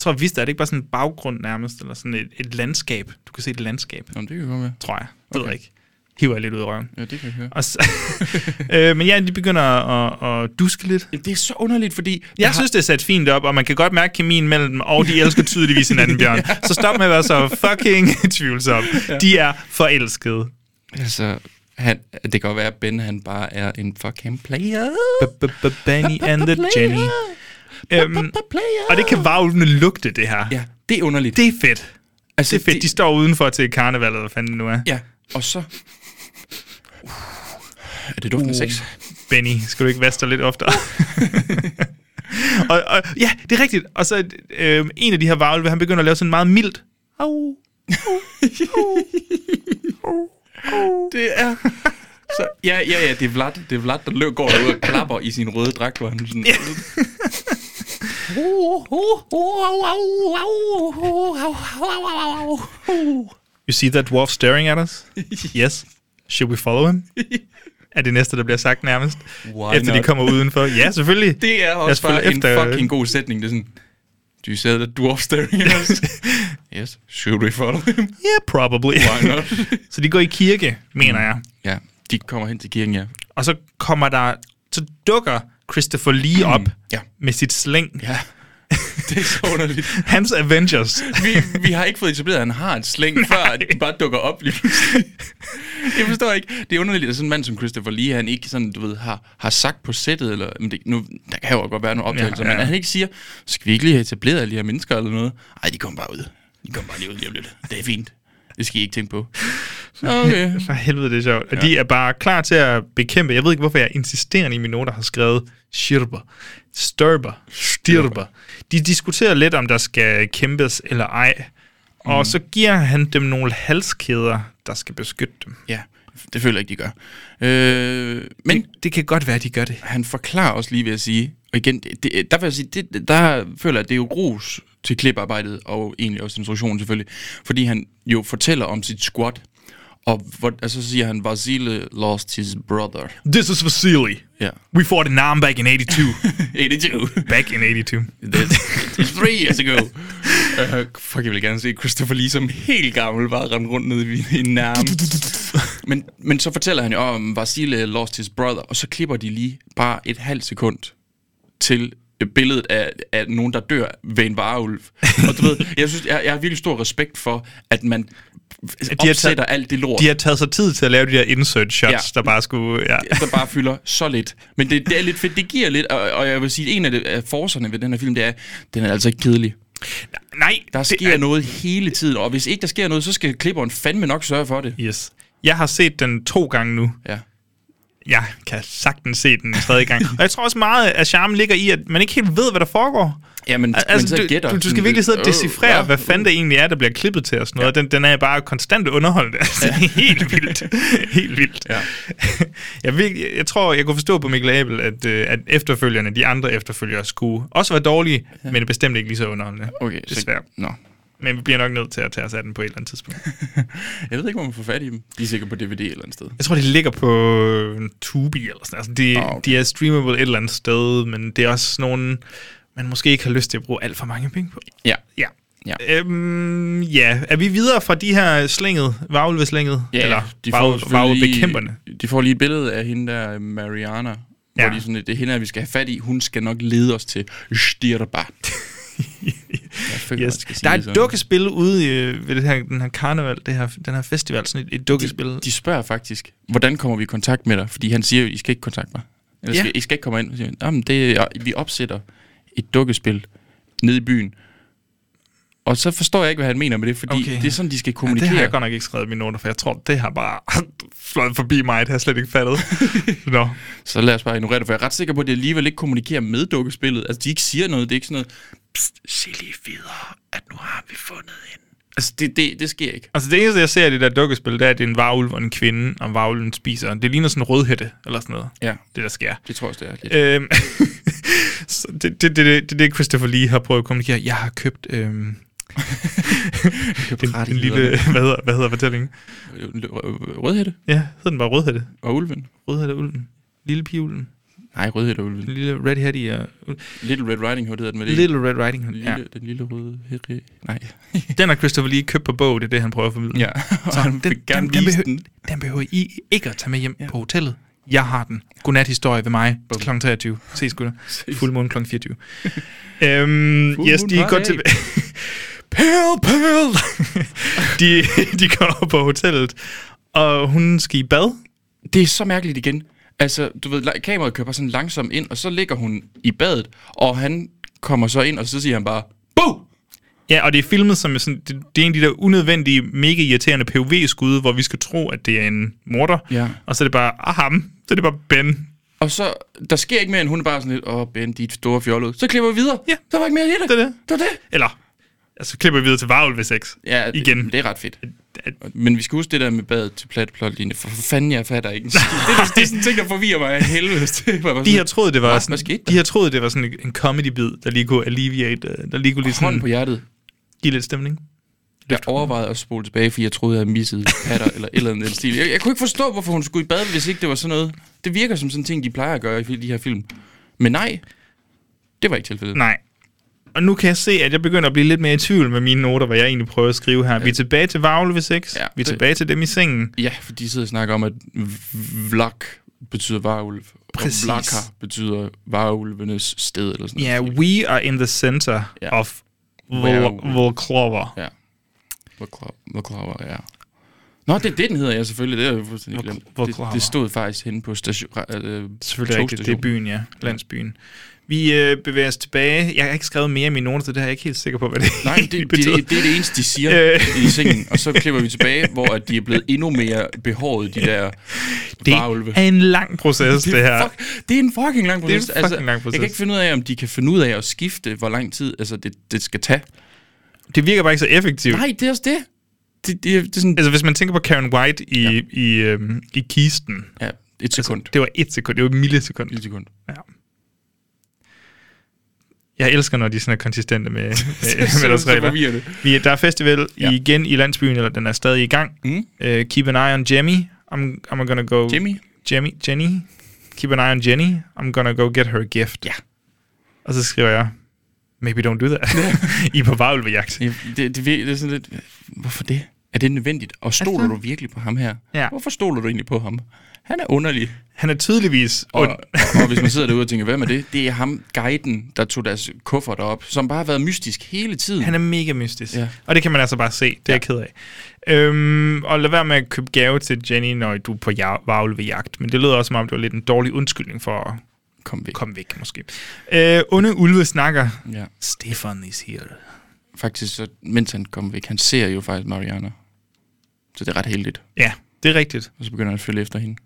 Speaker 3: tror, Vista er det ikke bare sådan en baggrund nærmest, eller sådan et, et landskab. Du kan se et landskab,
Speaker 2: Nå, men det kan godt være.
Speaker 3: tror jeg. Det okay. ved jeg ikke. Hiver jeg lidt ud af røven.
Speaker 2: Ja, det kan jeg høre.
Speaker 3: Og så, (laughs) øh, men ja, de begynder at, at duske lidt.
Speaker 2: Det er så underligt, fordi...
Speaker 3: Jeg synes, det er sat fint op, og man kan godt mærke kemien mellem dem, og de elsker tydeligvis (laughs) hinanden, Bjørn. Så stop med at være så (laughs) fucking tvivlsom. De er forelskede.
Speaker 2: Altså, han, det kan godt være, at Ben han bare er en fucking player.
Speaker 3: Benny and the Jenny. Øhm,
Speaker 2: Player.
Speaker 3: og det kan varulvene lugte, det her.
Speaker 2: Ja, det er underligt.
Speaker 3: Det er fedt.
Speaker 2: altså,
Speaker 3: Det er fedt. De står udenfor til karnevalet, eller hvad fanden det nu er.
Speaker 2: Ja, og så...
Speaker 3: Uh.
Speaker 2: Er det duften af sex?
Speaker 3: Benny, skal du ikke vaske dig lidt
Speaker 2: (laughs)
Speaker 3: oftere? og, og, ja, det er rigtigt. Og så øh, en af de her varulve, han begynder at lave sådan meget mildt. Au.
Speaker 2: Det er... Så, ja, ja, ja, det er Vlad, det er Vlad der løb, går derude og klapper i sin røde dragt, hvor han sådan...
Speaker 3: You see that dwarf staring at
Speaker 2: (laughs)
Speaker 3: us? Yes. Should we follow him? er det næste, der bliver sagt nærmest.
Speaker 2: Why
Speaker 3: efter
Speaker 2: not?
Speaker 3: de kommer udenfor. Ja, selvfølgelig.
Speaker 2: Det er
Speaker 3: Lad
Speaker 2: også
Speaker 3: os følge
Speaker 2: bare en
Speaker 3: efter-
Speaker 2: fucking god sætning. Det er sådan... Do you say that dwarf staring at us? yes. Should we follow him?
Speaker 3: Yeah, probably.
Speaker 2: Why not?
Speaker 3: (laughs) så de går i kirke, mener jeg.
Speaker 2: ja, de kommer hen til kirken, ja.
Speaker 3: Og så kommer der, så dukker Christopher Lee op
Speaker 2: Mm. Ja.
Speaker 3: med sit slæng.
Speaker 2: Ja. (laughs) Det er så underligt.
Speaker 3: (laughs) Hans Avengers.
Speaker 2: Vi, vi har ikke fået etableret, at han har et slæng, før at de bare dukker op lige pludselig. Jeg forstår ikke. Det er underligt, at sådan en mand som Christopher Lee, han ikke sådan, du ved, har, har sagt på sættet, eller men det, nu, der kan jo godt være nogle optagelser, ja,
Speaker 3: Ja,
Speaker 2: ja.
Speaker 3: ja.
Speaker 2: men at han ikke siger, skal vi ikke lige have etableret alle de her mennesker eller noget? Nej, de kommer bare ud. De kommer bare lige ud lige om lidt. Det er fint. Det skal I ikke tænke på. Nå, Okay.
Speaker 3: For helvede, det er sjovt. Og de er bare klar til at bekæmpe. Jeg ved ikke, hvorfor jeg insisterer i mine noter har skrevet Schirber, Størber, Stirber. De diskuterer lidt, om der skal kæmpes eller ej.
Speaker 2: Mm.
Speaker 3: Og så giver han dem nogle halskæder, der skal beskytte dem.
Speaker 2: Ja, det føler jeg ikke, de gør. Øh, men
Speaker 3: Det kan godt være, de gør det.
Speaker 2: han forklarer også lige ved at sige, og igen, det, det- der vil jeg sige, det, der føler jeg, at det er jo grus til kliparbejdet, og egentlig også instruktionen selvfølgelig, fordi han jo fortæller om sit squat, og, hvor, og så siger han, Vasile lost his brother. (laughs)
Speaker 3: This is Vasily.
Speaker 2: Ja.
Speaker 3: We fought an arm back in
Speaker 2: (laughs)
Speaker 3: 82.
Speaker 2: 82.
Speaker 3: back in 82.
Speaker 2: This is three years ago.
Speaker 3: (laughs) Øh,
Speaker 2: Uh, fuck, jeg vil gerne se Christopher Lee som helt gammel bare rende rundt nede i en nærm. (laughs) Men, men så fortæller han jo om, at Vasile lost his brother, og så klipper de lige bare et halvt sekund til øh, billedet af, af nogen, der dør ved en vareulv. Og du ved, jeg synes, jeg, jeg har virkelig stor respekt for, at man
Speaker 3: taget-
Speaker 2: opsætter alt det lort.
Speaker 3: De har taget sig tid til at lave de der insert shots,
Speaker 2: Ja.
Speaker 3: ja. der bare skulle... Ja.
Speaker 2: der bare fylder så lidt. Men det, det er lidt fedt, det giver lidt, og, og jeg vil sige, en af, det, af forserne ved den her film, det er, den er altså ikke kedelig.
Speaker 3: Nej,
Speaker 2: Der
Speaker 3: det
Speaker 2: sker
Speaker 3: er-
Speaker 2: noget hele tiden, og hvis ikke der sker noget, så skal klipperen fandme nok sørge for det.
Speaker 3: Yes. Jeg har set den to gange nu.
Speaker 2: Ja.
Speaker 3: Jeg kan sagtens se den en tredje
Speaker 2: (laughs)
Speaker 3: gang. Og jeg tror også meget, at charmen ligger i, at man ikke helt ved, hvad der foregår.
Speaker 2: Ja, men-
Speaker 3: Al-
Speaker 2: men
Speaker 3: altså,
Speaker 2: så
Speaker 3: du,
Speaker 2: gætter
Speaker 3: du, du
Speaker 2: sådan
Speaker 3: skal virkelig sidde og
Speaker 2: lidt, øh,
Speaker 3: decifrere,
Speaker 2: ja,
Speaker 3: hvad fanden det egentlig er, der bliver klippet til og sådan noget. Den, den er bare konstant underholdende. Altså, ja. helt vildt.
Speaker 2: (laughs)
Speaker 3: helt vildt.
Speaker 2: Ja.
Speaker 3: (laughs) jeg, virkelig, jeg tror, jeg kunne forstå på Mikkel Abel, at, øh, at efterfølgerne, de andre efterfølgere, skulle også være dårlige, ja. men bestemt ikke lige så underholdende.
Speaker 2: Okay,
Speaker 3: Desværre.
Speaker 2: Så, nå.
Speaker 3: Men vi bliver nok nødt til at tage os af den på et eller andet tidspunkt.
Speaker 2: Jeg ved ikke, hvor man får fat i dem. De er sikkert på DVD et eller andet sted.
Speaker 3: Jeg tror, de ligger på Tubi eller sådan altså, de,
Speaker 2: Ah,
Speaker 3: oh,
Speaker 2: okay.
Speaker 3: okay. de er streamable et eller andet sted, men det er også nogen, man måske ikke har lyst til at bruge alt for mange penge på.
Speaker 2: Ja.
Speaker 3: Ja.
Speaker 2: Ja.
Speaker 3: Øhm, ja. Er vi videre fra de her slinget, varulveslænget?
Speaker 2: Ja,
Speaker 3: eller
Speaker 2: de får
Speaker 3: varul-
Speaker 2: selvfølgelig lige-
Speaker 3: varulvebekæmperne?
Speaker 2: De får lige et billede af hende der, Mariana. Ja.
Speaker 3: Ja.
Speaker 2: Hvor de er sådan, lidt, det er hende, her, vi skal have fat i. Hun skal nok lede os til
Speaker 3: (laughs)
Speaker 2: Stirbart. Jeg føler, man
Speaker 3: Yes.
Speaker 2: skal sige
Speaker 3: Der er
Speaker 2: det
Speaker 3: et
Speaker 2: sådan.
Speaker 3: dukkespil ude i, øh, ved det her, den her karneval, det her, den her festival, sådan et, et dukkespil.
Speaker 2: De spørger faktisk, hvordan kommer vi i kontakt med dig? Fordi han siger jo, I skal ikke kontakte mig. Eller,
Speaker 3: Ja.
Speaker 2: skal, I skal ikke komme ind. Så Siger, han, Jamen, det, er- vi opsætter et dukkespil nede i byen. Og så forstår jeg ikke, hvad han mener med det, fordi
Speaker 3: Okay.
Speaker 2: okay. det er sådan, de skal
Speaker 3: Ja, det
Speaker 2: kommunikere.
Speaker 3: har jeg godt nok ikke skrevet i mine noter, for jeg tror, det har bare (laughs) fløjet forbi mig, det har jeg slet ikke
Speaker 2: (laughs)
Speaker 3: fattet. Nå.
Speaker 2: Så lad os bare ignorere det, for jeg er ret sikker på, at de alligevel ikke kommunikerer med dukkespillet. Altså, de ikke siger noget. Det er ikke sådan noget, pst, sig lige videre, at nu har vi fundet hende. Altså, det, det, det sker ikke.
Speaker 3: Altså det eneste, jeg ser i det der dukkespil, det er, at det er en varulv og en kvinde, og varulven spiser. Det ligner sådan en rødhætte, eller sådan noget,
Speaker 2: Ja,
Speaker 3: det der sker.
Speaker 2: det tror jeg også, det er lidt.
Speaker 3: Øhm, (laughs) så det, det, det, det, det er det, Christopher Lee har prøvet at kommunikere. Jeg har købt
Speaker 2: (laughs)
Speaker 3: øhm, en, en lille, hvad hedder, hvad hedder fortællingen?
Speaker 2: Øh, Rødhætte
Speaker 3: Ja, hed den bare Rødhætte.
Speaker 2: og ulven.
Speaker 3: Rødhætte og ulven. Lille pigeulven.
Speaker 2: Nej, Rødhætte og ulven.
Speaker 3: Den lille Red Hattie og...
Speaker 2: Little Red Riding Hood hedder den, med det
Speaker 3: Little Red Riding Hood.
Speaker 2: Lille,
Speaker 3: Ja.
Speaker 2: ja. Den lille røde herre. Nej.
Speaker 3: Den har Christopher Lee købt på bog, det er det, han prøver at formidle.
Speaker 2: Ja,
Speaker 3: Så
Speaker 2: (laughs) og han
Speaker 3: den,
Speaker 2: vil gerne
Speaker 3: den,
Speaker 2: vise
Speaker 3: behøver,
Speaker 2: den.
Speaker 3: den behøver I ikke at tage med hjem ja. på hotellet. Jeg har den. Godnat-historie ved mig
Speaker 2: Bum.
Speaker 3: kl. 23. Ses, gutter.
Speaker 2: Ses.
Speaker 3: Fuld måne kl. 24. (laughs) øhm,
Speaker 2: Full
Speaker 3: yes,
Speaker 2: moon
Speaker 3: de går (laughs)
Speaker 2: party.
Speaker 3: til... Pearl, Pearl! (laughs) de, de går op på hotellet, og hun skal i bad.
Speaker 2: Det er så mærkeligt igen. Altså, du ved, la- kameraet kører bare sådan langsomt ind, og så ligger hun i badet, og han kommer så ind, og så siger han bare, BOO!
Speaker 3: Ja, og det er filmet som sådan, det, det er en af de der unødvendige, mega irriterende POV-skud, hvor vi skal tro, at det er en morder.
Speaker 2: Ja.
Speaker 3: Og så er det bare, ah ham, så er det bare Ben.
Speaker 2: Og så, der sker ikke mere, end hun er bare sådan lidt, åh, oh, Ben, dit store fjollede. Så klipper vi videre.
Speaker 3: Ja.
Speaker 2: Der var ikke mere i det.
Speaker 3: Det er det.
Speaker 2: Det var det.
Speaker 3: Eller, altså klipper vi videre til Varulve 6.
Speaker 2: Ja,
Speaker 3: Igen.
Speaker 2: Det, det er ret fedt.
Speaker 3: at-
Speaker 2: Men vi skal huske det der med badet til plat plotlinje, for fanden, jeg fatter ikke.
Speaker 3: (laughs)
Speaker 2: en skid. Det, er- det, er sådan en ting, der forvirrer mig af helvede. (laughs) Det var bare
Speaker 3: De
Speaker 2: sådan-
Speaker 3: har troet, det var
Speaker 2: Hvad
Speaker 3: sådan,
Speaker 2: skete der?
Speaker 3: de har troet, det var sådan en- en comedy-bid, der lige kunne alleviate, øh, der lige kunne lige
Speaker 2: Hånden
Speaker 3: sådan,
Speaker 2: på hjertet.
Speaker 3: give lidt stemning.
Speaker 2: Jeg overvejede at spole tilbage, fordi jeg troede, jeg havde misset patter eller et eller andet i den stil. Jeg, jeg kunne ikke forstå, hvorfor hun skulle i bad, hvis ikke det var sådan noget. Det virker som sådan en ting, de plejer at gøre i de her film. Men nej, det var ikke tilfældet.
Speaker 3: Nej. Og nu kan jeg se, at jeg begynder at blive lidt mere i tvivl med mine noter, hvad jeg egentlig prøver at skrive her. Vi er tilbage til Varulve 6.
Speaker 2: Ja,
Speaker 3: vi er
Speaker 2: det-
Speaker 3: tilbage til dem i sengen.
Speaker 2: Ja, for de sidder og snakker om, at v- vlak betyder varulv.
Speaker 3: Præcis.
Speaker 2: Og vlakker betyder varulvenes sted eller sådan
Speaker 3: Ja,
Speaker 2: noget.
Speaker 3: we are in the center
Speaker 2: Ja.
Speaker 3: of
Speaker 2: Varulve.
Speaker 3: Volklova.
Speaker 2: Ja. Voklover, ja. Nå, det er det, den hedder, ja, selvfølgelig. Det er jeg fuldstændig
Speaker 3: Hvor-
Speaker 2: glemt.
Speaker 3: hvor
Speaker 2: Det,
Speaker 3: klar var-
Speaker 2: det stod faktisk henne på station. Øh,
Speaker 3: Selvfølgelig rigtigt. Det er
Speaker 2: togstationen.
Speaker 3: byen, ja. Landsbyen. Vi øh, bevæger os tilbage. Jeg har ikke skrevet mere i mine noter, så det her er jeg ikke helt sikker på, hvad det (laughs)
Speaker 2: Nej, det, det,
Speaker 3: egentlig betyder.
Speaker 2: det, det er det eneste, de
Speaker 3: (laughs)
Speaker 2: siger
Speaker 3: Øh.
Speaker 2: i sengen. Og så klipper vi tilbage, hvor at de er blevet endnu mere behåret, de der
Speaker 3: Det
Speaker 2: varulve.
Speaker 3: er en lang proces, det,
Speaker 2: Det er,
Speaker 3: her.
Speaker 2: fuck, det er en fucking lang
Speaker 3: er en
Speaker 2: proces. Altså,
Speaker 3: fucking lang proces.
Speaker 2: Jeg kan ikke finde ud af, om de kan finde ud af at skifte, hvor lang tid altså, det, det skal tage.
Speaker 3: Det virker bare ikke så effektivt.
Speaker 2: Nej, det er også det. Det, det, er- det er sådan...
Speaker 3: Altså, hvis man tænker på Karen White i, ja. i, øhm, i kisten.
Speaker 2: Ja, et sekund.
Speaker 3: Altså, Det var et sekund. Det var et millisekund.
Speaker 2: Et sekund.
Speaker 3: Ja. Jeg elsker, når de sådan er konsistente
Speaker 2: (laughs)
Speaker 3: med, med, med deres
Speaker 2: så
Speaker 3: regler.
Speaker 2: forvirrer det.
Speaker 3: Vi, der er festival
Speaker 2: Ja.
Speaker 3: ja. igen i landsbyen, eller den er stadig i gang.
Speaker 2: Mm.
Speaker 3: Uh, keep an eye on Jemmy. I'm, I'm gonna go...
Speaker 2: Jimmy?
Speaker 3: Jemmy? Jenny? Keep an eye on Jenny. I'm gonna go get her a gift.
Speaker 2: Ja.
Speaker 3: Og så skriver jeg,
Speaker 2: (laughs)
Speaker 3: maybe don't do that. I er på varulvejagt.
Speaker 2: Det, det, det, vir- det er sådan lidt... Hvorfor det? Er det nødvendigt? Og stoler
Speaker 3: Altså-
Speaker 2: du virkelig på ham her?
Speaker 3: Ja.
Speaker 2: Hvorfor stoler du egentlig på ham? Han er underlig.
Speaker 3: Han er tydeligvis...
Speaker 2: Og,
Speaker 3: Und,
Speaker 2: og, og hvis man sidder derude og tænker, hvem er det? Det er ham, guiden, der tog deres kuffer derop, som bare har været mystisk hele tiden.
Speaker 3: han er mega mystisk.
Speaker 2: Ja.
Speaker 3: Ja. Og det kan man altså bare se. Det er ja. jeg ked af. Øhm, og lad være med at købe gave til Jenny, når du er på ja- vagle ved jagt. Men det lyder også, som om det var lidt en dårlig undskyldning for at
Speaker 2: Kom væk. Kom.
Speaker 3: komme væk, måske. Øh, onde ulve snakker.
Speaker 2: Ja,
Speaker 3: Stefan is here.
Speaker 2: faktisk, så, mens han kom væk, han ser jo faktisk Mariana. Så det er ret heldigt.
Speaker 3: Ja, det er rigtigt.
Speaker 2: Og så begynder han at følge efter hende.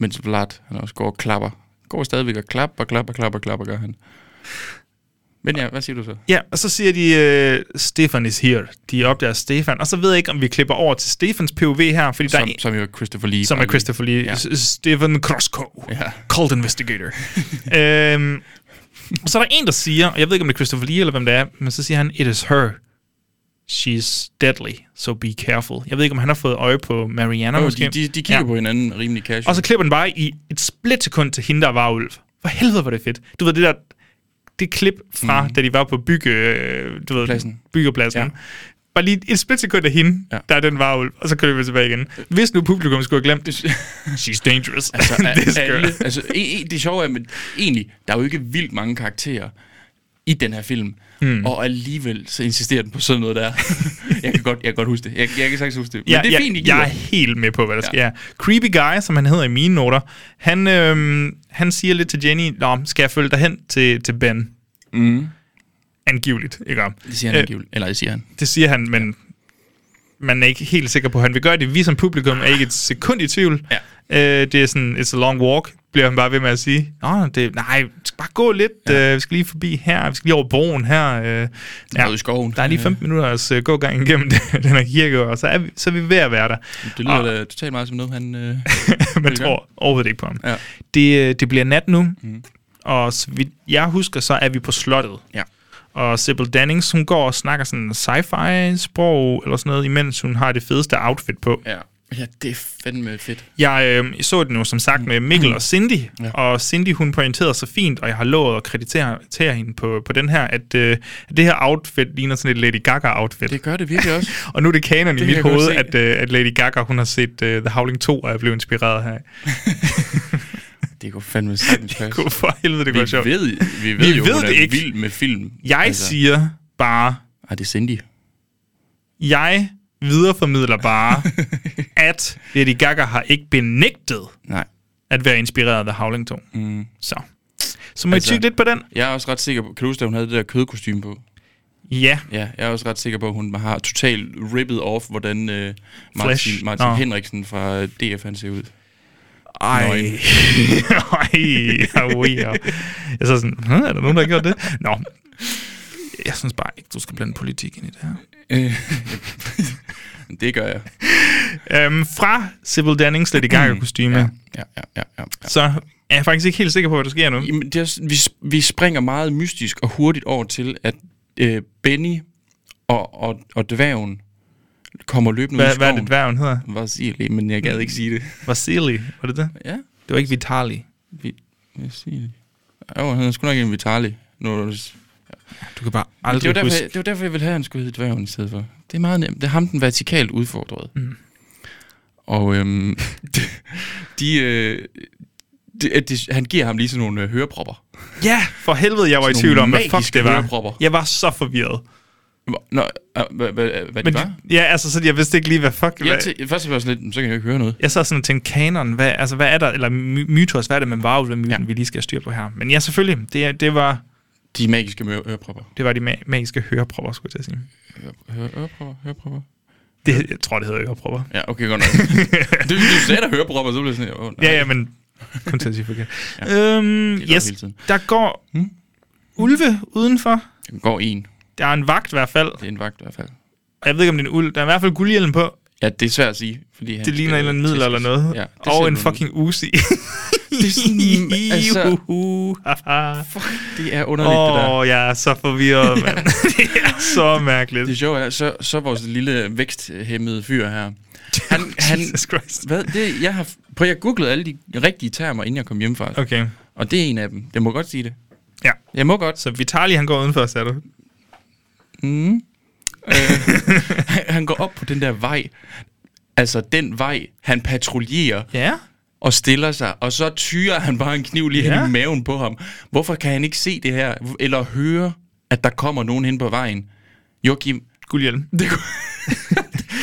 Speaker 2: Mens Vlad, han også går og klapper. Går stadigvæk og klapper, klapper, klapper, klapper, gør han. Men ja, hvad siger du så?
Speaker 3: Ja, og så siger de, øh, Stefan is here. De opdager Stefan. Og så ved jeg ikke, om vi klipper over til Stefans POV her, fordi der er
Speaker 2: Som,
Speaker 3: en,
Speaker 2: som jo er Christopher Lee.
Speaker 3: som er Christopher Lee.
Speaker 2: Ja.
Speaker 3: Ja. Stephen Krosko.
Speaker 2: Ja.
Speaker 3: Cold
Speaker 2: (laughs)
Speaker 3: Investigator. øhm, så er der en, der siger, og jeg ved ikke, om det er Christopher Lee eller hvem det er, men så siger han, it is her. She's deadly, so be careful. Jeg ved ikke, om han har fået øje på Mariana
Speaker 2: Jo,
Speaker 3: måske.
Speaker 2: de, de, de kigger ja. på hinanden rimelig casual.
Speaker 3: Og så klipper den bare i et splitsekund til hende, der var ulv. For helvede, var det fedt. Du ved, det der det klip fra, mm. da de var på bygge, øh, du ved,
Speaker 2: Pladsen.
Speaker 3: byggepladsen.
Speaker 2: Ja.
Speaker 3: Ja. Bare lige et splitsekund af hende,
Speaker 2: Ja.
Speaker 3: ja. der er den varulv, og så kører vi tilbage igen. Hvis nu publikum skulle have glemt det, she's dangerous. (laughs)
Speaker 2: (laughs) altså,
Speaker 3: This
Speaker 2: a- alle,
Speaker 3: girl.
Speaker 2: altså, e- e- det sjove er, men egentlig, der er jo ikke vildt mange karakterer i den her film. Mm. Og alligevel, så insisterer den på sådan noget der. (laughs) jeg, kan godt, jeg kan godt huske det. Jeg, jeg kan sagtens huske det. Men det er fint, I
Speaker 3: jeg,
Speaker 2: gider.
Speaker 3: jeg er helt med på, hvad der ja. sker. Creepy Guy, som han hedder i mine noter, han, øhm, han siger lidt til Jenny, Nå, skal jeg følge dig hen til, til Ben? Mm. Angiveligt, ikke om?
Speaker 2: Det siger han angiveligt. Eller det siger han.
Speaker 3: Det siger han, men man er ikke helt sikker på, at han vil gøre det. Vi som publikum er ikke et sekund i tvivl.
Speaker 2: Ja.
Speaker 3: Øh, det er sådan, it's a long walk, bliver han bare ved med at sige. Nå, det, nej, vi skal bare gå lidt. Ja. Øh, vi skal lige forbi her, vi skal lige over broen her. Øh,
Speaker 2: Ja. Ude i skoven.
Speaker 3: Der er lige 15 minutters øh, gågang igennem (laughs) den her kirke, og så er, vi, så er vi ved at være
Speaker 2: (laughs)
Speaker 3: der.
Speaker 2: Det lyder
Speaker 3: Og-
Speaker 2: da totalt meget som noget, han... Øh,
Speaker 3: Man
Speaker 2: Vil du
Speaker 3: tror overhovedet ikke på ham.
Speaker 2: Ja. Mhm.
Speaker 3: Det, øh, det bliver nat nu, mm. og så vidt jeg husker, så er vi på slottet.
Speaker 2: ja.
Speaker 3: Og Sybil Dannings, hun går og snakker sådan sci-fi-sprog eller sådan noget, imens hun har det fedeste outfit på.
Speaker 2: ja. Ja, det er fandme fedt.
Speaker 3: Jeg øh, så det nu som sagt med Mikkel og Cindy,
Speaker 2: Ja.
Speaker 3: ja. og Cindy hun pointerede så fint, og jeg har lovet at kreditere kreditere hende på, på den her, at øh, at det her outfit ligner sådan et Lady Gaga-outfit.
Speaker 2: Det gør det virkelig også.
Speaker 3: Og nu er det kanon
Speaker 2: Det
Speaker 3: i
Speaker 2: kan
Speaker 3: mit
Speaker 2: jeg godt
Speaker 3: hoved,
Speaker 2: se.
Speaker 3: at, øh, at Lady Gaga hun har set øh, The Howling 2, og er blevet inspireret her.
Speaker 2: (laughs) (laughs) det kunne fandme sagtens passe.
Speaker 3: Gud, for helvede, det
Speaker 2: Vi
Speaker 3: går sjovt.
Speaker 2: ved, vi ved
Speaker 3: Vi
Speaker 2: jo,
Speaker 3: ved
Speaker 2: hun
Speaker 3: det
Speaker 2: er
Speaker 3: ikke.
Speaker 2: vild med film.
Speaker 3: Jeg altså. siger bare,
Speaker 2: Ah, det er (laughs) Cindy.
Speaker 3: jeg videreformidler
Speaker 2: (laughs)
Speaker 3: bare, at Lady Gaga har ikke benægtet
Speaker 2: Nej.
Speaker 3: at være inspireret af The Howling 2. Mm. Så. Så må altså,
Speaker 2: Altså-
Speaker 3: I tykke lidt på den?
Speaker 2: Jeg er også ret sikker på... Kan du huske, da hun havde det der kødkostyme på?
Speaker 3: Ja.
Speaker 2: Ja, jeg er også ret sikker på, at hun har totalt ripped off, hvordan øh, Martin,
Speaker 3: Flash.
Speaker 2: Martin
Speaker 3: Nå.
Speaker 2: Henriksen fra DF han ser ud.
Speaker 3: Ej. Ej, (laughs)
Speaker 2: Nøgen.
Speaker 3: au, au. Jeg så sådan, "Hm, er der nogen, der har gjort det? Nå. Jeg synes bare ikke, du skal blande politik ind i det her.
Speaker 2: Øh, (laughs) det gør jeg.
Speaker 3: Øhm, fra Sybil Dannings Lady Gaga-kostyme, Mm. ja.
Speaker 2: Ja, ja, ja. ja, ja.
Speaker 3: så er jeg faktisk ikke helt sikker på, hvad der sker nu.
Speaker 2: Jamen, det er, også- vi, sp- vi springer meget mystisk og hurtigt over til, at øh, Benny og, og, og dværgen kommer løbende ud i
Speaker 3: Hvad, hvad er
Speaker 2: skoven.
Speaker 3: det, dværgen hedder?
Speaker 2: Hvad siger det? Men jeg gad ikke sige det.
Speaker 3: Vasili, var det det?
Speaker 2: Ja,
Speaker 3: Det var ikke Vitali.
Speaker 2: vi, jeg siger det. Jo, han er sgu nok en Vitali. Nu, er det-
Speaker 3: Du kan bare
Speaker 2: det, var
Speaker 3: aldrig
Speaker 2: derfor,
Speaker 3: huske.
Speaker 2: jeg, det var derfor, jeg ville have, at han skulle hedde dværgen i stedet for. Det er meget nemt. Det er ham, den vertikalt udfordrede. Mm. Og øhm, (laughs) de, de, øh, de, de, han giver ham lige sådan nogle øh, hørepropper.
Speaker 3: Ja, for helvede, jeg var i
Speaker 2: Sådan
Speaker 3: tvivl om,
Speaker 2: nogle
Speaker 3: hvad fuck
Speaker 2: magiske
Speaker 3: det var.
Speaker 2: hørekropper.
Speaker 3: Jeg var så forvirret.
Speaker 2: Nå, øh, hvad, hvad,
Speaker 3: Men
Speaker 2: hvad det var?
Speaker 3: de, ja, altså, så jeg vidste ikke lige, hvad fuck...
Speaker 2: Jeg
Speaker 3: hvad,
Speaker 2: til, først var jeg sådan lidt, "Men så kan jeg jo ikke høre noget.
Speaker 3: jeg sad sådan og tænkte, kanon, hvad, altså, hvad er der, eller my- mytos, hvad er det med varulvemyten,
Speaker 2: Ja.
Speaker 3: ja. vi lige skal have styr på her? Men ja, selvfølgelig, det, er- det, var,
Speaker 2: De magiske mø- ørepropper.
Speaker 3: det var de ma- magiske hørepropper, skulle jeg til at sige.
Speaker 2: Hør- hør- Ørepropper, hørepropper.
Speaker 3: Det, jeg tror, det hedder hørepropper.
Speaker 2: Ja, okay,
Speaker 3: (laughs)
Speaker 2: godt nok. du, du sagde der hørepropper, så blev jeg sådan, åh, nej.
Speaker 3: Ja, ja, men kun til at sige
Speaker 2: (laughs)
Speaker 3: forkert. ja. øhm,
Speaker 2: går
Speaker 3: yes,
Speaker 2: hele tiden.
Speaker 3: der går hmm? ulve udenfor.
Speaker 2: Den går en.
Speaker 3: Der er en vagt i hvert fald.
Speaker 2: Det er en vagt i hvert fald.
Speaker 3: Og Jeg ved ikke, om det er en ulv. Der er i hvert fald guldhjelm på.
Speaker 2: Ja, det er svært at sige. Fordi han
Speaker 3: Det ligner en eller anden middel eller noget.
Speaker 2: Ja,
Speaker 3: Ja,
Speaker 2: det ser
Speaker 3: og en
Speaker 2: du-
Speaker 3: fucking Uzi.
Speaker 2: (laughs) Det er sådan, altså,
Speaker 3: Juhu.
Speaker 2: fuck, (laughs) det er underligt, det der.
Speaker 3: Åh, oh, jeg er så forvirret,
Speaker 2: (laughs)
Speaker 3: mand. (laughs) det er så mærkeligt.
Speaker 2: Det sjove er, så, så vores lille væksthæmmede fyr her, han,
Speaker 3: (laughs)
Speaker 2: han,
Speaker 3: Jesus Christ.
Speaker 2: hvad, det, jeg har, prøv, jeg googlede alle de rigtige termer, inden jeg kom hjem fra. Okay.
Speaker 3: Okay.
Speaker 2: Og det er en af dem. Jeg må godt sige det.
Speaker 3: Ja.
Speaker 2: Jeg må godt. (laughs)
Speaker 3: Så Vitali, han går udenfor, sagde du? Mm.
Speaker 2: Han, han går op på den der vej, altså den vej, han patruljerer
Speaker 3: Ja.
Speaker 2: og stiller sig, og så tyrer han bare en kniv lige
Speaker 3: Ja.
Speaker 2: hen i maven på ham. Hvorfor kan han ikke se det her, eller høre, at der kommer nogen hen på vejen? Joachim,
Speaker 3: Guldhjelm.
Speaker 2: det (laughs) kunne...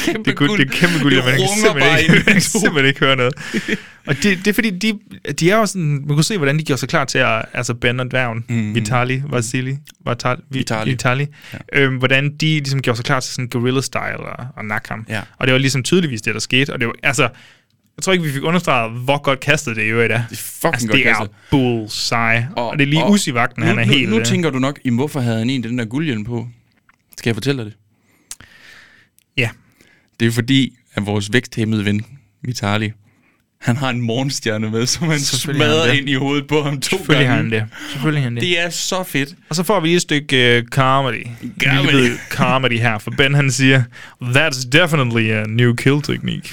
Speaker 3: Det er, guld, det er kæmpe guld,
Speaker 2: det
Speaker 3: man kan
Speaker 2: runger
Speaker 3: simpelthen
Speaker 2: bare
Speaker 3: ikke,
Speaker 2: ind i
Speaker 3: man (laughs) kan
Speaker 2: to.
Speaker 3: simpelthen ikke høre
Speaker 2: (laughs)
Speaker 3: noget. Og det, det er fordi, de, de er jo sådan, man kunne se, hvordan de gjorde sig klar til at, altså Ben og Dværgen, mm. Vitali, Vasili, Vitali, Vitali,
Speaker 2: Vitali.
Speaker 3: Vitali ja. øhm, hvordan de ligesom gjorde sig klar til sådan guerrilla style og, og nakke ham.
Speaker 2: Ja.
Speaker 3: Og det var ligesom tydeligvis det, der skete, og det var, altså, jeg tror ikke, vi fik understreget, hvor godt kastet det i øvrigt er. Det
Speaker 2: er fucking
Speaker 3: altså,
Speaker 2: godt
Speaker 3: det er
Speaker 2: kastet.
Speaker 3: bullseye. Og, og, det er lige Uzi vagten,
Speaker 2: nu,
Speaker 3: han er
Speaker 2: nu,
Speaker 3: helt...
Speaker 2: Nu
Speaker 3: øh,
Speaker 2: tænker du nok, "Jamen, hvorfor havde han en den der guldhjelm på? Skal jeg fortælle dig det?
Speaker 3: Ja.
Speaker 2: Det er fordi, at vores væksthæmmede ven, Vitali, han har en morgenstjerne med, som han
Speaker 3: Selvfølgelig har han
Speaker 2: smadrer
Speaker 3: det.
Speaker 2: ind i hovedet på ham to
Speaker 3: Selvfølgelig har han
Speaker 2: gange.
Speaker 3: det. Selvfølgelig har han det.
Speaker 2: Det er så fedt.
Speaker 3: Og så får vi lige et stykke uh, comedy.
Speaker 2: Comedy.
Speaker 3: Lille comedy her, for Ben han siger, That's definitely a new kill technique.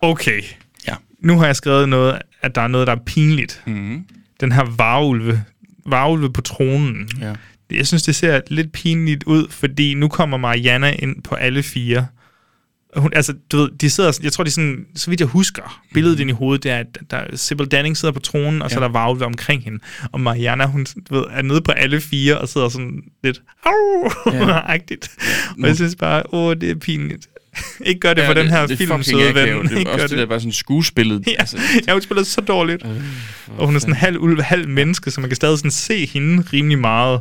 Speaker 3: okay,
Speaker 2: Ja.
Speaker 3: nu har jeg skrevet noget, at der er noget, der er pinligt. Mm-hmm.
Speaker 2: Mhm.
Speaker 3: Den her varulve, varulve på tronen.
Speaker 2: Ja.
Speaker 3: Jeg synes, det ser lidt pinligt ud, fordi nu kommer Mariana ind på alle fire. Og Hun, altså, du ved, de sidder, jeg tror, de er sådan, så vidt jeg husker, billedet ind i hovedet, det er, at der, Sybil Danning sidder på tronen, og så er
Speaker 2: Mhm. Ja.
Speaker 3: der varulve omkring hende. Og Mariana, hun du ved, er nede på alle fire, og sidder sådan lidt, (laughs) au-agtigt. Og jeg synes bare, åh, det er pinligt. (laughs) ikke gør det ja, for den her
Speaker 2: det,
Speaker 3: film,
Speaker 2: det
Speaker 3: søde ven. Ikke
Speaker 2: Det er
Speaker 3: gør
Speaker 2: også det der bare sådan skuespillet.
Speaker 3: (laughs) Ja, altså, ja, hun spiller så dårligt.
Speaker 2: Øh,
Speaker 3: og hun er sådan halv ulv, halv menneske, så man kan stadig sådan se hende rimelig meget.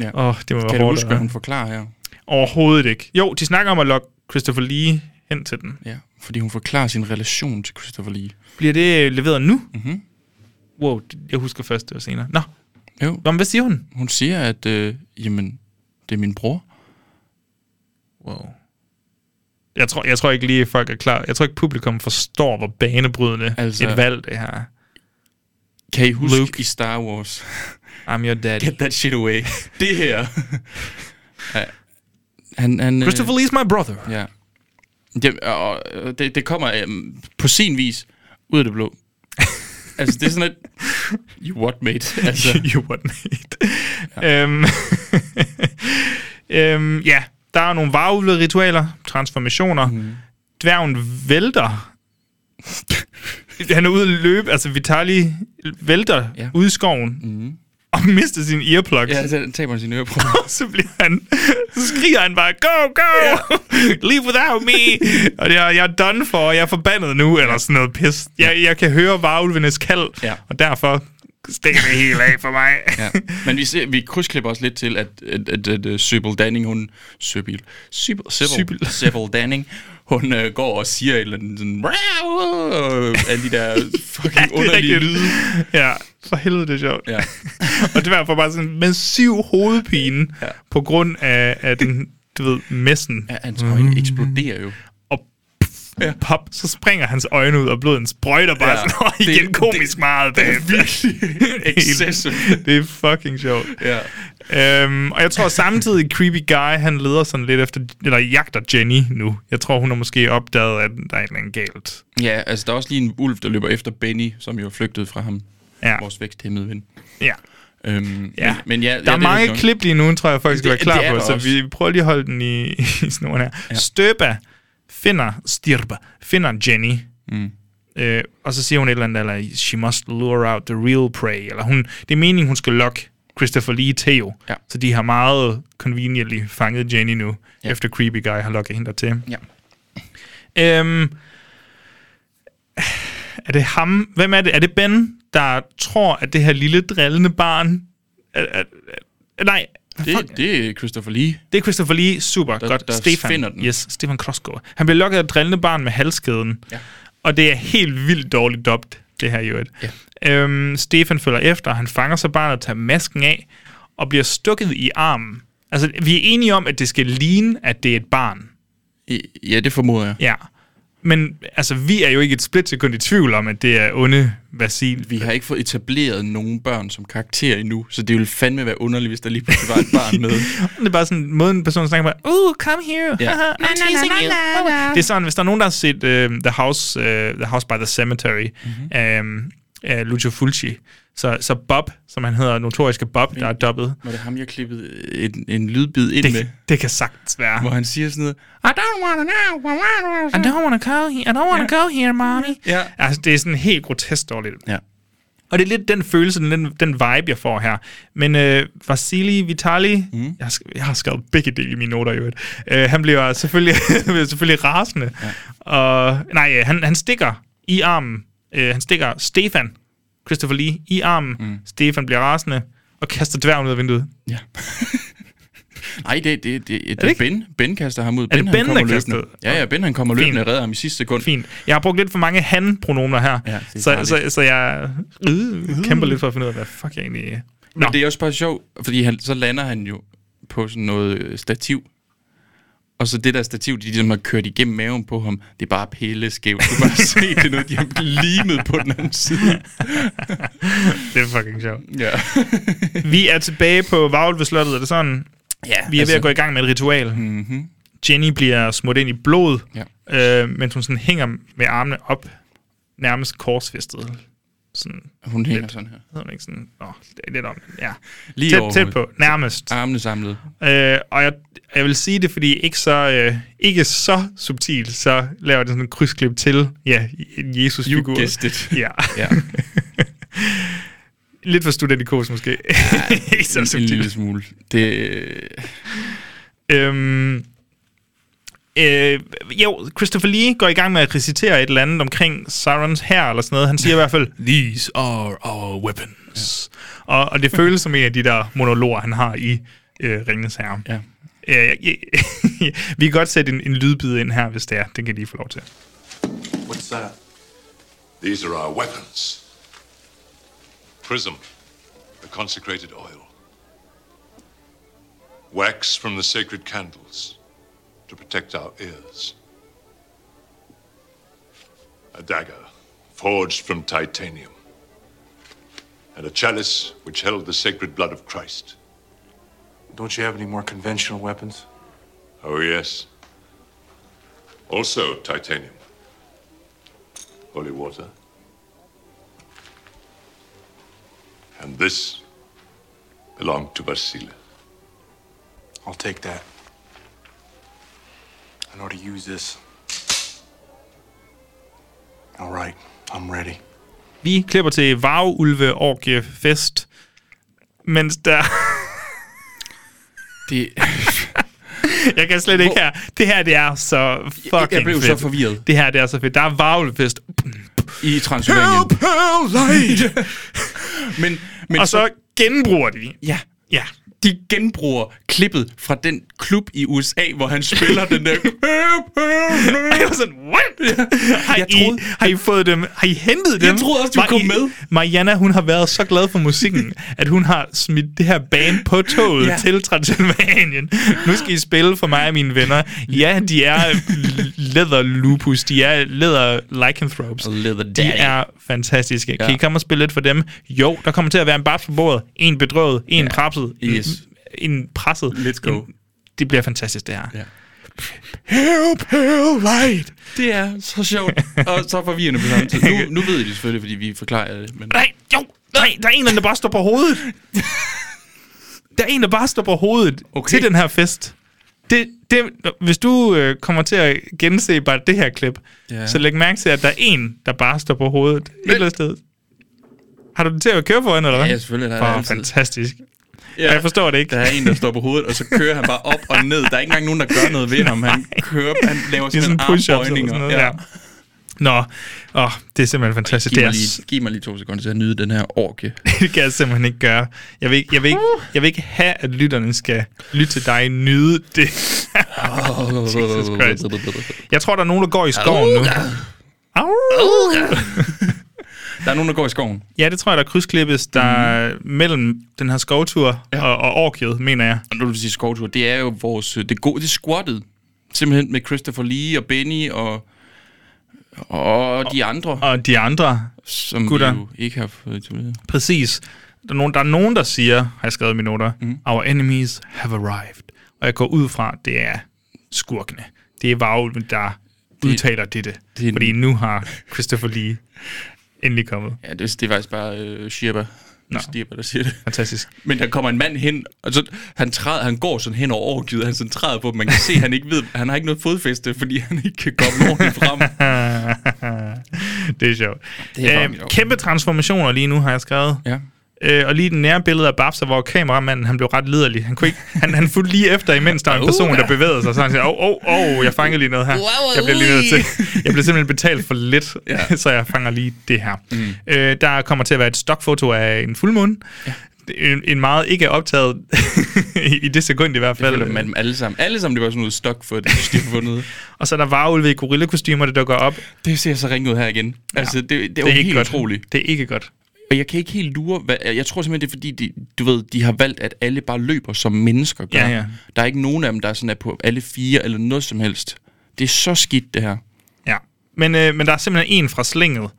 Speaker 2: Ja.
Speaker 3: Åh, det må være
Speaker 2: kan du
Speaker 3: hårdt.
Speaker 2: huske,
Speaker 3: at-
Speaker 2: hvad hun forklarer her?
Speaker 3: Overhovedet ikke. Jo, de snakker om at lokke Christopher Lee hen til den.
Speaker 2: Ja, fordi hun forklarer sin relation til Christopher Lee.
Speaker 3: Bliver det øh, leveret nu? Mm-hmm.
Speaker 2: Mhm.
Speaker 3: Wow, det- jeg husker først, det var senere. Nå,
Speaker 2: Jo,
Speaker 3: Nå men hvad siger hun?
Speaker 2: hun siger, at øh, jamen, det er min bror.
Speaker 3: Wow. Jeg tror, jeg tror ikke lige, folk er klar. Jeg tror ikke, publikum forstår, hvor banebrydende altså,
Speaker 2: Altså-
Speaker 3: et valg det her.
Speaker 2: Kan I huske
Speaker 3: Luke.
Speaker 2: Luke. i Star Wars?
Speaker 3: I'm your daddy.
Speaker 2: Get that shit away. det her. Ja. han, han, øh,
Speaker 3: Christopher Lee is my brother.
Speaker 2: Ja. Det, og, øh, det, det kommer øhm, på sin vis ud af det
Speaker 3: (laughs)
Speaker 2: blå. altså, det er sådan et... You what,
Speaker 3: (laughs)
Speaker 2: mate? Altså,
Speaker 3: you were made. Ja. Øhm, (laughs) øhm, ja, der er nogle varulve-ritualer, transformationer.
Speaker 2: Mhm.
Speaker 3: Mm. Dværgen vælter. Han er ude at løbe, altså Vitali vælter ja.
Speaker 2: Ja. Mhm.
Speaker 3: ude i skoven mm. og mister sin earplugs.
Speaker 2: ja,
Speaker 3: Ja.
Speaker 2: så taber han sine øreprøver.
Speaker 3: Og (laughs) så, bliver han, så skriger han bare, go, go, leave without me. og jeg, jeg er done for, jeg er forbandet nu, eller sådan noget pis. Jeg, jeg kan høre varulvenes kald,
Speaker 2: Ja.
Speaker 3: og derfor stikker det helt af for mig.
Speaker 2: ja. Men vi, ser, vi krydsklipper også lidt til, at, at, at, at, at Sybil Danning, hun... Sybil... Sybil... Sybil,
Speaker 3: Sybil.
Speaker 2: Sybil Danning, hun øh, går og siger et eller andet sådan... "Wow!" Alle de der
Speaker 3: (laughs)
Speaker 2: fucking
Speaker 3: det er
Speaker 2: underlige
Speaker 3: rigtigt.
Speaker 2: lyde.
Speaker 3: Ja, for helvede det er sjovt.
Speaker 2: Ja.
Speaker 3: og det var for bare sådan en massiv hovedpine ja.
Speaker 2: Ja.
Speaker 3: på grund af, af den, du ved, messen.
Speaker 2: Ja, hans øjne eksploderer jo.
Speaker 3: Og pff, ja. pop, så springer hans øjne ud, og blodet sprøjter bare ja.
Speaker 2: Ja.
Speaker 3: sådan, "Åh,
Speaker 2: Det-
Speaker 3: igen
Speaker 2: det-
Speaker 3: komisk det, meget. Det, er (laughs) virkelig
Speaker 2: excessive.
Speaker 3: Det er fucking sjovt.
Speaker 2: Ja.
Speaker 3: Øhm, og jeg tror samtidig, Creepy Guy, han leder sådan lidt efter, eller jagter Jenny nu. Jeg tror, hun har måske opdaget, at der er et eller andet galt.
Speaker 2: ja, altså der er også lige en ulv, der løber efter Benny, som jo er flygtet fra ham.
Speaker 3: Ja.
Speaker 2: Vores væksthæmmede ven.
Speaker 3: Ja.
Speaker 2: Øhm,
Speaker 3: Ja.
Speaker 2: Men, men ja, ja,
Speaker 3: Der
Speaker 2: det
Speaker 3: er mange
Speaker 2: rigtigt nok.
Speaker 3: klip lige nu, tror jeg, folk skal
Speaker 2: Det-
Speaker 3: være klar
Speaker 2: det er
Speaker 3: på,
Speaker 2: der
Speaker 3: så
Speaker 2: også.
Speaker 3: vi prøver lige at holde den i, (laughs) i snoren her. Ja. Støba finder, Stirba finder Jenny, mm. øh, og så siger hun et eller andet, eller she must lure out the real prey, eller hun, det er meningen, hun skal lokke Christopher Lee Theo,
Speaker 2: Ja.
Speaker 3: så de har meget conveniently fanget Jenny nu, ja. efter Creepy Guy har lokket hende til.
Speaker 2: Ja.
Speaker 3: Øhm, er det ham? Hvem er det? Er det Ben, der tror, at det her lille drillende barn... Er, er, er, nej,
Speaker 2: Det, det er Christopher Lee.
Speaker 3: det er Christopher Lee. Super,
Speaker 2: Der-
Speaker 3: godt.
Speaker 2: der
Speaker 3: Stefan.
Speaker 2: finder den.
Speaker 3: Yes, Stefan Krosko. Han bliver lokket af et drillende barn med halskæden.
Speaker 2: Ja.
Speaker 3: Og det er helt vildt dårligt dobt, det her i øvrigt. Ja. Øhm, Stefan følger efter, han fanger så barnet, tager masken af, og bliver stukket i armen. Altså, vi er enige om, at det skal ligne, at det er et barn.
Speaker 2: I- Ja, det formoder jeg.
Speaker 3: Ja. Men altså, vi er jo ikke et splitsekund i tvivl om, at det er onde Vasil.
Speaker 2: Vi har ikke fået etableret nogen børn som karakter endnu, så det ville fandme være underligt, hvis der lige pludselig var et barn
Speaker 3: (laughs)
Speaker 2: med.
Speaker 3: Det er bare sådan måden, en person snakker bare, uh, come here.
Speaker 2: Ja.
Speaker 3: haha, I'm teasing you." Det er sådan, hvis der er nogen, der har set øh,
Speaker 2: Mhm.
Speaker 3: uh, The, House, uh, The House by the Cemetery mm-hmm. um, af øh, Lucio Fulci, Så, så Bob, som han hedder, notoriske Bob, der er dobbet,
Speaker 2: Var det ham, jeg klippede en, en lydbid ind med,
Speaker 3: det, det kan sagtens være.
Speaker 2: hvor han siger sådan noget, I don't wanna know, I wanna
Speaker 3: I don't wanna go here, I don't wanna go here, mommy.
Speaker 2: Ja.
Speaker 3: Altså, det er sådan helt grotesk dårligt.
Speaker 2: Ja.
Speaker 3: Og det er lidt den følelse, den, den vibe, jeg får her. Men øh, Vasili Vitali, mm. jeg, har sk- jeg har skrevet begge dele i mine noter i øvrigt, øh, han bliver selvfølgelig, (laughs) selvfølgelig rasende. Ja. Og, nej, øh, han, han stikker i armen. Øh, han stikker Stefan, Christopher Lee, i armen. Mm. Stefan bliver rasende og kaster dværgen ud af vinduet. (laughs)
Speaker 2: Ja. Nej, det, det, det, det, er
Speaker 3: ikke?
Speaker 2: Ben. Ben kaster ham ud.
Speaker 3: det
Speaker 2: han
Speaker 3: Ben,
Speaker 2: kommer
Speaker 3: der
Speaker 2: løbende.
Speaker 3: kastede?
Speaker 2: Ja, ja, Ben han kommer
Speaker 3: Fint.
Speaker 2: løbende og redder ham i sidste sekund.
Speaker 3: Fint. Jeg har brugt lidt for mange han-pronomer her,
Speaker 2: Ja, det er
Speaker 3: så,
Speaker 2: farligt.
Speaker 3: så, så jeg øh, kæmper lidt for at finde ud af, hvad fuck jeg egentlig... Nå,
Speaker 2: Men det er også bare sjovt, fordi han, så lander han jo på sådan noget øh, stativ. Og så det der stativ, de ligesom har kørt igennem maven på ham, det er bare pilleskævt.
Speaker 3: (laughs)
Speaker 2: Du kan bare se, det er noget, de har limet på den anden side.
Speaker 3: det er fucking sjovt.
Speaker 2: Ja.
Speaker 3: Vi er tilbage på Vaglveslottet, er det sådan?
Speaker 2: ja
Speaker 3: Vi er altså. ved at gå i gang med et ritual. Mm-hmm.
Speaker 2: Mhm.
Speaker 3: Jenny bliver smurt ind i blod, ja. øh, mens hun sådan hænger med armene op, nærmest korsfæstet. Sådan,
Speaker 2: Hun hænger sådan her.
Speaker 3: hedder man ikke sådan, åh, det er lidt om, ja.
Speaker 2: Lige
Speaker 3: tæt,
Speaker 2: over
Speaker 3: tæt
Speaker 2: hovedet.
Speaker 3: på, nærmest.
Speaker 2: Armene samlet.
Speaker 3: Øh, og jeg, jeg vil sige det, fordi ikke så, øh, ikke så subtilt, så laver det sådan en krydsklip til ja, en Jesus-figur.
Speaker 2: You guessed it.
Speaker 3: Ja.
Speaker 2: Ja.
Speaker 3: (laughs) Lidt for studentikos måske. (laughs) ikke så
Speaker 2: en, en
Speaker 3: subtilt.
Speaker 2: lille smule. Det, øh,
Speaker 3: Øhm, øh, jo, Christopher Lee går i gang med at recitere et eller andet omkring Sarons her eller sådan noget. Han siger i hvert fald, These are our weapons. Ja. Og, og det føles som en af de der monologer, han har i øh, Ringens Herre.
Speaker 2: ja.
Speaker 3: Øh, jeg- jeg- (laughs) vi kan godt sætte en, en lydbid ind her, hvis det er. Den kan de få lov til.
Speaker 6: What's that? These are our weapons. Prism, the consecrated oil. Wax from the sacred candles to protect our ears. A dagger forged from titanium. And a chalice which held the sacred blood of Christ.
Speaker 7: Don't you have any more conventional weapons?
Speaker 6: Oh, yes. Also titanium. Holy water. And this belonged to Basile.
Speaker 7: I'll take that. I know how to use this. All right, I'm ready.
Speaker 3: Vi klipper til Varulve Orgie Fest, mens der... (laughs)
Speaker 2: Det,
Speaker 3: Jeg kan slet ikke her. Det her, det er så fucking
Speaker 2: jeg blev
Speaker 3: fedt.
Speaker 2: så forvirret.
Speaker 3: Det her, det er så fedt. Der er varulvefest.
Speaker 2: I Transylvanien. (laughs) Men, men
Speaker 3: Og så genbruger de.
Speaker 2: ja,
Speaker 3: Ja. (laughs)
Speaker 2: de genbruger klippet fra den klub i USA, hvor han spiller
Speaker 3: (laughs)
Speaker 2: den der...
Speaker 3: Jeg var sådan, what? Har,
Speaker 2: Jeg
Speaker 3: I,
Speaker 2: troede-
Speaker 3: har I fået dem? Har I hentet dem?
Speaker 2: Jeg troede også, de
Speaker 3: Var
Speaker 2: kom
Speaker 3: I-
Speaker 2: med.
Speaker 3: Mariana, hun har været så glad for
Speaker 2: (laughs)
Speaker 3: musikken, at hun har smidt det her band på toget
Speaker 2: Ja.
Speaker 3: ja. til Transylvanien. Nu skal I spille for mig og mine venner. Ja, de er leather lupus. De er leather lycanthropes.
Speaker 2: Leather
Speaker 3: De
Speaker 2: daddy.
Speaker 3: er fantastiske. Ja.
Speaker 2: Ja.
Speaker 3: Kan I komme og spille lidt for dem? Jo, der kommer til at være en babs på bordet. En bedrøvet. En ja. prapset.
Speaker 2: Yes.
Speaker 3: En, en presset.
Speaker 2: Let's go.
Speaker 3: En, det bliver fantastisk, det her.
Speaker 2: Ja.
Speaker 3: Help, help, light.
Speaker 2: Det er så sjovt, og så forvirrende på samme tid. Nu, nu ved I det selvfølgelig, fordi vi forklarer det, men...
Speaker 3: Nej, jo, nej, der er en, eller anden, der bare står på hovedet. der er en, der bare står på hovedet
Speaker 2: Okay.
Speaker 3: okay. til den her fest. Det, det, hvis du øh, kommer til at gense bare det her klip,
Speaker 2: Ja.
Speaker 3: ja. så læg mærke til, at der er en, der bare står på hovedet et eller andet sted. Har du den til at køre foran, eller hvad?
Speaker 2: Ja, selvfølgelig, der er det
Speaker 3: Åh,
Speaker 2: altid.
Speaker 3: fantastisk.
Speaker 2: Ja,
Speaker 3: Jeg forstår det ikke.
Speaker 2: Der er en, der står på hovedet, og så kører han bare op og ned. Der er ikke engang nogen, der gør noget ved ham. Han kører, han laver
Speaker 3: Det er
Speaker 2: sådan
Speaker 3: sådan
Speaker 2: en
Speaker 3: push-ups eller sådan
Speaker 2: armbøjning.
Speaker 3: noget.
Speaker 2: Ja.
Speaker 3: Ja. Nå, oh, det er simpelthen fantastisk.
Speaker 2: Giv,
Speaker 3: Det er altså-
Speaker 2: mig lige, giv mig lige to sekunder til at nyde den her orke.
Speaker 3: (laughs) det kan jeg simpelthen ikke gøre. Jeg vil ikke, jeg vil ikke,
Speaker 2: Uh.
Speaker 3: jeg vil ikke have, at lytterne skal lytte til dig nyde det. Jesus
Speaker 2: (laughs)
Speaker 3: Christ. Jeg tror, der er nogen, der går i skoven nu. Au.
Speaker 2: Der er nogen, der går i skoven.
Speaker 3: Ja, det tror jeg, der krydsklippes der mm. mellem den her skovtur ja. og, og orkiet, mener jeg.
Speaker 2: Og nu vil du sige skovtur. Det er jo vores... øh, Det, gode, det er squattet. Simpelthen med Christopher Lee og Benny og... Og de andre,
Speaker 3: Og de andre,
Speaker 2: som
Speaker 3: gutter.
Speaker 2: vi jo ikke har fået etableret.
Speaker 3: præcis. Der er nogen, der, er nogen, der siger, har jeg skrevet i mine noter, mm. our enemies have arrived. Og jeg går ud fra, at det er skurkene. Det er varulven, der udtaler dette.
Speaker 2: det er-
Speaker 3: Det, fordi nu har Christopher Lee endelig kommet.
Speaker 2: Ja, det, det er faktisk bare øh, Shirba. Nå. Stieber, der siger det.
Speaker 3: Fantastisk.
Speaker 2: Men der kommer en mand hen, og så, han, træder, han går sådan hen over overgivet, han sådan træder på, dem. man kan se, han ikke ved, han har ikke noget fodfæste, fordi han ikke kan komme ordentligt
Speaker 3: (laughs)
Speaker 2: frem.
Speaker 3: det er sjovt.
Speaker 2: Det er
Speaker 3: Øhm,
Speaker 2: sjovt.
Speaker 3: kæmpe transformationer lige nu, har jeg skrevet.
Speaker 2: Ja.
Speaker 3: Øh, og lige den nære billede af Babsa, hvor kameramanden han blev ret liderlig. Han, kunne ikke, han, han fulgte lige efter, imens der var en person, der bevægede sig. Så han siger, åh, åh, åh, jeg fangede lige noget her. Jeg blev, lige nødt til, jeg blev simpelthen betalt for lidt, ja. (laughs)
Speaker 2: Ja.
Speaker 3: så jeg fanger lige det her. Mm. Øh, der kommer til at være et stokfoto af en fuldmåne. Ja. En, en meget ikke optaget, (laughs) i i det sekund i hvert
Speaker 2: Det føler
Speaker 3: fald.
Speaker 2: man dem alle sammen. Alle sammen, det var sådan noget stok for det, de har fundet.
Speaker 3: Og så er der varulve i gorillakostymer, der dukker op.
Speaker 2: Det ser så ringe ud her igen. Altså, det, det, det er jo
Speaker 3: det er ikke
Speaker 2: helt
Speaker 3: godt.
Speaker 2: utroligt.
Speaker 3: Det er ikke godt.
Speaker 2: Og jeg kan ikke helt lure, hvad, jeg tror simpelthen, det er fordi, de, du ved, de har valgt, at alle bare løber, som mennesker gør.
Speaker 3: Ja, ja.
Speaker 2: Der er ikke nogen af dem, der er sådan er på alle fire eller noget som helst. Det er så skidt, det her.
Speaker 3: Ja. Men, øh, men der er simpelthen en fra slinget.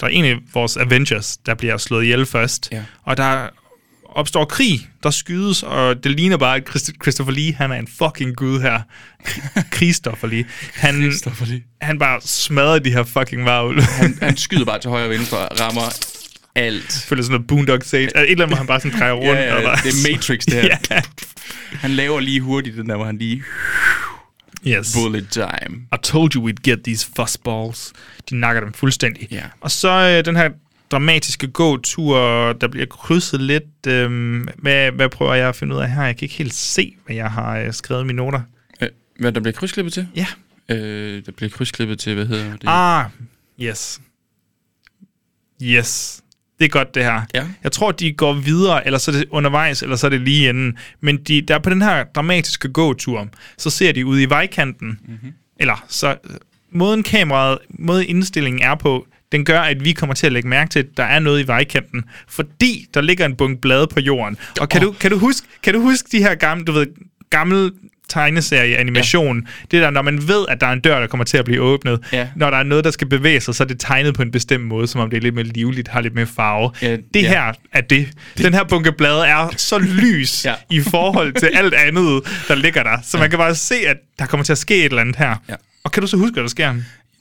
Speaker 3: Der er en af vores Avengers, der bliver slået ihjel først.
Speaker 2: Ja.
Speaker 3: Og der opstår krig, der skydes, og det ligner bare, at Christ- Christopher Lee, han er en fucking gud
Speaker 2: (laughs)
Speaker 3: her. Kri- Christopher Lee. Han,
Speaker 2: det.
Speaker 3: han bare smadrer de her fucking varulve. Han
Speaker 2: Han, han skyder bare til højre og venstre, rammer alt.
Speaker 3: (laughs) føler sådan noget boondock sage. Altså, et eller andet, hvor han bare sådan drejer rundt.
Speaker 2: Ja, ja,
Speaker 3: og bare-
Speaker 2: det er Matrix, det
Speaker 3: (laughs)
Speaker 2: her.
Speaker 3: ja.
Speaker 2: Han laver lige hurtigt den der, hvor han lige
Speaker 3: Yes.
Speaker 2: bullet time.
Speaker 3: I told you we'd get these fuzzballs. De nakker dem fuldstændig.
Speaker 2: Ja.
Speaker 3: Og så øh, den her dramatiske gåtur, der bliver krydset lidt. Øh, hvad, hvad prøver jeg at finde ud af her? Jeg kan ikke helt se, hvad jeg har øh, skrevet i mine noter.
Speaker 2: Øh, Hvad der bliver krydsklippet til?
Speaker 3: Ja.
Speaker 2: Øh, der bliver krydsklippet til, hvad hedder det?
Speaker 3: Ah, yes. Yes. Det er godt, det her.
Speaker 2: Ja.
Speaker 3: Jeg tror, de går videre, eller så er det undervejs, eller så er det lige inden. Men de, der på den her dramatiske gåtur, så ser de ude i vejkanten, mm-hmm. eller så øh, måden kameraet, måden indstillingen er på, den gør, at vi kommer til at lægge mærke til, at der er noget i vejkanten, fordi der ligger en bunke blade på jorden. Og kan, oh. du, kan, du, huske, kan du huske de her gamle, du ved, gamle tegneserie, animation, ja. det der, når man ved, at der er en dør, der kommer til at blive åbnet,
Speaker 2: Ja.
Speaker 3: når der er noget, der skal bevæge sig, så er det tegnet på en bestemt måde, som om det er lidt mere livligt, har lidt mere farve.
Speaker 2: Ja,
Speaker 3: det
Speaker 2: ja.
Speaker 3: her er det. Den her bunke blade er så lys ja.
Speaker 2: Ja.
Speaker 3: (laughs) i forhold til alt andet, der ligger der. Så man kan bare se, at der kommer til at ske et eller andet her.
Speaker 2: Ja.
Speaker 3: Og kan du så huske, hvad der sker?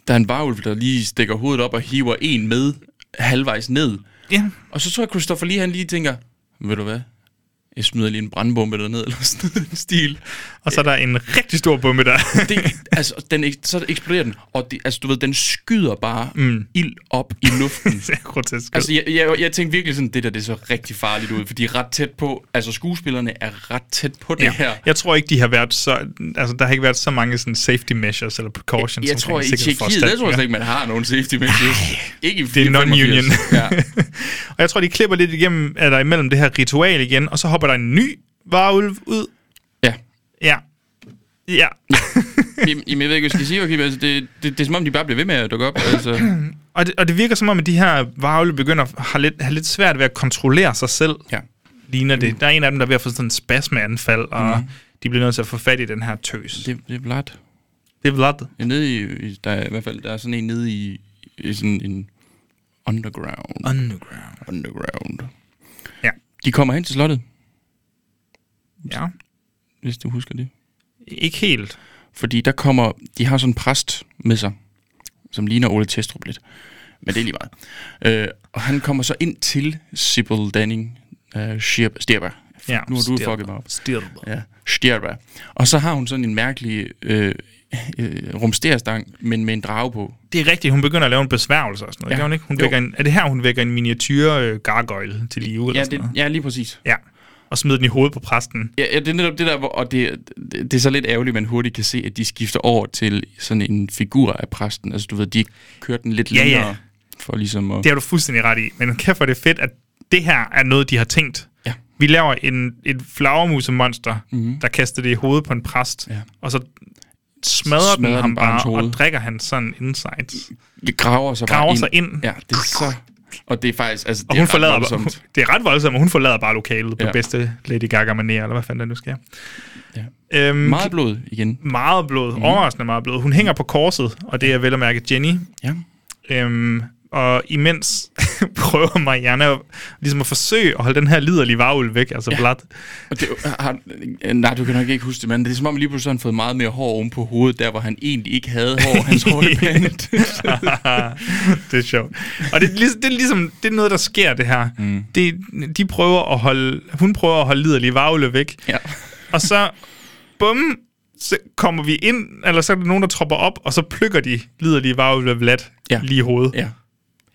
Speaker 2: Der er en varulv, der lige stikker hovedet op og hiver en med halvvejs ned.
Speaker 3: Ja.
Speaker 2: Og så tror jeg, Christopher lige han lige tænker, ved du hvad, jeg smider lige en brandbombe derned, (laughs) eller sådan noget i den stil.
Speaker 3: Og så er der en rigtig stor bombe der. (laughs)
Speaker 2: Det, altså, den, ek- så eksploderer den, og det, altså, du ved, den skyder bare mm. ild op i luften.
Speaker 3: det er grotesk.
Speaker 2: Altså, jeg, jeg, jeg tænkte virkelig sådan, det der, det så rigtig farligt ud, for de er ret tæt på, altså skuespillerne er ret tæt på det
Speaker 3: Ja.
Speaker 2: her.
Speaker 3: Jeg tror ikke, de har været så... Altså, der har ikke været så mange sådan, safety measures eller precautions.
Speaker 2: Jeg tror, i Tjekkiet, der tror jeg slet ikke, man har nogen safety measures. Ikke i
Speaker 3: Det er
Speaker 2: 485.
Speaker 3: non-union. (laughs)
Speaker 2: Ja.
Speaker 3: og jeg tror, de klipper lidt igennem, eller imellem det her ritual igen, og så hopper der en ny varulv ud.
Speaker 2: ja.
Speaker 3: Ja. Ja.
Speaker 2: Jamen, jamen, jeg ved ikke, hvad jeg skal sige, okay, men altså, det, det, det, er som om, de bare bliver ved med at dukke op. Altså.
Speaker 3: Og det, og det virker som om, at de her varulve begynder at have lidt, have lidt svært ved at kontrollere sig selv.
Speaker 2: Ja. Mm.
Speaker 3: Ligner det. Der er en af dem, der er ved at få sådan en spasmeanfald, og mm. de bliver nødt til at få fat i den her tøs. Det,
Speaker 2: Det, det er blot.
Speaker 3: det er blot
Speaker 2: Ja, nede i, i- der er i hvert fald der er sådan en nede i, i sådan en underground.
Speaker 3: underground.
Speaker 2: underground.
Speaker 3: Ah. Ja.
Speaker 2: De kommer hen til slottet,
Speaker 3: Ja.
Speaker 2: hvis du husker det.
Speaker 3: Ikke helt.
Speaker 2: Fordi der kommer, de har sådan en præst med sig, som ligner Ole Testrup lidt. Men det er lige meget. Øh, og han kommer så ind til Sibyl Danning øh, Schirp- Stierber.
Speaker 3: Ja,
Speaker 2: nu har du
Speaker 3: Stierber.
Speaker 2: fucket mig op.
Speaker 3: Stirber.
Speaker 2: Ja, Stierber. Og så har hun sådan en mærkelig øh, øh, rumsterstang, men med en drage på.
Speaker 3: Det er rigtigt, hun begynder at lave en besværgelse og sådan noget. Ja.
Speaker 2: Ja.
Speaker 3: Gør hun ikke? Hun
Speaker 2: Jo.
Speaker 3: vækker en, er det her, hun vækker en miniatyre øh, gargoyle til live? eller
Speaker 2: Ja,
Speaker 3: sådan
Speaker 2: det,
Speaker 3: noget?
Speaker 2: ja, lige præcis.
Speaker 3: ja. Og smider den i hovedet på præsten.
Speaker 2: Ja, ja, det er netop det der, hvor, og det, det, det er så lidt ærgerligt, man hurtigt kan se, at de skifter over til sådan en figur af præsten. Altså, du ved, de kører den lidt
Speaker 3: Ja, ja.
Speaker 2: længere. For ligesom at...
Speaker 3: Det har du fuldstændig ret i. Men kæft, hvor er det fedt, at det her er noget, de har tænkt.
Speaker 2: Ja. Mhm.
Speaker 3: Vi laver en, et flagermusemonster, mm-hmm. der kaster det i hovedet på en præst,
Speaker 2: Ja.
Speaker 3: og så smadrer, smadrer den ham
Speaker 2: hans
Speaker 3: bare,
Speaker 2: hoved.
Speaker 3: og drikker han sådan insights.
Speaker 2: Det graver sig
Speaker 3: Graver
Speaker 2: bare
Speaker 3: sig
Speaker 2: ind.
Speaker 3: ind.
Speaker 2: Ja, det er så... Og det er faktisk... Altså, det
Speaker 3: Og
Speaker 2: er
Speaker 3: hun
Speaker 2: ret
Speaker 3: forlader
Speaker 2: voldsomt.
Speaker 3: bare, (laughs) det er ret voldsomt, og hun forlader bare lokalet på
Speaker 2: Ja.
Speaker 3: bedste Lady Gaga-manér, eller hvad fanden der nu sker.
Speaker 2: Ja.
Speaker 3: Øhm,
Speaker 2: (laughs) Meget Mhm. blod igen.
Speaker 3: meget blod, mm. overraskende meget blod. Hun hænger på korset, og det er vel at mærke Jenny.
Speaker 2: Ja.
Speaker 3: Øhm, og imens (laughs) prøver Mariana ligesom at forsøge at holde den her liderlige varulv væk, altså ja. blot.
Speaker 2: Og det, har, nej, du kan nok ikke huske det, men det er som om lige pludselig har han fået meget mere hår oven på hovedet, der hvor han egentlig ikke havde
Speaker 3: (laughs)
Speaker 2: hår, hans hår er pænt.
Speaker 3: (laughs) det er sjovt. Og det, er ligesom- det, er ligesom, det er noget, der sker, det her. Mm. Det, de prøver at holde, hun prøver at holde liderlige varulve væk.
Speaker 2: Ja.
Speaker 3: Og så, bum, så kommer vi ind, eller så er der nogen, der tropper op, og så plukker de liderlige varulve Vlad
Speaker 2: Ja.
Speaker 3: ja. lige i hovedet.
Speaker 2: ja.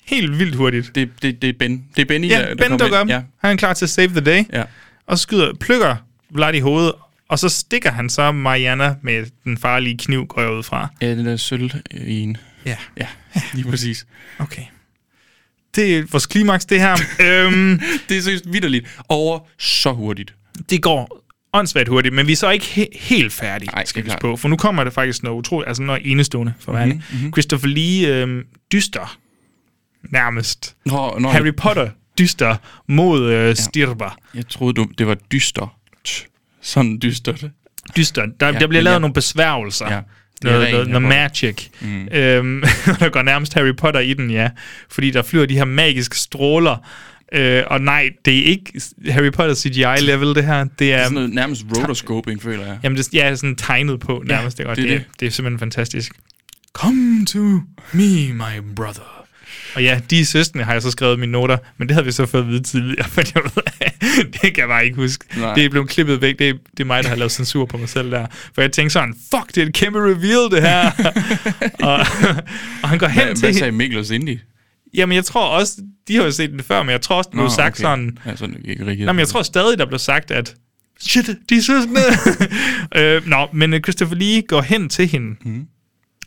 Speaker 3: Helt vildt hurtigt.
Speaker 2: Det, det, det er Ben. Det er Benny,
Speaker 3: Ja,
Speaker 2: der, der
Speaker 3: Ben
Speaker 2: kommer
Speaker 3: dukker
Speaker 2: ind.
Speaker 3: op.
Speaker 2: Ja.
Speaker 3: Han er klar til at save the day.
Speaker 2: Ja.
Speaker 3: Og så skyder, plukker Vlad i hovedet, og så stikker han så Mariana med den farlige kniv, går jeg ud fra.
Speaker 2: ja, den der sølv i en.
Speaker 3: Ja,
Speaker 2: Ja, lige præcis.
Speaker 3: okay. Det er vores klimaks, det
Speaker 2: (laughs)
Speaker 3: her. øhm,
Speaker 2: Det er seriøst vidderligt. Over så hurtigt.
Speaker 3: det går åndssvagt hurtigt, men vi er så ikke he- helt færdige,
Speaker 2: Nej,
Speaker 3: Ej, skal
Speaker 2: det
Speaker 3: vi
Speaker 2: er
Speaker 3: på. For nu kommer der faktisk noget utroligt, altså noget enestående for mig. Mm-hmm,
Speaker 2: Mhm,
Speaker 3: Christopher Lee øhm, dyster, nærmest.
Speaker 2: Nå, nå,
Speaker 3: Harry Potter dyster mod øh, Stirber.
Speaker 2: jeg, jeg troede, du, det var dystert. Sådan dystert.
Speaker 3: Dyster. Der, ja, der
Speaker 2: men
Speaker 3: bliver lavet
Speaker 2: ja.
Speaker 3: ja. nogle besværgelser.
Speaker 2: Ja.
Speaker 3: Ja.
Speaker 2: Det er
Speaker 3: Noget,
Speaker 2: ren
Speaker 3: noget,
Speaker 2: Harry
Speaker 3: noget magic. Mm. Øhm, (laughs) der går nærmest Harry Potter i den, ja. Fordi der flyver de her magiske stråler. Øh, og nej, det er ikke Harry Potter CGI-level, det her. Det
Speaker 2: Det er
Speaker 3: er,
Speaker 2: sådan noget nærmest rotoscoping, føler jeg.
Speaker 3: Jamen, det, ja, sådan tegnet på nærmest. Ja, det,
Speaker 2: det
Speaker 3: det,
Speaker 2: er
Speaker 3: det,
Speaker 2: det.
Speaker 3: det. det er simpelthen fantastisk. Come to me, my brother. Og ja, de søskende har jeg så skrevet i mine noter, men det havde vi så fået at vide tidligere, (laughs) for jeg ved, det kan jeg bare ikke huske.
Speaker 2: Nej.
Speaker 3: Nej. Det er blevet klippet væk, det er, det er mig, der har lavet censur på mig selv der. For jeg tænkte sådan, fuck, det er et kæmpe reveal, det
Speaker 2: (laughs)
Speaker 3: her. og, og han går hen
Speaker 2: Hvad,
Speaker 3: til...
Speaker 2: hvad sagde Mikkel og Cindy?
Speaker 3: Jamen, jeg tror også, de har jo set den før, men jeg tror også, det blev sagt okay. sådan,
Speaker 2: Ja, sådan ikke rigtig.
Speaker 3: Nå, men jeg tror stadig, der blev sagt, at shit, de er søskende. øh, nå, men øh, Christopher Lee går hen til hende, mm.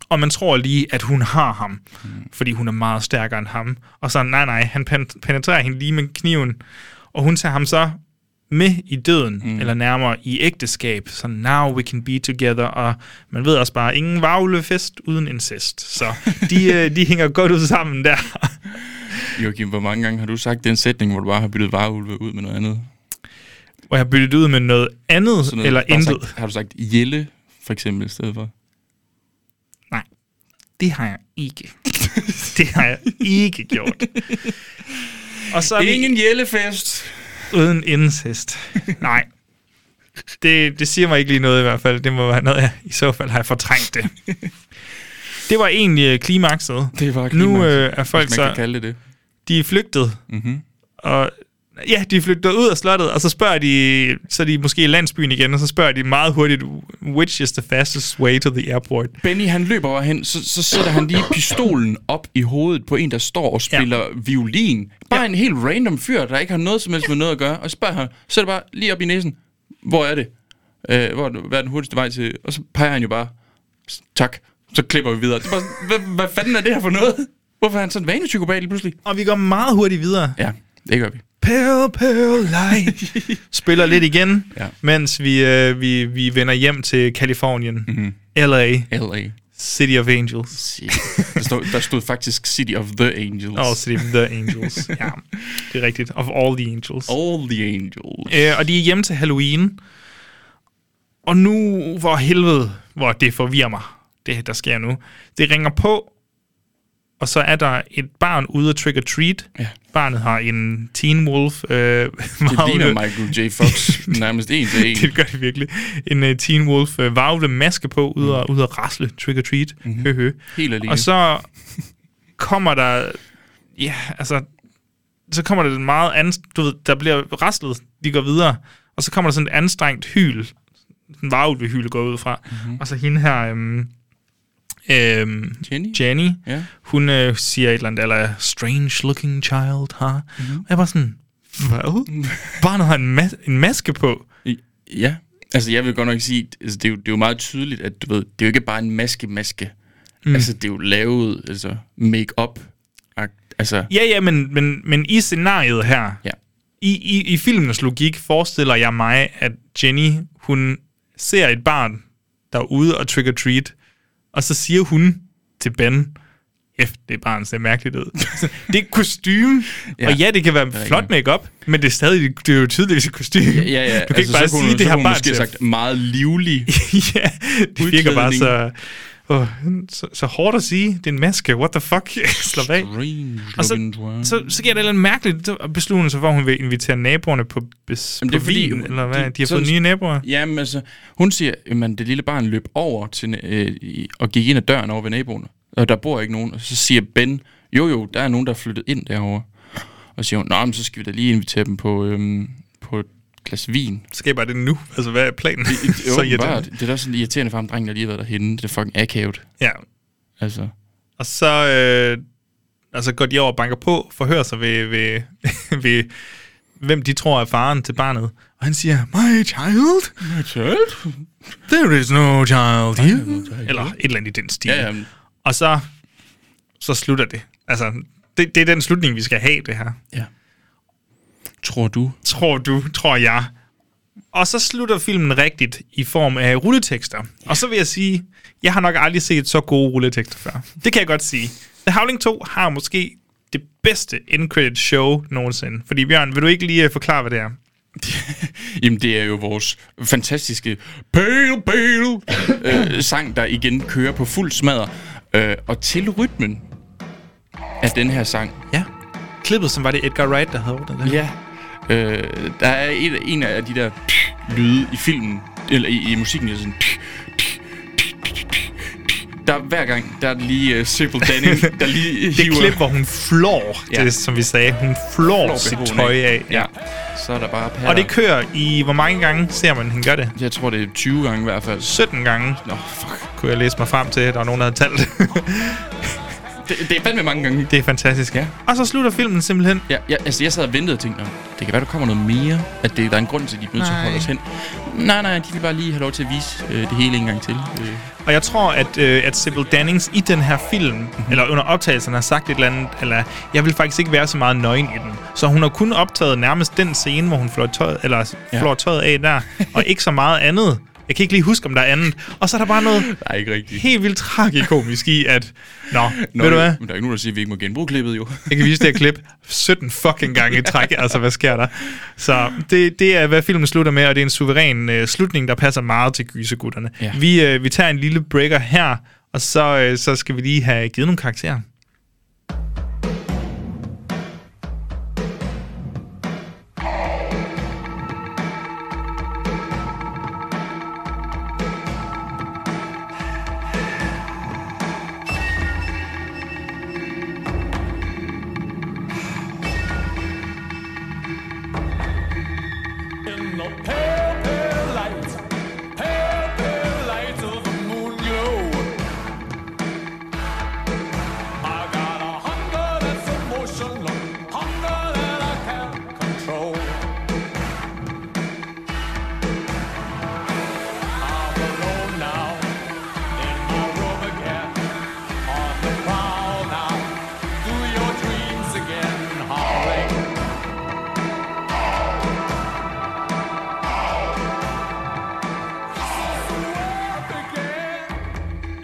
Speaker 3: og man tror lige, at hun har ham, mm. fordi hun er meget stærkere end ham. Og så, nej, nej, han pen- penetrerer hende lige med kniven, og hun tager ham så med i døden, mm. eller nærmere i ægteskab, så now we can be together, og man ved også bare, ingen varulvefest uden incest. Så de, øh, de hænger godt ud sammen der.
Speaker 2: Joachim, hvor mange gange har du sagt den sætning, hvor du bare har byttet varulve ud med noget andet?
Speaker 3: Og jeg byttet ud med noget andet,
Speaker 2: Sådan noget,
Speaker 3: eller
Speaker 2: har du
Speaker 3: intet.
Speaker 2: Sagt, har du sagt Jelle, for eksempel, i stedet for?
Speaker 3: Nej, det har jeg ikke. (laughs) det har jeg ikke gjort. Og så er Ingen...
Speaker 2: Ingen Jellefest!
Speaker 3: vi uden incest. (laughs) Nej. Det, det siger mig ikke lige noget i hvert fald. Det må være noget, jeg i så fald har jeg fortrængt det. Det var egentlig øh, klimakset.
Speaker 2: Det var
Speaker 3: Nu
Speaker 2: klimakset,
Speaker 3: øh, er folk
Speaker 2: Hvis man kan
Speaker 3: så...
Speaker 2: kalde Mhm. det det.
Speaker 3: De er flygtet. Mm-hmm. Og ja, de er flygtet ud af slottet, og så spørger de... Så er de måske i landsbyen igen, og så spørger de meget hurtigt, which is the fastest way to the airport?
Speaker 2: Benny, han løber over hen, så, så sætter han lige pistolen op i hovedet på en, der står og spiller ja. violin. Bare ja. en helt random fyr, der ikke har noget som helst med noget at gøre. Og så spørger han, så er det bare lige op i næsen, hvor er det? Øh, hvor er, hvad er den hurtigste vej til? Og så peger han jo bare, "S- tak, så klipper vi videre. Det er bare sådan, hvad, hvad fanden er det her for noget? Hvorfor er han sådan en vanepsykopat lige pludselig?
Speaker 3: Og vi går meget hurtigt videre.
Speaker 2: Ja, det gør vi.
Speaker 3: Pale, pale
Speaker 2: (laughs)
Speaker 3: light. Spiller lidt igen,
Speaker 2: Ja.
Speaker 3: ja. mens vi, øh, vi, vi vender hjem til Kalifornien.
Speaker 2: Mhm.
Speaker 3: Mm-hmm. L.A.,
Speaker 2: L.A.
Speaker 3: City of Angels.
Speaker 2: Der stod, der stod faktisk City of the Angels.
Speaker 3: Og oh, City of the
Speaker 2: (laughs)
Speaker 3: Angels. ja, det er rigtigt. Of all the angels.
Speaker 2: All the Angels.
Speaker 3: Øh, og de er hjemme til Halloween. Og nu, hvor helvede, hvor det forvirrer mig, det der sker nu. Det ringer på, og så er der et barn ude at trick-or-treat.
Speaker 2: Ja.
Speaker 3: Barnet har en Teen Wolf. Øh,
Speaker 2: Det ligner Michael J. (laughs) Fox nærmest en til en.
Speaker 3: det gør det virkelig. En uh, Teen Wolf uh, varvle maske på, ud og, ud og rasle, trick or treat. Mm. Mm-hmm. Høhø.
Speaker 2: Helt alene.
Speaker 3: Og så kommer der, ja, altså, så kommer der den meget anst... du ved, der bliver raslet, de går videre, og så kommer der sådan et anstrengt hyl, en varvlehyl går ud fra, mm-hmm. og så hende her, øhm, øhm,
Speaker 2: Jenny?
Speaker 3: Jenny
Speaker 2: Ja.
Speaker 3: hun øh, siger et eller andet, eller strange looking child, huh? Mm-hmm. Og jeg var sådan, (laughs) hvad? Barnet har en, ma- en maske på.
Speaker 2: I- Ja, altså jeg vil godt nok sige, altså, det, er jo, det er jo meget tydeligt, at du ved, det er jo ikke bare en maske-maske. Mm. Altså det er jo lavet, altså make-up. akt- Altså,
Speaker 3: Ja, ja, men, men, men i scenariet her,
Speaker 2: ja.
Speaker 3: i, i, i filmens logik, forestiller jeg mig, at Jenny, hun ser et barn, der er ude og trick-or-treat, og så siger hun til Ben, F, det barn ser mærkeligt ud. (laughs) Så det er kostume, ja. og ja, det kan være flot makeup, men det er stadig det er jo tydeligvis et kostume.
Speaker 2: Ja, ja,
Speaker 3: Du kan altså, ikke bare
Speaker 2: så kunne,
Speaker 3: (laughs) sige, det
Speaker 2: hun- så
Speaker 3: her
Speaker 2: kunne hun
Speaker 3: barn
Speaker 2: måske have
Speaker 3: ser
Speaker 2: sagt meget livlig.
Speaker 3: ja, det virker bare så... Oh, så, så hårdt at sige. Det er en maske. What the fuck? (laughs) Slap af.
Speaker 2: Strange
Speaker 3: (laughs) Og så,
Speaker 2: looking dwarf.
Speaker 3: så, så giver det et eller andet mærkeligt så beslutter hun sig for, at hun vil invitere naboerne på, bes,
Speaker 2: Jamen,
Speaker 3: Jamen,
Speaker 2: det
Speaker 3: det på
Speaker 2: er fordi,
Speaker 3: fordi, vin, eller hvad?
Speaker 2: det-
Speaker 3: De har
Speaker 2: sådan-
Speaker 3: fået nye naboer.
Speaker 2: Jamen altså, hun siger, at det lille barn løb over til, øh, i- og gik ind ad døren over ved naboen, og der bor ikke nogen. Og så siger Ben, jo jo, der er nogen, der er flyttet ind derover. Og så siger hun, nå, men så skal vi da lige invitere dem på, øhm, på et glas vin.
Speaker 3: Så sker bare det nu. Altså, hvad er planen? (laughs)
Speaker 2: Det er åbenbart.
Speaker 3: irriterende.
Speaker 2: Det er da også sådan irriterende for ham, drengen, der lige har været derhenne. Det er fucking akavet.
Speaker 3: Ja.
Speaker 2: Altså,
Speaker 3: Og så, øh, og så går de over og banker på, forhører sig ved, ved, (laughs) ved hvem de tror er faren til barnet. Og han siger, my child, there is no child here. Eller et eller andet i den stil.
Speaker 2: ja, ja,
Speaker 3: Og så, så slutter det. Altså, det, det er den slutning, vi skal have, det her.
Speaker 2: ja. Tror du?
Speaker 3: tror du, tror jeg. Og så slutter filmen rigtigt i form af rulletekster. Og så vil jeg sige, jeg har nok aldrig set så gode rulletekster før. Det kan jeg godt sige. The Howling 2 har måske det bedste end credit show nogensinde. Fordi Bjørn, vil du ikke lige øh, forklare, hvad det er?
Speaker 2: (laughs) Jamen, det er jo vores fantastiske Pale Pale øh, sang, der igen kører på fuld smadre. Øh, og til rytmen af den her sang,
Speaker 3: Ja. Klippet, som var det Edgar Wright, der havde ordnet det.
Speaker 2: ja, øh, der er en, en af de der lyde i filmen, eller i, i musikken, der er sådan... Der hver gang, der er det lige uh, Sybil Danning, (laughs) der
Speaker 3: (laughs)
Speaker 2: lige
Speaker 3: Det klip, hvor hun flår,
Speaker 2: Ja.
Speaker 3: ja. det, som vi sagde. Hun flår,
Speaker 2: Flår
Speaker 3: sit
Speaker 2: behoven
Speaker 3: tøj af.
Speaker 2: Ja, så er der bare patter.
Speaker 3: Og det kører i, hvor mange gange ser man hende gøre det?
Speaker 2: Jeg tror, det er 20 gange i hvert fald.
Speaker 3: 17 gange,
Speaker 2: Nå, fuck.
Speaker 3: kunne jeg læse mig frem til. Der var nogen, der havde talt.
Speaker 2: Det, det er fandme mange gange.
Speaker 3: Det er fantastisk,
Speaker 2: Ja.
Speaker 3: Og så slutter filmen simpelthen.
Speaker 2: Ja, ja, altså jeg sad og ventede og tænkte, "Nå, det kan være, der kommer noget mere, at det, der er en grund til, at de er nødt til at holde
Speaker 3: Nej.
Speaker 2: os hen. Nej, nej, de vil bare lige have lov til at vise øh, det hele en gang til. Øh,
Speaker 3: Og jeg tror, at, øh, at Sybil Dannings i den her film, mm-hmm. eller under optagelsen, har sagt et eller andet, eller jeg vil faktisk ikke være så meget nøgen i den. Så hun har kun optaget nærmest den scene, hvor hun flår tøjet, eller
Speaker 2: Ja.
Speaker 3: ja. flår tøjet af der, og ikke så meget andet. Jeg kan ikke lige huske, om der er andet. Og så er der bare noget
Speaker 2: Nej, ikke rigtigt.
Speaker 3: helt vildt tragikomisk i, at... Nå,
Speaker 2: Nå,
Speaker 3: Nå ved du hvad?
Speaker 2: Men der er ikke nogen, der siger, at vi ikke må genbruge klippet, jo.
Speaker 3: Jeg kan vise det her klip 17 fucking gange i træk. Altså, hvad sker der? Så det, det er, hvad filmen slutter med, og det er en suveræn øh, slutning, der passer meget til gysegutterne.
Speaker 2: Ja.
Speaker 3: Ja. Vi, øh, vi tager en lille breaker her, og så, øh, så skal vi lige have givet nogle karakterer.
Speaker 8: In the pale, pale light, pale, pale light of the moon glow. I got a hunger that's emotional, hunger that I can't control. I'm alone now, in my room again, on the prowl now, do your dreams again, Holly.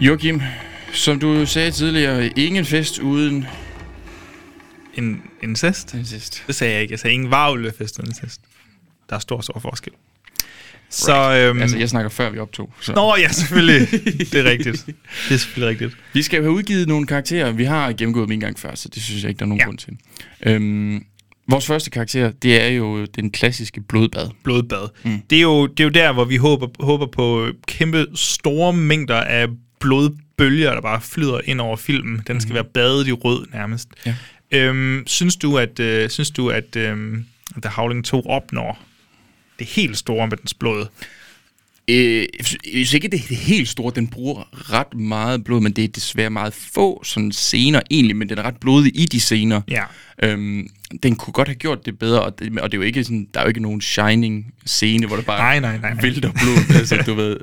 Speaker 8: Again.
Speaker 2: (laughs) Joachim, som du sagde tidligere, ingen fest uden
Speaker 3: En incest?
Speaker 2: en fest.
Speaker 3: Det sagde jeg ikke. Jeg sagde ingen varulvefest og incest. Der er stor, stor forskel. Så, øhm,
Speaker 2: Altså, jeg snakker før vi optog. Så.
Speaker 3: Nå ja, selvfølgelig. Det er rigtigt. Det er selvfølgelig rigtigt.
Speaker 2: Vi skal jo have udgivet nogle karakterer. Vi har gennemgået dem en gang før, så det synes jeg ikke, der er nogen ja.
Speaker 3: Ja.
Speaker 2: grund til. Øhm, vores første karakter, det er jo den klassiske blodbad.
Speaker 3: blodbad. Mm. Det, er jo, det er jo der, hvor vi håber, håber på kæmpe store mængder af blodbølger, der bare flyder ind over filmen. Den skal være badet i rød nærmest.
Speaker 2: Ja.
Speaker 3: Øhm, synes du, at, øh, synes du, at øh, The Howling 2 opnår det helt store med dens blod?
Speaker 2: Øh, hvis ikke det er helt store, den bruger ret meget blod, men det er desværre meget få sådan scener egentlig, men den er ret blodig i de scener.
Speaker 3: Ja.
Speaker 2: Øhm, den kunne godt have gjort det bedre, og det, og det er jo ikke sådan, der er jo ikke nogen Shining-scene, hvor der bare
Speaker 3: Nej, nej, nej, nej.
Speaker 2: vælter blod, altså,
Speaker 3: (laughs)
Speaker 2: du ved.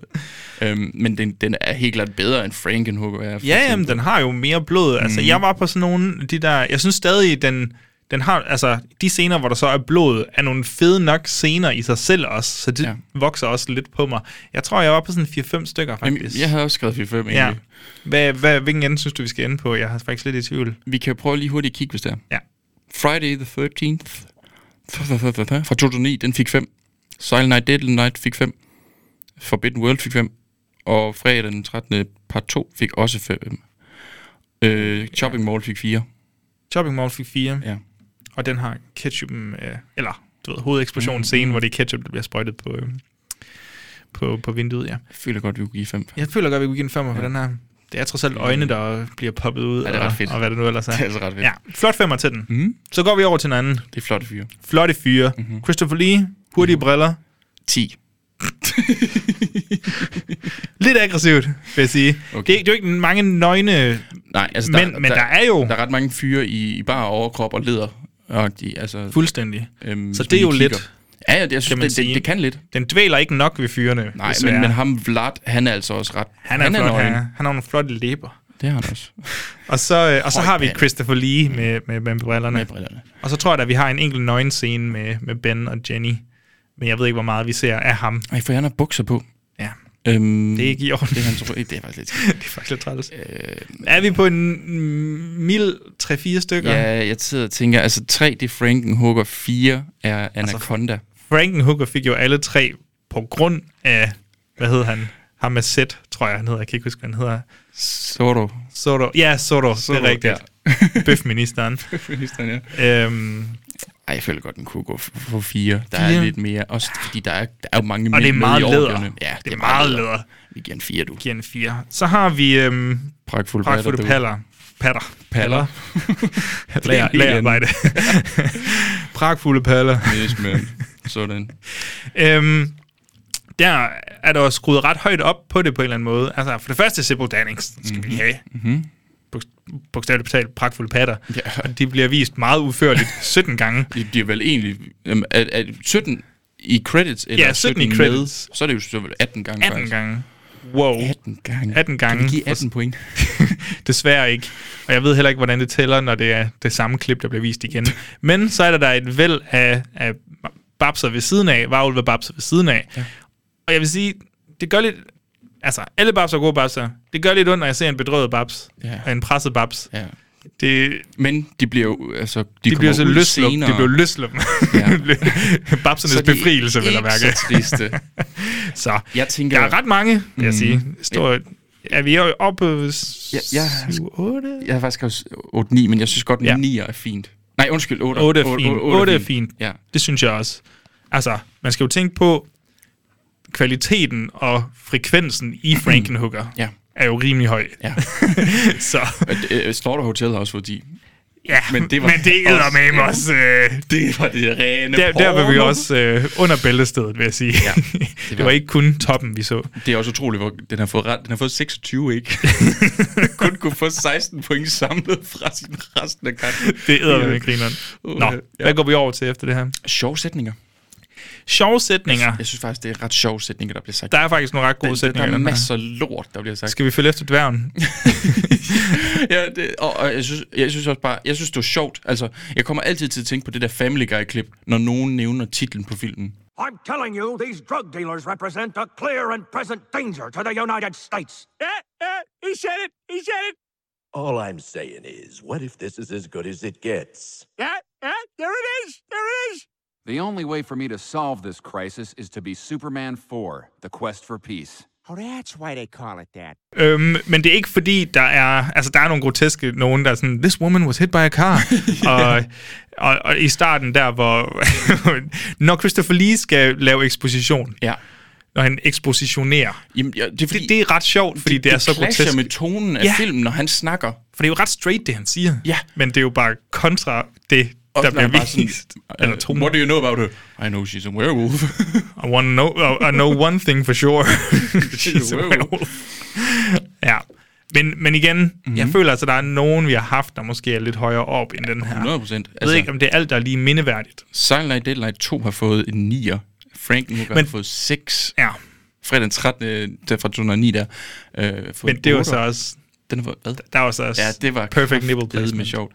Speaker 2: Øhm, men den, den er helt klart bedre end Frankenhooker er. for
Speaker 3: Ja, jamen,
Speaker 2: eksempel.
Speaker 3: den har jo mere blod. Altså,
Speaker 2: Mhm.
Speaker 3: jeg var på sådan nogle af de der... Jeg synes stadig, den, den har... Altså, de scener, hvor der så er blod, er nogle fede nok scener i sig selv også. Så det
Speaker 2: Ja.
Speaker 3: ja. vokser også lidt på mig. Jeg tror, jeg var på sådan 4-5 stykker, faktisk.
Speaker 2: Jamen, jeg havde også skrevet 4-5 egentlig.
Speaker 3: ja.
Speaker 2: Ja.
Speaker 3: Hvad, hvad, hvilken ende synes du, vi skal ende på? Jeg er faktisk lidt i tvivl.
Speaker 2: Vi kan jo prøve lige hurtigt at kigge, hvis det er.
Speaker 3: Ja.
Speaker 2: Friday the 13th fra 2009, den fik 5. Silent Night, Deadly Night fik 5. Forbidden World fik 5. og fredag den 13. part 2 fik også 5. Øh, Chopping Mall fik 4.
Speaker 3: Chopping Mall fik 4,
Speaker 2: Ja.
Speaker 3: og den har ketchup, øh, eller du ved, hovedeksplosionsscenen,
Speaker 2: Mhm.
Speaker 3: mm. hvor det er ketchup, der bliver sprøjtet på, øh, på, på vinduet, ja.
Speaker 2: Jeg føler godt, vi kunne give 5. Det
Speaker 3: Jeg føler godt, vi kunne give en femmer ja. for den her. Det er trods alt øjne, der bliver poppet ud,
Speaker 2: Ja, det er ret
Speaker 3: og,
Speaker 2: fedt.
Speaker 3: og hvad det nu ellers er.
Speaker 2: er altså ret fedt.
Speaker 3: Ja, flot femmer til den.
Speaker 2: Mm.
Speaker 3: Så går vi over til en anden.
Speaker 2: Det er flotte fyre.
Speaker 3: Flotte fyre.
Speaker 2: Mhm.
Speaker 3: Mm-hmm. Christopher Lee, hurtige mm-hmm. briller.
Speaker 2: 10.
Speaker 3: Lidt aggressivt, vil jeg sige. Okay.
Speaker 2: Okay.
Speaker 3: Det, er, ikke- det er jo ikke mange nøgne
Speaker 2: Nej, altså
Speaker 3: mænd, men der er jo
Speaker 2: Der er ret mange fyre i, i bar overkrop og leder. Og de, altså,
Speaker 3: fuldstændig.
Speaker 2: øhm,
Speaker 3: Så
Speaker 2: som
Speaker 3: det er jo
Speaker 2: lige
Speaker 3: lidt.
Speaker 2: kigger. Ja, ja, det, jeg
Speaker 3: kan
Speaker 2: synes,
Speaker 3: man
Speaker 2: det,
Speaker 3: sige.
Speaker 2: det, det, kan lidt.
Speaker 3: Den dvæler ikke nok ved fyrene,
Speaker 2: Nej,
Speaker 3: desværre.
Speaker 2: men, men ham Vlad, han er altså også ret...
Speaker 3: han er, han er flot,
Speaker 2: nøgen.
Speaker 3: han, er- han har nogle flotte læber.
Speaker 2: Det har han også.
Speaker 3: Og så, øh, og så
Speaker 2: Høj
Speaker 3: har vi
Speaker 2: pande.
Speaker 3: Christopher Lee med, med, med brillerne.
Speaker 2: Med brillerne.
Speaker 3: Og så tror jeg, at vi har en enkelt nøgen scene med, med Ben og Jenny. Men jeg ved ikke, hvor meget vi ser af ham.
Speaker 2: Ej, for han har bukser på.
Speaker 3: Ja,
Speaker 2: Øhm,
Speaker 3: det er ikke i orden.
Speaker 2: Det er hans røg. Det er faktisk lidt...
Speaker 3: (laughs) det er faktisk lidt træls. er vi på en mm, mild 3-4 stykker?
Speaker 2: Ja, jeg sidder og tænker, altså 3, det er Frankenhooker, 4 er
Speaker 3: Altså,
Speaker 2: Anaconda.
Speaker 3: Frankenhooker fik jo alle tre på grund af, hvad hed han? Ham med Z, tror jeg, han hedder. Jeg kan ikke huske, hvad han hedder.
Speaker 2: Sordo.
Speaker 3: Soto. Ja, Soto. Soto det er rigtigt. Ja. (laughs) Bøfministeren.
Speaker 2: Ministeren, ja.
Speaker 3: øhm,
Speaker 2: Ej, jeg føler godt, den kunne gå for, for fire. Der
Speaker 3: Fire?
Speaker 2: er lidt mere, også fordi der er, der er jo mange
Speaker 3: og
Speaker 2: mænd
Speaker 3: det er
Speaker 2: med
Speaker 3: meget
Speaker 2: i
Speaker 3: læder.
Speaker 2: orgierne. Ja,
Speaker 3: det, er meget læder.
Speaker 2: Vi giver en fire, du.
Speaker 3: Giver en 4. Så har vi øhm,
Speaker 2: Pragtfuld
Speaker 3: Pragtfulde
Speaker 2: patter.
Speaker 3: paller. Patter.
Speaker 2: Paller.
Speaker 3: Lager,
Speaker 2: helt
Speaker 3: lagerarbejde. (laughs) Pragtfulde paller.
Speaker 2: Yes, man. (laughs) Sådan.
Speaker 3: Øhm, der er der også skruet ret højt op på det på en eller anden måde. Altså, for det første Sybil Dannings skal mm-hmm. vi
Speaker 2: Mhm.
Speaker 3: lige have. Mm-hmm. Bogstaveligt talt pragtfulde patter.
Speaker 2: Ja.
Speaker 3: Og de bliver vist meget
Speaker 2: (laughs)
Speaker 3: udførligt 17 gange.
Speaker 2: De, de er vel egentlig... Øhm, er, er 17 i credits? Eller
Speaker 3: Ja, 17 i credits.
Speaker 2: Med, så er det jo så vel 18 gange.
Speaker 3: 18
Speaker 2: faktisk.
Speaker 3: gange. Wow.
Speaker 2: 18 gange.
Speaker 3: 18 gange.
Speaker 2: Kan vi give 18 point?
Speaker 3: Desværre ikke. Og jeg ved heller ikke, hvordan det tæller, når det er det samme klip, der bliver vist igen. Men så er der, der et væld af, af babser ved siden af, varulve babser ved siden af. Ja. Og jeg vil sige, det gør lidt... Altså, alle babser er gode babser. Det gør lidt ondt, når jeg ser en bedrøvet babs
Speaker 2: Ja.
Speaker 3: og en presset babs.
Speaker 2: Ja.
Speaker 3: Det,
Speaker 2: Men de bliver jo... Altså, de,
Speaker 3: de
Speaker 2: kommer
Speaker 3: bliver så
Speaker 2: ud
Speaker 3: løsluppen.
Speaker 2: senere.
Speaker 3: De bliver løsluppen.
Speaker 2: Ja.
Speaker 3: (laughs) Babsernes
Speaker 2: Så de er
Speaker 3: befrielse, vil jeg
Speaker 2: ikke
Speaker 3: mærke.
Speaker 2: så
Speaker 3: (laughs)
Speaker 2: triste.
Speaker 3: Så,
Speaker 2: Jeg tænker... Mm.
Speaker 3: der er ret mange, vil jeg sige. Stor, er vi oppe på
Speaker 2: Ja, jeg-
Speaker 3: 8?
Speaker 2: Jeg har faktisk også 8-9, men jeg synes godt,
Speaker 3: Ja.
Speaker 2: at 9 er fint. Nej, undskyld, 8.
Speaker 3: 8 er fint. 8 er fint.
Speaker 2: Ja.
Speaker 3: Det synes jeg også. Altså, man skal jo tænke på, kvaliteten og frekvensen i Frankenhooker
Speaker 2: Mm-hmm. Ja.
Speaker 3: er jo rimelig høj.
Speaker 2: ja. (laughs)
Speaker 3: Så
Speaker 2: Øh, Slaughter Hotel har også fået 10.
Speaker 3: ja, men
Speaker 2: Men
Speaker 3: det,
Speaker 2: det var
Speaker 3: men det er med mig også. Øh,
Speaker 2: Det var det rene
Speaker 3: der, der var vi også øh, under bæltestedet, vil jeg sige. Ja, (laughs) det, var. det var ikke kun toppen, vi så.
Speaker 2: Det er også utroligt, hvor den har fået ret. Den har fået
Speaker 3: (laughs)
Speaker 2: 26, ikke? Kun kunne få 16 point samlet fra sin resten af kampen.
Speaker 3: Det æder med grineren. Nå,
Speaker 2: Uh, ja.
Speaker 3: hvad går vi over til efter det her?
Speaker 2: Sjove sætninger.
Speaker 3: Sjove sætninger.
Speaker 2: Jeg synes faktisk, det er ret sjove sætninger, der bliver sagt.
Speaker 3: Der er faktisk nogle ret gode
Speaker 2: der,
Speaker 3: sætninger. i
Speaker 2: der er
Speaker 3: den her.
Speaker 2: masser af lort, der bliver sagt.
Speaker 3: Skal vi følge efter dværgen?
Speaker 2: ja, det, og, og jeg, synes, jeg synes også bare, jeg synes, det var sjovt. Altså, jeg kommer altid til at tænke på det der Family Guy-klip, når nogen nævner titlen på filmen.
Speaker 1: I'm telling you, these drug dealers represent a clear and present danger to the United States.
Speaker 9: All I'm saying is, what if this is as good as it gets?
Speaker 10: The only way for me to solve this crisis is to be Superman 4, The Quest for Peace.
Speaker 3: Øhm, men det er ikke fordi, der er, altså, der er nogle groteske nogen, der er sådan, this woman was hit by a
Speaker 2: (laughs)
Speaker 3: car. og, og, og, i starten der, hvor (laughs) når Christopher Lee skal lave eksposition,
Speaker 2: Ja.
Speaker 3: når han ekspositionerer,
Speaker 2: Jamen, ja, det, er fordi,
Speaker 3: det, det er ret sjovt, fordi det, det er så
Speaker 2: clasher
Speaker 3: grotesk.
Speaker 2: med tonen af
Speaker 3: Ja.
Speaker 2: ja. filmen, når han snakker.
Speaker 3: For det er jo ret straight, det han siger.
Speaker 2: Ja.
Speaker 3: Men det er jo bare kontra det,
Speaker 2: Og
Speaker 3: der
Speaker 2: når han
Speaker 3: bliver
Speaker 2: bare sådan,
Speaker 3: vist.
Speaker 2: øh,
Speaker 3: Eller tonen.
Speaker 2: What do you know about her? I know she's a
Speaker 3: (laughs)
Speaker 2: werewolf.
Speaker 3: I, wanna know, uh, I, I know one thing for
Speaker 2: (laughs)
Speaker 3: sure. (laughs) She's a
Speaker 2: Wow.
Speaker 3: werewolf. ja. Men, men igen,
Speaker 2: Mhm.
Speaker 3: mm-hmm. jeg føler altså, der er nogen, vi har haft, der måske er lidt højere op end den her.
Speaker 2: 100 procent.
Speaker 3: Jeg ved ikke,
Speaker 2: Altså,
Speaker 3: om det er alt, der er lige mindeværdigt.
Speaker 2: Silent Night Deadlight 2 har fået en 9'er. Frankenhooker
Speaker 3: Men-
Speaker 2: har fået 6.
Speaker 3: Ja,
Speaker 2: Fredag den 13. Der fra 2009 der. Øh, fået
Speaker 3: men det var
Speaker 2: otter.
Speaker 3: så også...
Speaker 2: Den har fået, hvad?
Speaker 3: Der var så også
Speaker 2: Ja, det var
Speaker 3: perfect nipple
Speaker 2: kraftedeme
Speaker 3: placement.
Speaker 2: sjovt.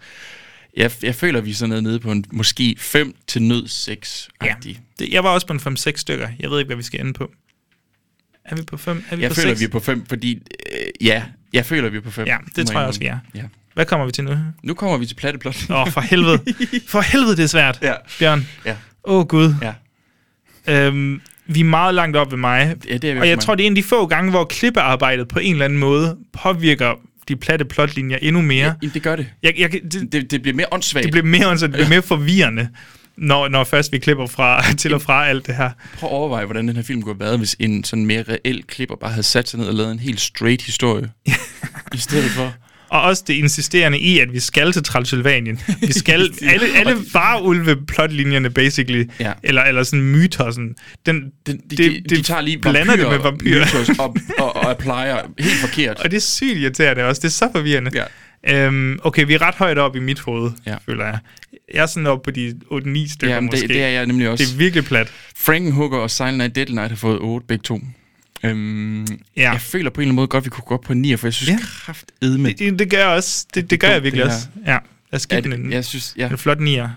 Speaker 2: Jeg, jeg føler, vi er sådan noget nede på en, måske 5 til nød 6
Speaker 3: Ja. Det, jeg var også på en 5-6 stykker. Jeg ved ikke, hvad vi skal ende på. Er vi på 5? Er vi
Speaker 2: Jeg
Speaker 3: på
Speaker 2: føler,
Speaker 3: seks?
Speaker 2: vi er på 5, fordi... Øh, ja, jeg føler, vi er på 5.
Speaker 3: Ja, det tror jeg også, vi er.
Speaker 2: Ja.
Speaker 3: Hvad kommer vi til nu? Åh,
Speaker 2: Nu kommer vi til platteplot.
Speaker 3: oh,
Speaker 2: (laughs)
Speaker 3: for helvede. For helvede, det er svært,
Speaker 2: Ja.
Speaker 3: Bjørn.
Speaker 2: Ja,
Speaker 3: Åh, oh, Gud.
Speaker 2: ja.
Speaker 3: Øhm, vi er meget langt op ved mig.
Speaker 2: Ja, det er vi
Speaker 3: og
Speaker 2: for
Speaker 3: jeg
Speaker 2: mig.
Speaker 3: tror, det er en af de få gange, hvor klippearbejdet på en eller anden måde påvirker de platte plotlinjer endnu mere. Ja,
Speaker 2: Jamen, det gør det.
Speaker 3: jeg, jeg, kan- det,
Speaker 2: Det, det bliver mere åndssvagt.
Speaker 3: det bliver mere, altså, det bliver mere forvirrende, når, når først vi klipper fra, (laughs) til og fra alt det her.
Speaker 2: Prøv at overveje, hvordan den her film kunne have været, hvis en sådan mere reel klipper bare havde sat sig ned og lavet en helt straight historie. I stedet for...
Speaker 3: Og også det insisterende i, at vi skal til Transylvanien. Vi
Speaker 2: (laughs)
Speaker 3: skal... alle, alle varulve-plotlinjerne, basically,
Speaker 2: Ja.
Speaker 3: eller, eller sådan mytossen, den,
Speaker 2: Den, de,
Speaker 3: det-
Speaker 2: de, de,
Speaker 3: det
Speaker 2: tager lige
Speaker 3: blander det med vampyrer. (laughs)
Speaker 2: mythos op, og, og applyer helt forkert.
Speaker 3: Og det er sygt irriterende også. Det er så forvirrende.
Speaker 2: Ja.
Speaker 3: Øhm, okay, vi er ret højt op i mit hoved,
Speaker 2: Ja.
Speaker 3: ja. føler jeg. Jeg er sådan oppe på de 8-9 stykker
Speaker 2: Ja, men
Speaker 3: måske.
Speaker 2: det, det er jeg nemlig også.
Speaker 3: Det er virkelig plat.
Speaker 2: Frankenhooker og Silent Night Deadly Night har fået 8 begge to. Øhm, ja. Jeg føler på en eller anden måde godt, at vi kunne gå op på 9, for jeg synes ja.
Speaker 3: Ja.
Speaker 2: kraftedme,
Speaker 3: Det, det, det gør jeg også. Det, det gør
Speaker 2: dumt,
Speaker 3: jeg virkelig
Speaker 2: det her.
Speaker 3: også. Ja. Lad os give
Speaker 2: at,
Speaker 3: den en,
Speaker 2: jeg synes, ja,
Speaker 3: en flot nier.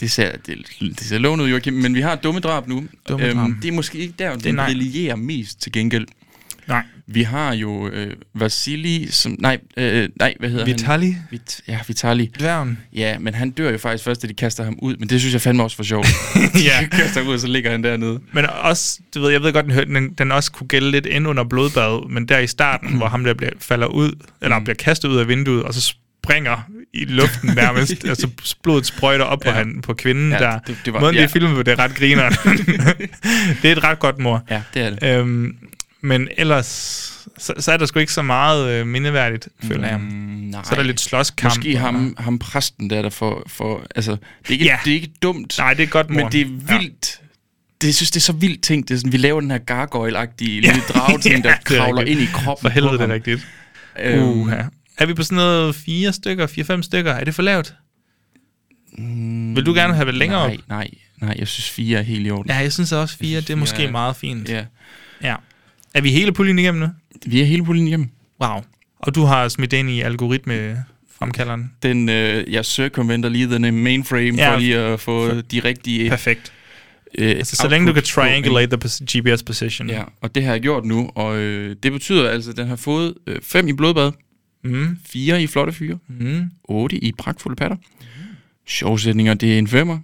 Speaker 2: det ser, det, det ser lovende ud, Joachim, men vi har dumme drab nu. Øhm,
Speaker 3: Dumme drab.
Speaker 2: det er måske ikke der, den
Speaker 3: nej.
Speaker 2: brillerer mest til gengæld.
Speaker 3: Nej.
Speaker 2: Vi har jo øh, Vasili, som, nej, øh, nej, hvad hedder han?
Speaker 3: Vitali?
Speaker 2: Vit, ja, Vitali.
Speaker 3: Dværgen.
Speaker 2: Ja, men han dør jo faktisk først, da de kaster ham ud, men det synes jeg fandme også for
Speaker 3: (laughs)
Speaker 2: sjovt.
Speaker 3: ja.
Speaker 2: (laughs) De kaster ham ud, og så ligger han dernede.
Speaker 3: Men også, du ved, jeg ved godt, den, hørte- den, den også kunne gælde lidt ind under blodbadet, men der i starten, hvor ham der bliver, falder ud, eller
Speaker 2: Mm.
Speaker 3: bliver kastet ud af vinduet, og så springer i
Speaker 2: (laughs)
Speaker 3: luften nærmest, altså blodet sprøjter op ja. på, han, på kvinden
Speaker 2: Ja,
Speaker 3: ja, der.
Speaker 2: det- det var-
Speaker 3: Måden, ja.
Speaker 2: ja.
Speaker 3: det er filmet på, det er ret griner.
Speaker 2: (laughs)
Speaker 3: det er et ret godt mor.
Speaker 2: Ja, det er det.
Speaker 3: Øhm, men ellers, så, så er der sgu ikke så meget øh, mindeværdigt,
Speaker 2: Mm,
Speaker 3: føler jeg.
Speaker 2: Øhm, nej.
Speaker 3: Så er der lidt slåskamp.
Speaker 2: Måske ham, ham præsten der, der får... For, altså, det er, ikke,
Speaker 3: Ja.
Speaker 2: det er ikke dumt,
Speaker 3: Nej, det er godt mor.
Speaker 2: men det er vildt. Det, jeg synes, det er så vildt ting. Det er sådan, vi laver den her gargoyle-agtige lille
Speaker 3: (laughs)
Speaker 2: dragting, der
Speaker 3: det er
Speaker 2: kravler
Speaker 3: rigtigt.
Speaker 2: ind i kroppen
Speaker 3: For helvede, det er
Speaker 2: ham.
Speaker 3: rigtigt.
Speaker 2: Øhm,
Speaker 3: Uh, ja. Er vi på sådan noget fire stykker, fire-fem stykker? Er det for lavt? Mm, Vil du gerne have det længere
Speaker 2: nej,
Speaker 3: op?
Speaker 2: nej, nej, jeg synes fire er helt i orden.
Speaker 3: Ja, jeg synes også fire, det er måske
Speaker 2: fire er-
Speaker 3: meget fint.
Speaker 2: Ja.
Speaker 3: Ja. Er vi hele puljen igennem nu?
Speaker 2: Vi er hele puljen igennem.
Speaker 3: Wow. Og du har smidt det ind i algoritme fremkalderen.
Speaker 2: Den, øh, jeg circumventer lige den øh, mainframe ja,
Speaker 3: Ja.
Speaker 2: for lige at få de rigtige...
Speaker 3: Perfekt.
Speaker 2: Øh,
Speaker 3: Altså, så længe du kan
Speaker 2: outputs på, ikke?
Speaker 3: triangulate the pos- GPS position.
Speaker 2: Mm. Ja, og det har jeg gjort nu, og øh, det betyder altså, at den har fået 5 øh, fem i blodbad,
Speaker 3: Mm.
Speaker 2: 4 i flotte fyre, 8 i pragtfulde patter, sjovsætninger, det er en femmer,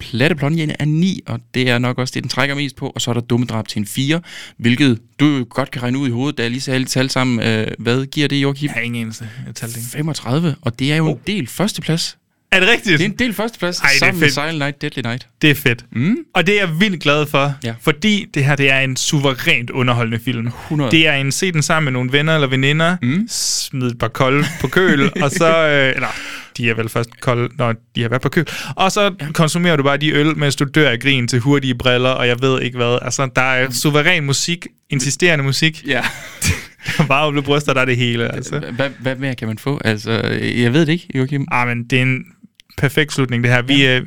Speaker 2: platte blondjene er 9, og det er nok også det, den trækker mest på, og så er der dumme drab til en 4, hvilket du jo godt kan regne ud i hovedet, da jeg lige sagde alle de tal sammen. Øh, hvad giver det, Joachim?
Speaker 3: Jeg har ingen eneste. Jeg talte ikke.
Speaker 2: 35, og det er jo en del førsteplads.
Speaker 3: Er det rigtigt?
Speaker 2: Det er en del førsteplads
Speaker 3: Oh. Ej, det er
Speaker 2: sammen med
Speaker 3: fedt.
Speaker 2: Silent Night, Deadly Night.
Speaker 3: Det er fedt. Mm. Og det er jeg vildt glad for,
Speaker 2: Ja.
Speaker 3: fordi det her det er en suverænt underholdende film.
Speaker 2: 100.
Speaker 3: Det er en se den sammen med nogle venner eller veninder, mm. smid et par kolde på køl, (laughs) og så... Øh, eller, de er vel først kolde, når de har været på køl. Og så ja. konsumerer du bare de øl, mens du dør af grin til hurtige briller, og jeg ved ikke hvad. Altså, der er suveræn musik, insisterende musik. (laughs)
Speaker 2: (laughs) Ja.
Speaker 3: Bare op bryster, der er det hele, altså.
Speaker 2: Hvad, hvad mere kan man få? Altså, jeg ved det ikke, Joachim.
Speaker 3: Ah, men det er en perfekt slutning, det her. Vi, ja. øh,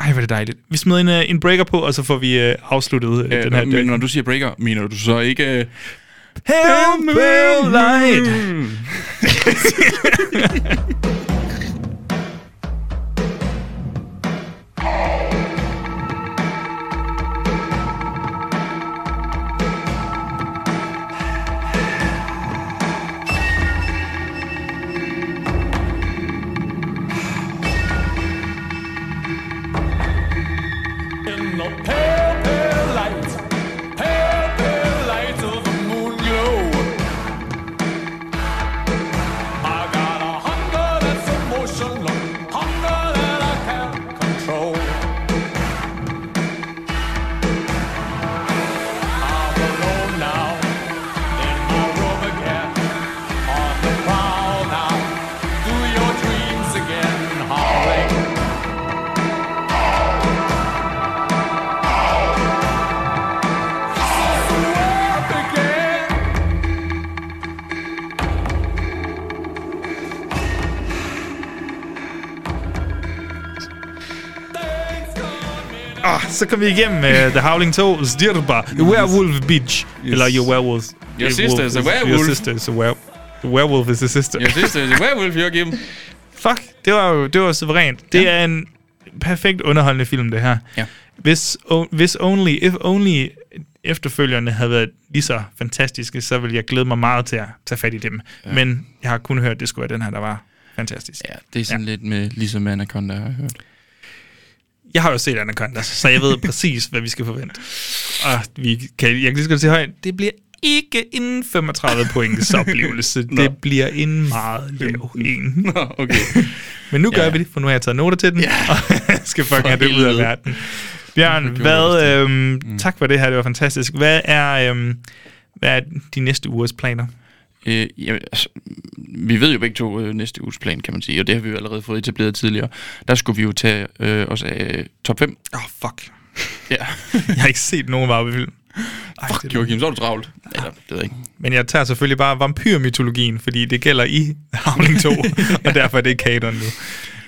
Speaker 3: ej, hvor er det dejligt. Vi smider en, øh, en breaker på, og så får vi øh, afsluttet øh,
Speaker 2: Øh,
Speaker 3: den her.
Speaker 2: men når du siger breaker, mener du så ikke... Øh,
Speaker 3: Hell light!
Speaker 8: In the pale, pale light, pale, pale light of the moon glow. I got a hunger that's emotional, hunger that I can't control. I'm alone now, in my room again, on the prowl now. Do your dreams again, howling.
Speaker 3: Ah, så kom vi igennem
Speaker 2: (laughs)
Speaker 3: uh, The Howling 2, Zdirba, The Werewolf Beach. Yes. Eller Your Werewolf.
Speaker 2: Your sister is a
Speaker 3: Your
Speaker 2: werewolf.
Speaker 3: sister is a werewolf. The werewolf is a sister.
Speaker 2: jeg synes, det er werewolf, Joachim.
Speaker 3: Fuck, det var jo det var suverænt. Det er en perfekt underholdende film, det her.
Speaker 2: Ja.
Speaker 3: Hvis, o- hvis only, if only efterfølgerne havde været lige så fantastiske, så ville jeg glæde mig meget til at tage fat i dem. Ja. Men jeg har kun hørt, at det skulle være den her, der var fantastisk.
Speaker 2: Ja, det er sådan ja. lidt med, ligesom med Anaconda, har jeg hørt.
Speaker 3: Jeg har jo set Anaconda, så jeg
Speaker 2: (laughs)
Speaker 3: ved præcis, hvad vi skal forvente. Og vi kan, jeg kan lige så godt sige højt, det bliver ikke en 35
Speaker 2: (laughs)
Speaker 3: points oplevelse. det bliver en meget lav en.
Speaker 2: Nå, okay.
Speaker 3: (laughs) Men nu gør
Speaker 2: Ja.
Speaker 3: vi det, for nu har jeg taget noter til den, ja. og (laughs) jeg skal fucking
Speaker 2: For
Speaker 3: have det ud af
Speaker 2: helvede.
Speaker 3: verden. Bjørn, hvad, øhm, mm. tak for det her, det var fantastisk. Hvad er, øhm, hvad er de næste ugers planer?
Speaker 2: Øh, jamen, altså, vi ved jo begge to øh, næste uges plan, kan man sige, og det har vi jo allerede fået etableret tidligere. Der skulle vi jo tage øh, os af øh, top 5.
Speaker 3: Åh, oh, fuck.
Speaker 2: (laughs) Ja.
Speaker 3: Jeg har ikke set nogen varmefilm.
Speaker 2: Fuck, Joachim, så er du travlt. Eller, det ved jeg ikke.
Speaker 3: Men jeg tager selvfølgelig bare vampyrmytologien, fordi det gælder i Havling (laughs) 2, og derfor er det ikke kanon nu.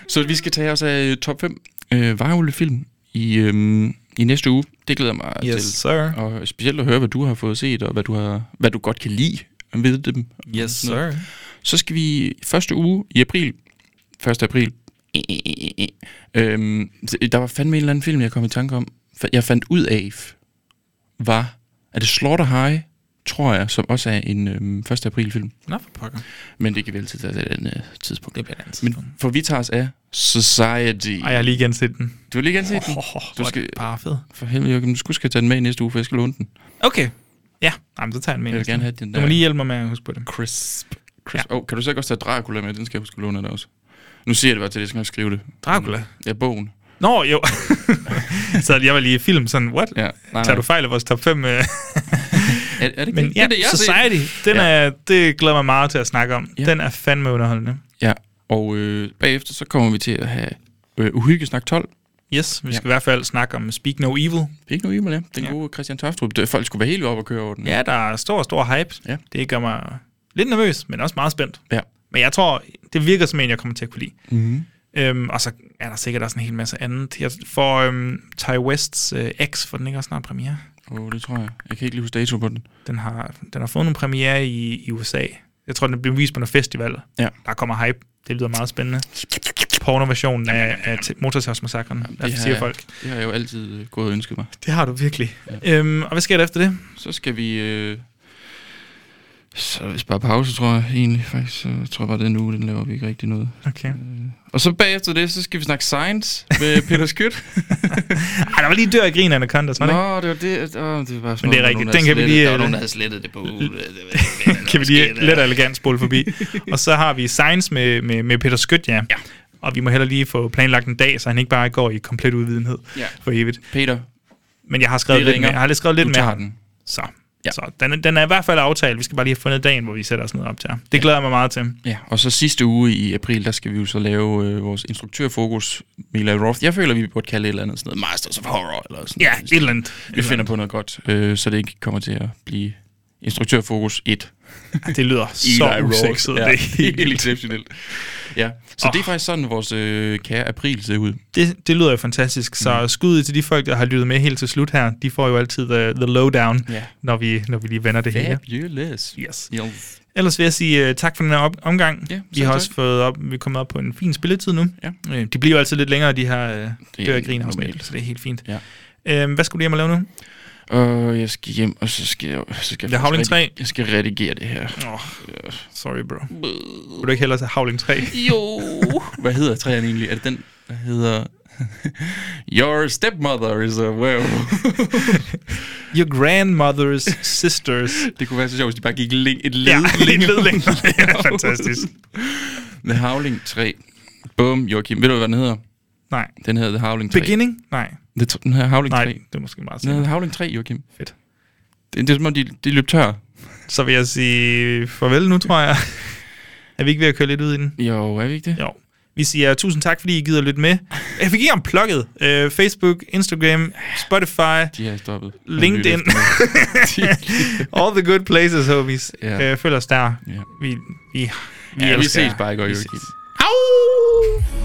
Speaker 2: Så vi skal tage os af øh, top 5 øh, varulvefilm i, øh, i næste uge. Det glæder jeg mig
Speaker 3: Yes,
Speaker 2: til.
Speaker 3: sir.
Speaker 2: Og specielt at høre, hvad du har fået set, og hvad du, har, hvad du godt kan lide ved dem.
Speaker 3: Yes,
Speaker 2: Sådan noget.
Speaker 3: sir.
Speaker 2: Så skal vi første uge i april, 1. april, eh, eh, eh, eh, eh. øhm, der var fandme en eller anden film, jeg kom i tanke om. Fa- Jeg fandt ud af, var, er det Slaughter High, tror jeg, som også er en øhm, 1. april-film.
Speaker 3: Nå, for pokker.
Speaker 2: Men det kan vi altid tage til et andet øh, tidspunkt.
Speaker 3: Det bliver et andet
Speaker 2: Men
Speaker 3: tidspunkt.
Speaker 2: for vi tager os af Society.
Speaker 3: Ej, jeg har lige genset den.
Speaker 2: Du har lige gerne set den.
Speaker 3: Oh,
Speaker 2: Du skal,
Speaker 3: bare fed.
Speaker 2: for helvede, Joachim, du skulle skal tage den med i næste uge, for jeg skal låne den.
Speaker 3: Okay. Ja, Jamen, så tager jeg den med.
Speaker 2: Jeg vil
Speaker 3: næste
Speaker 2: gerne
Speaker 3: uge.
Speaker 2: have den
Speaker 3: Du
Speaker 2: der-
Speaker 3: må lige hjælpe mig med at huske på det.
Speaker 2: Crisp. Crisp. Ja. Oh, kan du så ikke også tage Dracula med? Den skal jeg huske at låne af dig også. Nu siger jeg det bare til, at jeg skal nok skrive det.
Speaker 3: Dracula?
Speaker 2: Ja, bogen.
Speaker 3: Nå, jo. (laughs) så jeg var lige i film sådan, what?
Speaker 2: Ja, nej, nej.
Speaker 3: Tager du fejl af vores top 5?
Speaker 2: (laughs)
Speaker 3: Men
Speaker 2: Er, er det ikke
Speaker 3: ja,
Speaker 2: det, er det, jeg har set.
Speaker 3: Society, den
Speaker 2: Ja.
Speaker 3: er, det glæder mig meget til at snakke om.
Speaker 2: Ja.
Speaker 3: Den er fandme underholdende.
Speaker 2: Ja, og øh, bagefter så kommer vi til at have øh, Uhyggesnak 12.
Speaker 3: Yes, vi
Speaker 2: Ja.
Speaker 3: skal i hvert fald snakke om Speak No Evil.
Speaker 2: Det er ikke noget e-mail, ja. Den
Speaker 3: Ja.
Speaker 2: gode Christian Toftrup. Det- Folk skulle være helt oppe og køre over den.
Speaker 3: Ja, der er stor, stor hype.
Speaker 2: Ja.
Speaker 3: Det gør mig lidt nervøs, men også meget spændt.
Speaker 2: ja.
Speaker 3: Men jeg tror, det virker som en, jeg kommer til at kunne lide. Mm-hmm. Øhm, og så er der sikkert også en hel masse andet. Jeg får øhm, Ty Wests øh, X, for den ikke også snart premiere.
Speaker 2: Oh, det tror jeg. Jeg kan ikke lige huske dato på den.
Speaker 3: Den har, den har fået nogle premiere i, i USA. Jeg tror, den blev vist på noget festival.
Speaker 2: Ja.
Speaker 3: Der kommer hype. Det lyder meget spændende. Pornoversionen af, af t- Motorsagsmassakren, der
Speaker 2: har
Speaker 3: siger
Speaker 2: jeg-
Speaker 3: folk.
Speaker 2: Det har jeg jo altid øh, gået og ønsket mig.
Speaker 3: Det har du virkelig. Ja. Øhm, og hvad sker der efter det?
Speaker 2: Så skal vi... Øh, så er det vist bare pause, tror jeg egentlig. Faktisk, så tror jeg bare, den uge, den laver vi ikke rigtig noget.
Speaker 3: Okay.
Speaker 2: Og så bagefter det, så skal vi snakke science med Peter
Speaker 3: (laughs)
Speaker 2: Skyt.
Speaker 3: Ej, der var lige dør af grin, Anaconda, var det ikke?
Speaker 2: Nå, det var det. Åh, det var bare
Speaker 3: Men
Speaker 2: sådan
Speaker 3: det er
Speaker 2: noget,
Speaker 3: rigtigt.
Speaker 2: nogen, der
Speaker 3: Den
Speaker 2: havde
Speaker 3: kan vi
Speaker 2: slettet.
Speaker 3: lige,
Speaker 2: Der var
Speaker 3: øh,
Speaker 2: nogen, der havde slettet det på. Uh, det- det- det-
Speaker 3: (laughs) Kan vi lige let og elegant spole forbi. og så har vi Science med, med, med Peter Skødt, ja. ja. Og vi må heller lige få planlagt en dag, så han ikke bare går i komplet udvidenhed
Speaker 2: Ja.
Speaker 3: for evigt.
Speaker 2: Peter,
Speaker 3: Men jeg har skrevet
Speaker 2: Vi
Speaker 3: lidt
Speaker 2: ringer.
Speaker 3: med, jeg har lidt skrevet lidt
Speaker 2: Du
Speaker 3: med
Speaker 2: tager
Speaker 3: ham.
Speaker 2: den.
Speaker 3: Så,
Speaker 2: Ja.
Speaker 3: ja. så den, er- den er i hvert fald aftalt. Vi skal bare lige have fundet dagen, hvor vi sætter os ned og optager. Det glæder jeg mig meget til.
Speaker 2: Ja, og så sidste uge i april, der skal vi jo så lave øh, vores instruktørfokus, Mila Roth. Jeg føler, vi burde kalde det et eller andet sådan noget Masters of Horror, eller sådan
Speaker 3: Ja,
Speaker 2: noget.
Speaker 3: et eller andet.
Speaker 2: Vi finder på noget godt, øh, så det ikke kommer til at blive instruktørfokus 1.
Speaker 3: Det lyder så usekset.
Speaker 2: Ja,
Speaker 3: Det er helt
Speaker 2: (laughs) helt
Speaker 3: vildt.
Speaker 2: exceptionelt. Ja, så oh. det er
Speaker 3: Åh.
Speaker 2: faktisk sådan, vores øh, kære april ser ud.
Speaker 3: Det, det lyder jo fantastisk. Så mm. skud ud til de folk, der har lyttet med helt til slut her. De får jo altid the, the lowdown,
Speaker 2: Ja.
Speaker 3: når, vi, når vi lige vender det hele.
Speaker 2: Fabulous.
Speaker 3: Yes.
Speaker 2: Yes.
Speaker 3: Ellers vil jeg sige uh, tak for den her op- omgang.
Speaker 2: Ja,
Speaker 3: vi
Speaker 2: selv
Speaker 3: har
Speaker 2: tak.
Speaker 3: også fået op, vi er kommet op på en fin spilletid nu.
Speaker 2: Ja.
Speaker 3: Øh, de bliver jo altid lidt længere, de her
Speaker 2: Det er
Speaker 3: uh, dør grin afsnit,
Speaker 2: normalt.
Speaker 3: så det er helt fint.
Speaker 2: Ja.
Speaker 3: Øh, hvad skulle du hjem og lave nu?
Speaker 2: Og jeg skal hjem, og så skal jeg... Så skal
Speaker 3: Det er
Speaker 2: jeg,
Speaker 3: Howling
Speaker 2: faktisk
Speaker 3: 3.
Speaker 2: redi- jeg skal redigere det her.
Speaker 3: Oh, sorry, bro. Vil du ikke hellere tage Havling
Speaker 2: (laughs)
Speaker 3: 3?
Speaker 2: Jo. Hvad hedder træerne egentlig? Er det den, der hedder... (laughs) Your stepmother is a
Speaker 3: (laughs)
Speaker 2: werewolf.
Speaker 3: Your grandmother's sisters.
Speaker 2: Det kunne være så sjovt, hvis de bare gik link, et
Speaker 3: (laughs)
Speaker 2: led.
Speaker 3: ja, lidt
Speaker 2: længere.
Speaker 3: led længere.
Speaker 2: (laughs)
Speaker 3: Det er fantastisk.
Speaker 2: The Howling 3. Bum, Joachim. Ved du, hvad den hedder?
Speaker 3: Nej.
Speaker 2: Den hedder The Howling 3.
Speaker 3: Beginning? Nej.
Speaker 2: Det, den hedder Howling
Speaker 3: Nej,
Speaker 2: 3.
Speaker 3: det er måske meget
Speaker 2: Den hedder
Speaker 3: sikkert.
Speaker 2: Howling 3, Joachim.
Speaker 3: Fedt.
Speaker 2: Det, det er som om, de, de løb tør.
Speaker 3: Så vil jeg sige farvel nu, tror jeg. Er vi ikke ved at køre lidt ud i den?
Speaker 2: Jo, er vi ikke det?
Speaker 3: Jo. Vi siger tusind tak, fordi I gider lytte med. Jeg fik ikke om plukket. Øh, Facebook, Instagram, Spotify,
Speaker 2: De har stoppet.
Speaker 3: LinkedIn. (laughs) All the good places, homies.
Speaker 2: Ja.
Speaker 3: Øh, følg os der.
Speaker 2: Ja.
Speaker 3: Vi, vi, vi
Speaker 2: ja, vi
Speaker 3: elsker
Speaker 2: ses
Speaker 3: jer.
Speaker 2: bare, ikke,
Speaker 3: Vi
Speaker 2: Joachim?
Speaker 3: ses. Au!